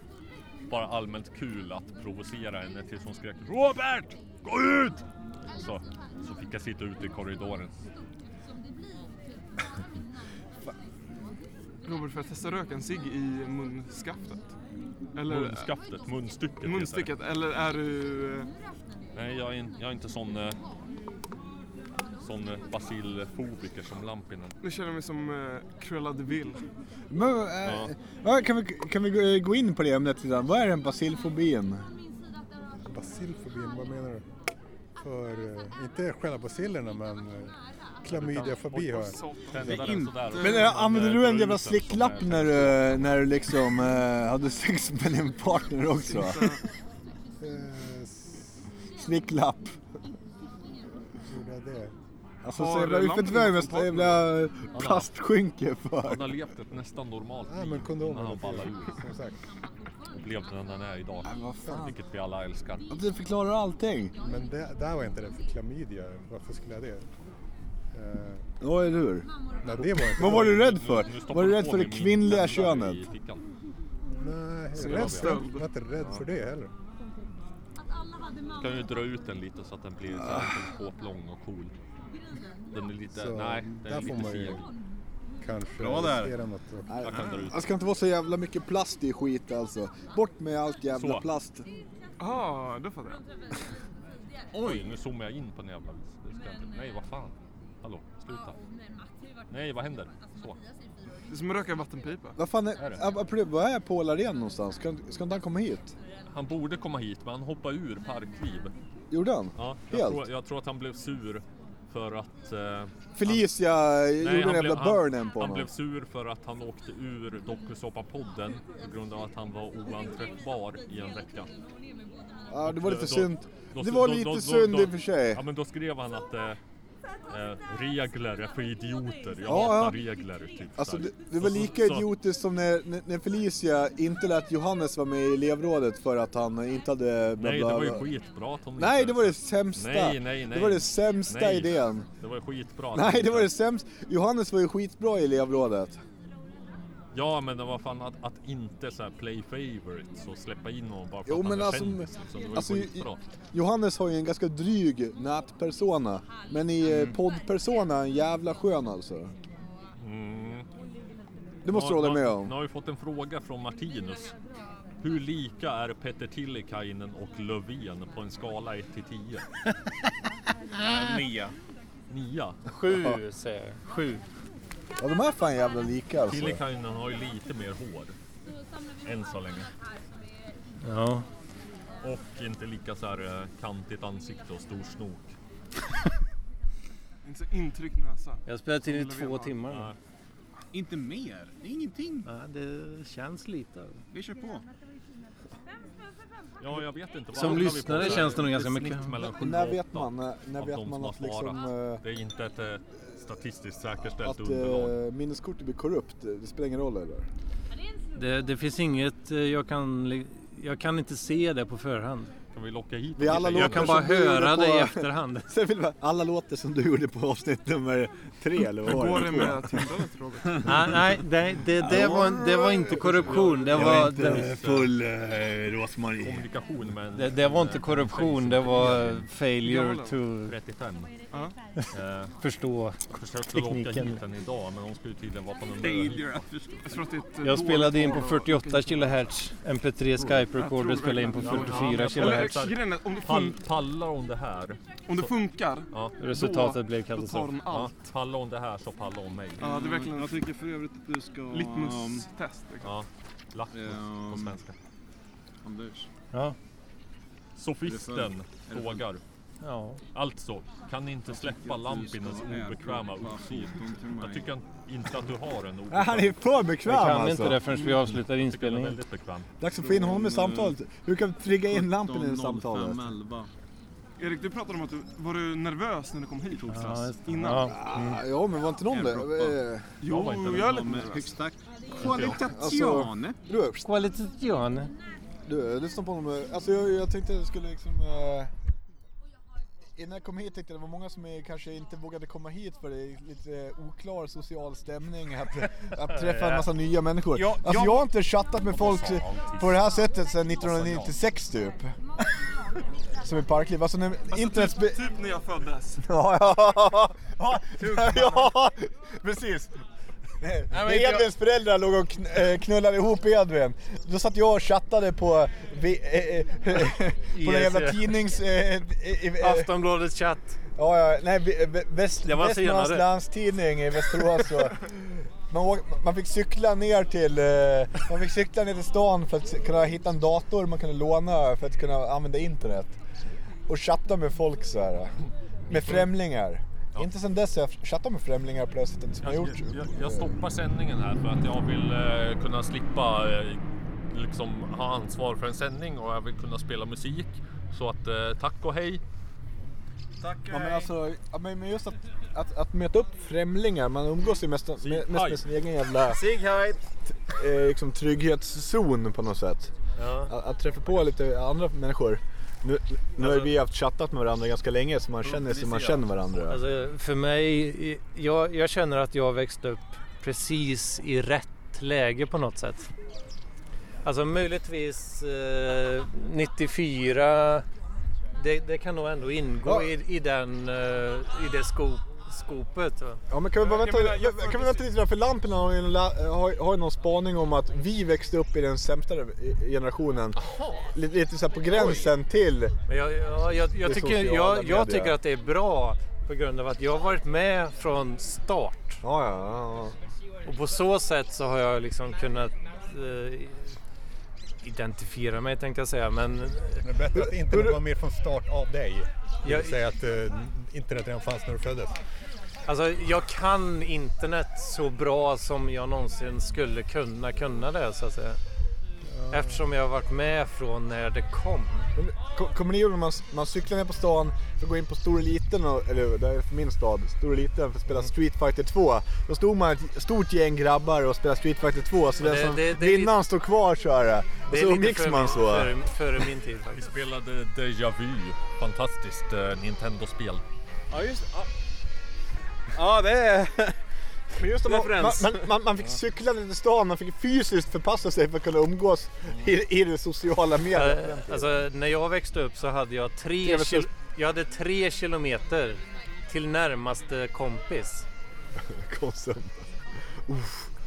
Speaker 5: bara allmänt kul att provocera henne tills hon skrek Robert! Gå ut! Så, så fick jag sitta ute i korridoren.
Speaker 1: Robert, får jag testa röken cigg i munskaftet? Eller,
Speaker 5: Munskaftet, munstycket. heter det.
Speaker 1: Munstycket, eller är du... eh,
Speaker 5: Nej, jag är, in, jag är inte sån, eh, sån eh, basilfobiker som Lampinen.
Speaker 1: Nu känner jag mig som eh, Cruella de Vil.
Speaker 3: Men, eh, vad- kan, vi, kan vi gå- gå in på det ämnet lite grann? Vad är den basilfobin?
Speaker 11: Basilfobin, vad menar du? För, eh, inte själva basilerna men eh, klamydiafobi har jag.
Speaker 5: Det är inte-
Speaker 3: Men äh, använde du en jävla slicklapp
Speaker 5: Eh,
Speaker 3: när du, när du liksom eh, hade sex med din partner också?
Speaker 11: Eh,
Speaker 3: Slicklapp.
Speaker 11: Gjorde jag det?
Speaker 3: Alltså så jävla ufett mest jävla plastskynke för.
Speaker 5: Han har levt ett nästan normalt
Speaker 11: Nej,
Speaker 5: liv
Speaker 11: men kondomer
Speaker 5: innan han
Speaker 11: betyder-
Speaker 5: ballade ur.
Speaker 11: Som sagt.
Speaker 5: Och blev den han är idag.
Speaker 11: fan.
Speaker 5: Vilket vi alla älskar.
Speaker 3: Det förklarar allting.
Speaker 11: Men det, där var inte det för klamydia. Varför skulle jag det? Eh,
Speaker 3: Ja, eller hur?
Speaker 11: Nej, det var inte
Speaker 3: Vad var du rädd
Speaker 11: Nu- nu
Speaker 3: för?
Speaker 11: stoppar
Speaker 3: Var du
Speaker 11: du
Speaker 3: rädd
Speaker 11: på
Speaker 3: för det
Speaker 11: min
Speaker 3: kvinnliga
Speaker 11: bländare
Speaker 3: könet?
Speaker 11: Nej,
Speaker 5: Så
Speaker 11: jag
Speaker 5: det var
Speaker 11: var
Speaker 5: stöld.
Speaker 11: inte- jag var inte rädd för det heller.
Speaker 5: Kan ju dra ut den lite så att den blir så här skåplång och cool. Den är lite,
Speaker 11: Så,
Speaker 5: nej, den
Speaker 11: där
Speaker 5: är
Speaker 11: får
Speaker 5: lite
Speaker 11: man ju-
Speaker 5: seg.
Speaker 11: Kanske
Speaker 5: Bra där.
Speaker 11: riskera något.
Speaker 5: Jag kan dra ut
Speaker 3: Det ska inte vara så jävla mycket plast i skit alltså. Bort med allt jävla
Speaker 5: Så.
Speaker 3: plast.
Speaker 1: Ah, då fattar jag.
Speaker 5: Oj, nu zoomar jag in på den jävla vis. Det ska jag inte. Nej, vad fan. Hallå, sluta. Nej, vad händer? Så.
Speaker 1: Det är som att röka en vattenpipa.
Speaker 3: Vad fan är, ap- apropå- vad är Paul Arén någonstans? Ska, ska inte han komma hit?
Speaker 5: Han borde komma hit, men han hoppade ur Parkliv.
Speaker 3: Gjorde han?
Speaker 5: Ja,
Speaker 3: Helt?
Speaker 5: jag, tror, jag tror att han blev sur för att... Eh,
Speaker 3: Felicia eh, gjorde en
Speaker 5: han
Speaker 3: jävla
Speaker 5: blev- han-
Speaker 3: burnen på
Speaker 5: Han
Speaker 3: honom.
Speaker 5: blev sur för att han åkte ur Dokusåpa-podden på grund av att han var oanträffbar i en vecka.
Speaker 3: Ja, det var
Speaker 5: Och,
Speaker 3: lite
Speaker 5: eh,
Speaker 3: synd. Det var lite synd i och för sig.
Speaker 5: Ja, men då skrev han att eh, eh, regler är för idioter. Jag
Speaker 3: Ja,
Speaker 5: hatar
Speaker 3: ja.
Speaker 5: regler. Typ,
Speaker 3: Alltså
Speaker 5: så här.
Speaker 3: det, det var
Speaker 5: Så-
Speaker 3: lika
Speaker 5: så-
Speaker 3: idiotiskt som när, när- när Felicia inte lät Johannes vara med i elevrådet för att han inte hade... Bla,
Speaker 5: Nej, det
Speaker 3: bla,
Speaker 5: var ju
Speaker 3: bla.
Speaker 5: skitbra att hon
Speaker 3: Nej,
Speaker 5: inte-
Speaker 3: det var det sämsta.
Speaker 5: Nej, nej, nej.
Speaker 3: Det var det sämsta
Speaker 5: Nej, Alltså,
Speaker 3: idén.
Speaker 5: Det var skitbra. att
Speaker 3: Nej,
Speaker 5: hon
Speaker 3: det var
Speaker 5: inte-
Speaker 3: det sämsta. Johannes var ju skitbra i elevrådet.
Speaker 5: Ja, men det var fan att, att inte så här play favorites och släppa in honom bara för
Speaker 3: Jo,
Speaker 5: att han
Speaker 3: men
Speaker 5: är
Speaker 3: alltså...
Speaker 5: kändis. Liksom. Det var
Speaker 3: alltså
Speaker 5: ju skitbra.
Speaker 3: Johannes har ju en ganska dryg nätpersona. Men i eh, poddpersona är han jävla skön alltså.
Speaker 5: Mm.
Speaker 3: Det måste
Speaker 5: Nu-
Speaker 3: du hålla
Speaker 5: nu-
Speaker 3: med om.
Speaker 5: Nu har vi fått en fråga från Martinus. Hur lika är Petter Tillikainen och Löfven på en skala 1 till 10?
Speaker 6: Nia.
Speaker 5: Nia?
Speaker 3: Sju,
Speaker 5: säger jag. Sju.
Speaker 3: Ja, de är fan jävla lika alltså.
Speaker 5: Tillikainen har ju lite mer hår. Än så länge.
Speaker 2: Ja.
Speaker 5: Och inte lika så här eh, kantigt ansikte och stor snok.
Speaker 1: Inte så intryckt näsa.
Speaker 2: Jag har spelat in i
Speaker 1: Som Löfven
Speaker 2: två
Speaker 1: har.
Speaker 2: timmar nu.
Speaker 6: Inte mer. Det är ingenting.
Speaker 2: Nej, det känns lite.
Speaker 6: Vi kör på.
Speaker 5: Ja, jag vet inte. Vad
Speaker 2: Som
Speaker 5: hamnar vi på?
Speaker 2: lyssnare känns det nog ganska
Speaker 5: snitt
Speaker 2: mycket.
Speaker 5: mellan sju
Speaker 3: När
Speaker 5: och
Speaker 3: vet
Speaker 5: åtta
Speaker 3: man, när- när
Speaker 5: av
Speaker 3: vet
Speaker 5: de
Speaker 3: man
Speaker 5: som
Speaker 3: att
Speaker 5: har
Speaker 3: liksom,
Speaker 5: svarat. Det är inte ett eh, statistiskt säkerställt
Speaker 3: Att
Speaker 5: underlag.
Speaker 3: eh, minneskortet blir korrupt, det det spelar ingen roll eller?
Speaker 2: Det, det finns inget eh, jag kan... li- Jag kan inte se det på förhand.
Speaker 5: Kan vi locka hit
Speaker 3: Vi alla
Speaker 2: jag
Speaker 3: låter
Speaker 2: kan bara
Speaker 3: som du gjorde
Speaker 2: höra
Speaker 3: på-
Speaker 2: det i efterhand.
Speaker 3: Sen vill vi- alla låter som du gjorde på avsnitt nummer tre eller vad
Speaker 2: Hur
Speaker 3: var
Speaker 2: går det med
Speaker 3: Två.
Speaker 2: tilltalet, Robert? Nej, nej, det- det- det var en- det var inte korruption, det
Speaker 3: Jag
Speaker 2: var-
Speaker 3: är inte
Speaker 2: det-
Speaker 3: full eh, rosmarin.
Speaker 5: Kommunikation med en,
Speaker 2: Det, det var inte korruption, det var failure to
Speaker 5: 35. Eh,
Speaker 2: förstå
Speaker 5: Försökte locka
Speaker 2: tekniken.
Speaker 5: hit den idag men hon skulle tydligen vara på någon
Speaker 1: Failure att förstå. Jag tror att det är ett
Speaker 2: Jag
Speaker 1: dåligt
Speaker 2: spelade in
Speaker 1: val
Speaker 2: på
Speaker 1: att-
Speaker 2: 48 kHz MP3 Skype
Speaker 1: Jag tror
Speaker 2: Recorder spelade in på
Speaker 1: verkligen-
Speaker 2: 44
Speaker 1: Ja, men- eller,
Speaker 2: kHz.
Speaker 1: grejen är, om det
Speaker 5: Pall,
Speaker 1: fun-
Speaker 5: pallar hon det här?
Speaker 1: Om det funkar,
Speaker 5: Ja.
Speaker 1: då- Resultatet blev katastrof. då tar hon allt.
Speaker 5: Ja, pallar hon det här så pallar hon mig.
Speaker 1: Ja, typ, det är verkligen-
Speaker 6: Jag tycker för övrigt att du ska...
Speaker 1: Litmus-test, liksom.
Speaker 5: Ja, lackmus på svenska.
Speaker 6: Ehm, Anders.
Speaker 2: Ja.
Speaker 6: Är det
Speaker 5: Sofisten
Speaker 6: för- är det för-
Speaker 5: frågar.
Speaker 2: Ja.
Speaker 5: Alltså, kan ni inte släppa Lampinens
Speaker 6: ska äta
Speaker 5: obekväma
Speaker 6: upp
Speaker 5: uppsyn?
Speaker 6: foton till mig.
Speaker 5: Jag tycker inte att du har en obekväm.
Speaker 3: Nej, han är för bekväm
Speaker 2: Vi kan
Speaker 3: alltså.
Speaker 2: inte det förrän vi avslutar
Speaker 5: Jag tycker den är
Speaker 2: inspelningen.
Speaker 5: väldigt bekväm.
Speaker 3: Dags att få in
Speaker 1: Mm.
Speaker 3: honom i samtalet. Hur kan vi trigga in lampen i det samtalet?
Speaker 1: Erik, du pratade om att du var du nervös när du kom hit
Speaker 3: Ja, just det.
Speaker 1: innan.
Speaker 3: Ja. Mm. Ah, ja, men var inte någon det? Airdroppa. Eh, Jag var
Speaker 1: Jo,
Speaker 3: inte
Speaker 1: jag är
Speaker 3: nervös.
Speaker 1: lite nervös.
Speaker 6: Högsta
Speaker 3: Alltså, du,
Speaker 2: Kvalitatione.
Speaker 3: du, lyssna på honom. Alltså jag, jag tänkte jag skulle liksom... Eh, innan jag kom hit tänkte jag det var många som eh, kanske inte vågade komma hit för det är lite oklar social stämning att, att träffa en massa nya människor.
Speaker 1: Ja,
Speaker 3: Alltså
Speaker 1: jag-
Speaker 3: jag har inte chattat med folk på det här sättet sedan 1996 typ. Som i parkliv. Alltså när internet... spe-
Speaker 1: Typ, typ när jag föddes.
Speaker 3: Ja, ja, ja, ja, ja, precis. När
Speaker 1: inte jag-
Speaker 3: Edvins föräldrar låg och kn- eh, knullade ihop Edvin, då satt jag och chattade på, vi- eh, eh, på den jävla
Speaker 2: IRC.
Speaker 3: tidnings... eh, eh, eh,
Speaker 2: Aftonbladets chatt.
Speaker 3: Ja, ja, nej, vi- eh, vä- väst,
Speaker 2: Det var
Speaker 3: Västmanlands
Speaker 2: senare.
Speaker 3: Landstidning i Västerås. Och man, åk, man fick cykla ner till eh, man fick cykla ner till stan för att se- kunna hitta en dator man kunde låna för att kunna använda internet. Och chatta med folk så här. Med eh, främlingar. Inte sen dess har jag chattat med främlingar på det sättet som jag gjort.
Speaker 5: Jag, jag stoppar sändningen här för att jag vill eh, kunna slippa eh, liksom, ha ansvar för en sändning och jag vill kunna spela musik. Så att eh, tack och hej!
Speaker 10: Tack
Speaker 3: Ja, men alltså, ja, men men just att, att, att möta upp främlingar, man umgås ju mest, mest med sin egen jävla
Speaker 2: Sig hej!
Speaker 3: t- eh, liksom, trygghetszon på något sätt.
Speaker 2: Ja.
Speaker 3: Att, att träffa på lite andra människor. Nu, nu har
Speaker 2: Alltså-
Speaker 3: ju vi haft chattat med varandra ganska länge så man känner sig man känner varandra.
Speaker 2: Alltså, för mig, jag, jag känner att jag växte upp precis i rätt läge på något sätt. Alltså möjligtvis eh, 94, det, det kan nog ändå ingå
Speaker 3: Ja.
Speaker 2: i, i, den, eh, i det skop, skopet. va?
Speaker 3: Ja men kan vi bara
Speaker 2: Jag
Speaker 3: vänta,
Speaker 2: menar, jag
Speaker 3: kan vi vänta lite där för Lampinen har ju en la- har, har ju någon spaning om att vi växte upp i den sämsta generationen. Lite, lite så här på gränsen till
Speaker 2: Men jag, jag, jag,
Speaker 3: Det
Speaker 2: jag, tycker,
Speaker 3: sociala
Speaker 2: jag, jag
Speaker 3: medier.
Speaker 2: tycker att det är bra på grund av att jag har varit med från start. Och på så sätt så har jag liksom kunnat eh, identifiera mig tänkte jag säga. Men
Speaker 11: Det är bättre att internet var mer från start av dig. Det vill säga att eh, internet redan fanns när du föddes.
Speaker 2: alltså, jag kan internet så bra som jag någonsin skulle kunna kunna det så att säga. Eftersom jag har varit med från när det kom.
Speaker 3: Ko- Kommer ni ihåg när man, man cyklar ner på stan för att gå in på Storeliten, och- eller det här är för min stad, Storeliten för att
Speaker 11: Mm.
Speaker 3: spela Street Fighter 2. Då stod man ett stort gäng grabbar och spelade Street Fighter 2 så
Speaker 2: Men
Speaker 3: den
Speaker 2: det-
Speaker 3: som
Speaker 2: det- det är
Speaker 3: vinnaren står kvar köra. Och
Speaker 2: det är
Speaker 3: så
Speaker 2: lite
Speaker 3: umgicks
Speaker 2: för
Speaker 3: man
Speaker 2: min-
Speaker 3: så.
Speaker 2: för- Före min tid faktiskt.
Speaker 5: Vi spelade Deja Vu, fantastiskt eh, Nintendo-spel.
Speaker 10: Ja, just ja. ja, det är...
Speaker 3: Men just
Speaker 10: det,
Speaker 3: man, man, man- man, man fick cykla ner till stan, man fick fysiskt förpassa sig för att kunna umgås i, i det sociala mediet. på den
Speaker 2: Eh,
Speaker 3: tiden.
Speaker 2: Alltså, när jag växte upp så hade jag tre,
Speaker 3: Trevligt.
Speaker 2: kil- jag hade tre kilometer till närmaste kompis.
Speaker 3: Konsum.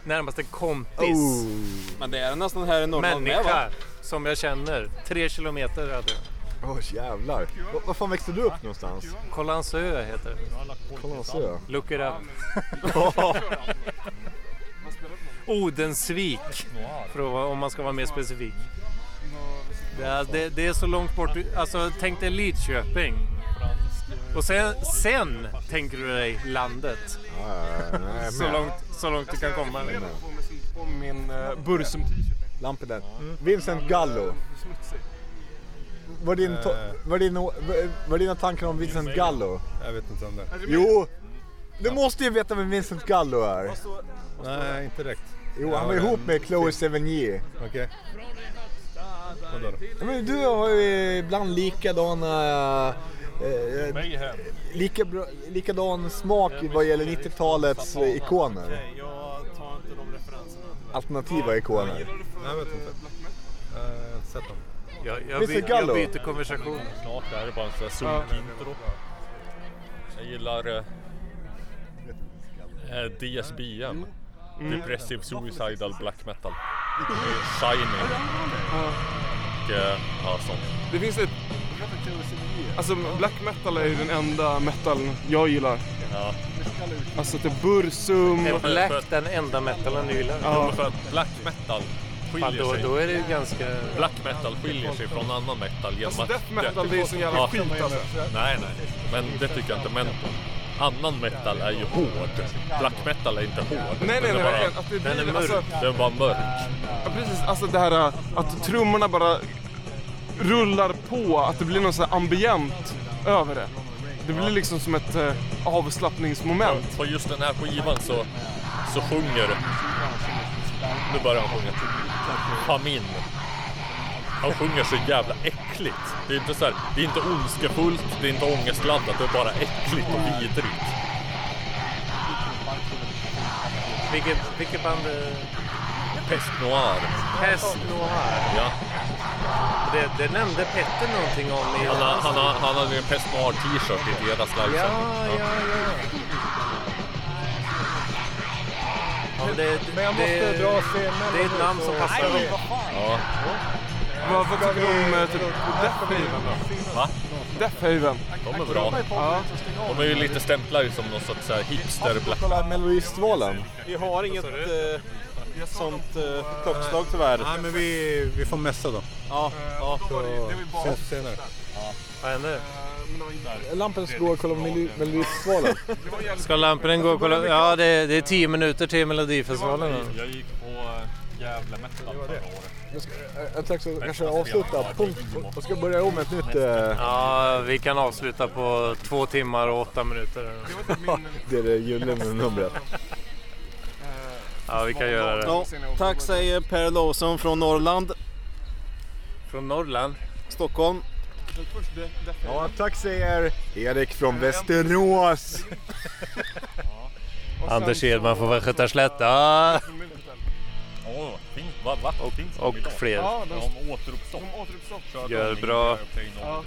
Speaker 2: Närmaste kompis.
Speaker 10: Oh. Men det är nästan här i Norrland med,
Speaker 2: Människa
Speaker 10: va?
Speaker 2: som jag känner. Tre kilometer hade jag.
Speaker 3: Åh jävlar. Var, var fan växte du upp någonstans?
Speaker 2: Kållandsö heter det.
Speaker 3: Kållandsö.
Speaker 2: Look it up. Odensvik, för att, vara- om man ska vara mer specifik. Det är, det, det är så långt bort. du- Alltså, tänk dig Lidköping. Och sen, sen tänker du dig landet.
Speaker 3: nej,
Speaker 2: Så
Speaker 3: men-
Speaker 2: långt, så långt du kan komma.
Speaker 1: På min eh, Bursum
Speaker 3: Lampinen. Vincent Gallo. Vad är din to- vad är din o- vad är dina tankar om Vincent Gallo?
Speaker 11: Eh. Jag vet inte om det.
Speaker 3: Jo! Du måste ju veta vem Vincent Gallo är.
Speaker 11: Nej, inte direkt.
Speaker 3: Jo,
Speaker 11: Jag
Speaker 3: han
Speaker 11: har
Speaker 3: var ihop
Speaker 11: en-
Speaker 3: med Chloe Sevigny.
Speaker 11: Okej. Vadå då?
Speaker 3: Ja, Men du har ju ibland likadana... Eh,
Speaker 5: Mayhem.
Speaker 3: lika bra, likadan smak vad gäller 90-talets eh, ikoner.
Speaker 10: jag tar inte de referenserna.
Speaker 3: Alternativa ikoner.
Speaker 11: Jag vet inte. Eh, Jag har inte sett dem.
Speaker 2: Jag,
Speaker 3: Mr. byter- jag Gallo. byter
Speaker 2: konversation.
Speaker 5: Snart är det bara en sån här sunkintro. Jag gillar eh, eh, DSBM.
Speaker 1: Mm.
Speaker 5: Depressive Suicidal Black Metal. Eh, Shining. Och eh, ja, sånt.
Speaker 1: Det finns ett... Alltså black metal är ju den enda metal jag gillar.
Speaker 5: Ja.
Speaker 1: Alltså det är Bursum...
Speaker 2: Är Black den enda metalen du gillar?
Speaker 1: Ja.
Speaker 5: För att black metal skiljer
Speaker 2: Fan, då-
Speaker 5: sig.
Speaker 2: då är det ju ganska...
Speaker 5: Black metal skiljer sig från annan metal genom
Speaker 1: Alltså,
Speaker 5: att...
Speaker 1: death metal, det är ju sån jävla skit, alltså.
Speaker 5: Nej, nej. Men det tycker jag inte. Men annan metal är ju hård. Black metal är inte hård.
Speaker 1: nej,
Speaker 5: Den är
Speaker 1: nej,
Speaker 5: bara-
Speaker 1: verkligen. Att det
Speaker 5: Den är
Speaker 1: blir-
Speaker 5: mörk.
Speaker 1: alltså-
Speaker 5: Den är bara mörk.
Speaker 1: Ja, precis, alltså det här eh, att trummorna bara rullar på, att det blir någon sån här ambient över det. Det blir liksom som ett eh, avslappningsmoment.
Speaker 5: På just den här skivan så, så sjunger... Nu börjar han sjunga. Famin. Han sjunger så jävla äckligt. Det är inte, så här, det är inte ondskefullt, det är inte ångestladdat, det är bara äckligt och vidrigt.
Speaker 2: Vilket, vilket band? eh,
Speaker 5: Pest Noir.
Speaker 2: Pest Noir.
Speaker 5: Ja.
Speaker 2: Det, det nämnde Petter någonting om i...
Speaker 5: Han, har, han, har, han hade ju en Pest Noir t-shirt i deras livesändning.
Speaker 2: Ja, ja, ja. ja men det,
Speaker 11: Men jag måste
Speaker 2: det,
Speaker 11: dra scenen
Speaker 2: Det är ett namn som passar
Speaker 11: Nej,
Speaker 2: dem.
Speaker 11: vad
Speaker 5: Ja.
Speaker 1: Vad, vad tycker du om eh, typ Death Haven
Speaker 5: då? Va?
Speaker 1: Death Haven.
Speaker 5: De är bra.
Speaker 1: Ja.
Speaker 5: De är ju lite stämplade som någon sorts så här hipster black
Speaker 3: Kolla Melodifestivalen.
Speaker 15: Vi har inget eh, sånt eh, klockslag tyvärr.
Speaker 11: Nej, men vi, vi får mässa då.
Speaker 15: Ja, ja.
Speaker 11: Så ses vi senare.
Speaker 2: Vad händer?
Speaker 4: Lampen går och kollar på Mel- Melodifestivalen.
Speaker 2: Ska lampen gå och kolla? Ja, det är, det är tio minuter till Melodifestivalen.
Speaker 5: Jag gick på eh, Gävle Metal förra året.
Speaker 4: Jag ska- jag- Jag tänkte så- kanske avsluta, punkt, och ska börja om ett nytt... eh,
Speaker 2: Ja, vi kan avsluta på två timmar och åtta minuter.
Speaker 4: Det är det gyllene numret.
Speaker 5: Eh,
Speaker 2: Ja, vi kan göra det.
Speaker 6: Ja, tack säger Per Lawson från Norrland.
Speaker 2: Från Norrland?
Speaker 6: Stockholm.
Speaker 4: Ja, tack säger Erik från Västerås.
Speaker 2: Anders Edman får väl sköta slätta.
Speaker 5: Åh, fint. Vad va, finns de
Speaker 2: och
Speaker 5: idag?
Speaker 2: fler.
Speaker 5: de återuppstånd. Gör
Speaker 2: bra.
Speaker 5: Play Nordic.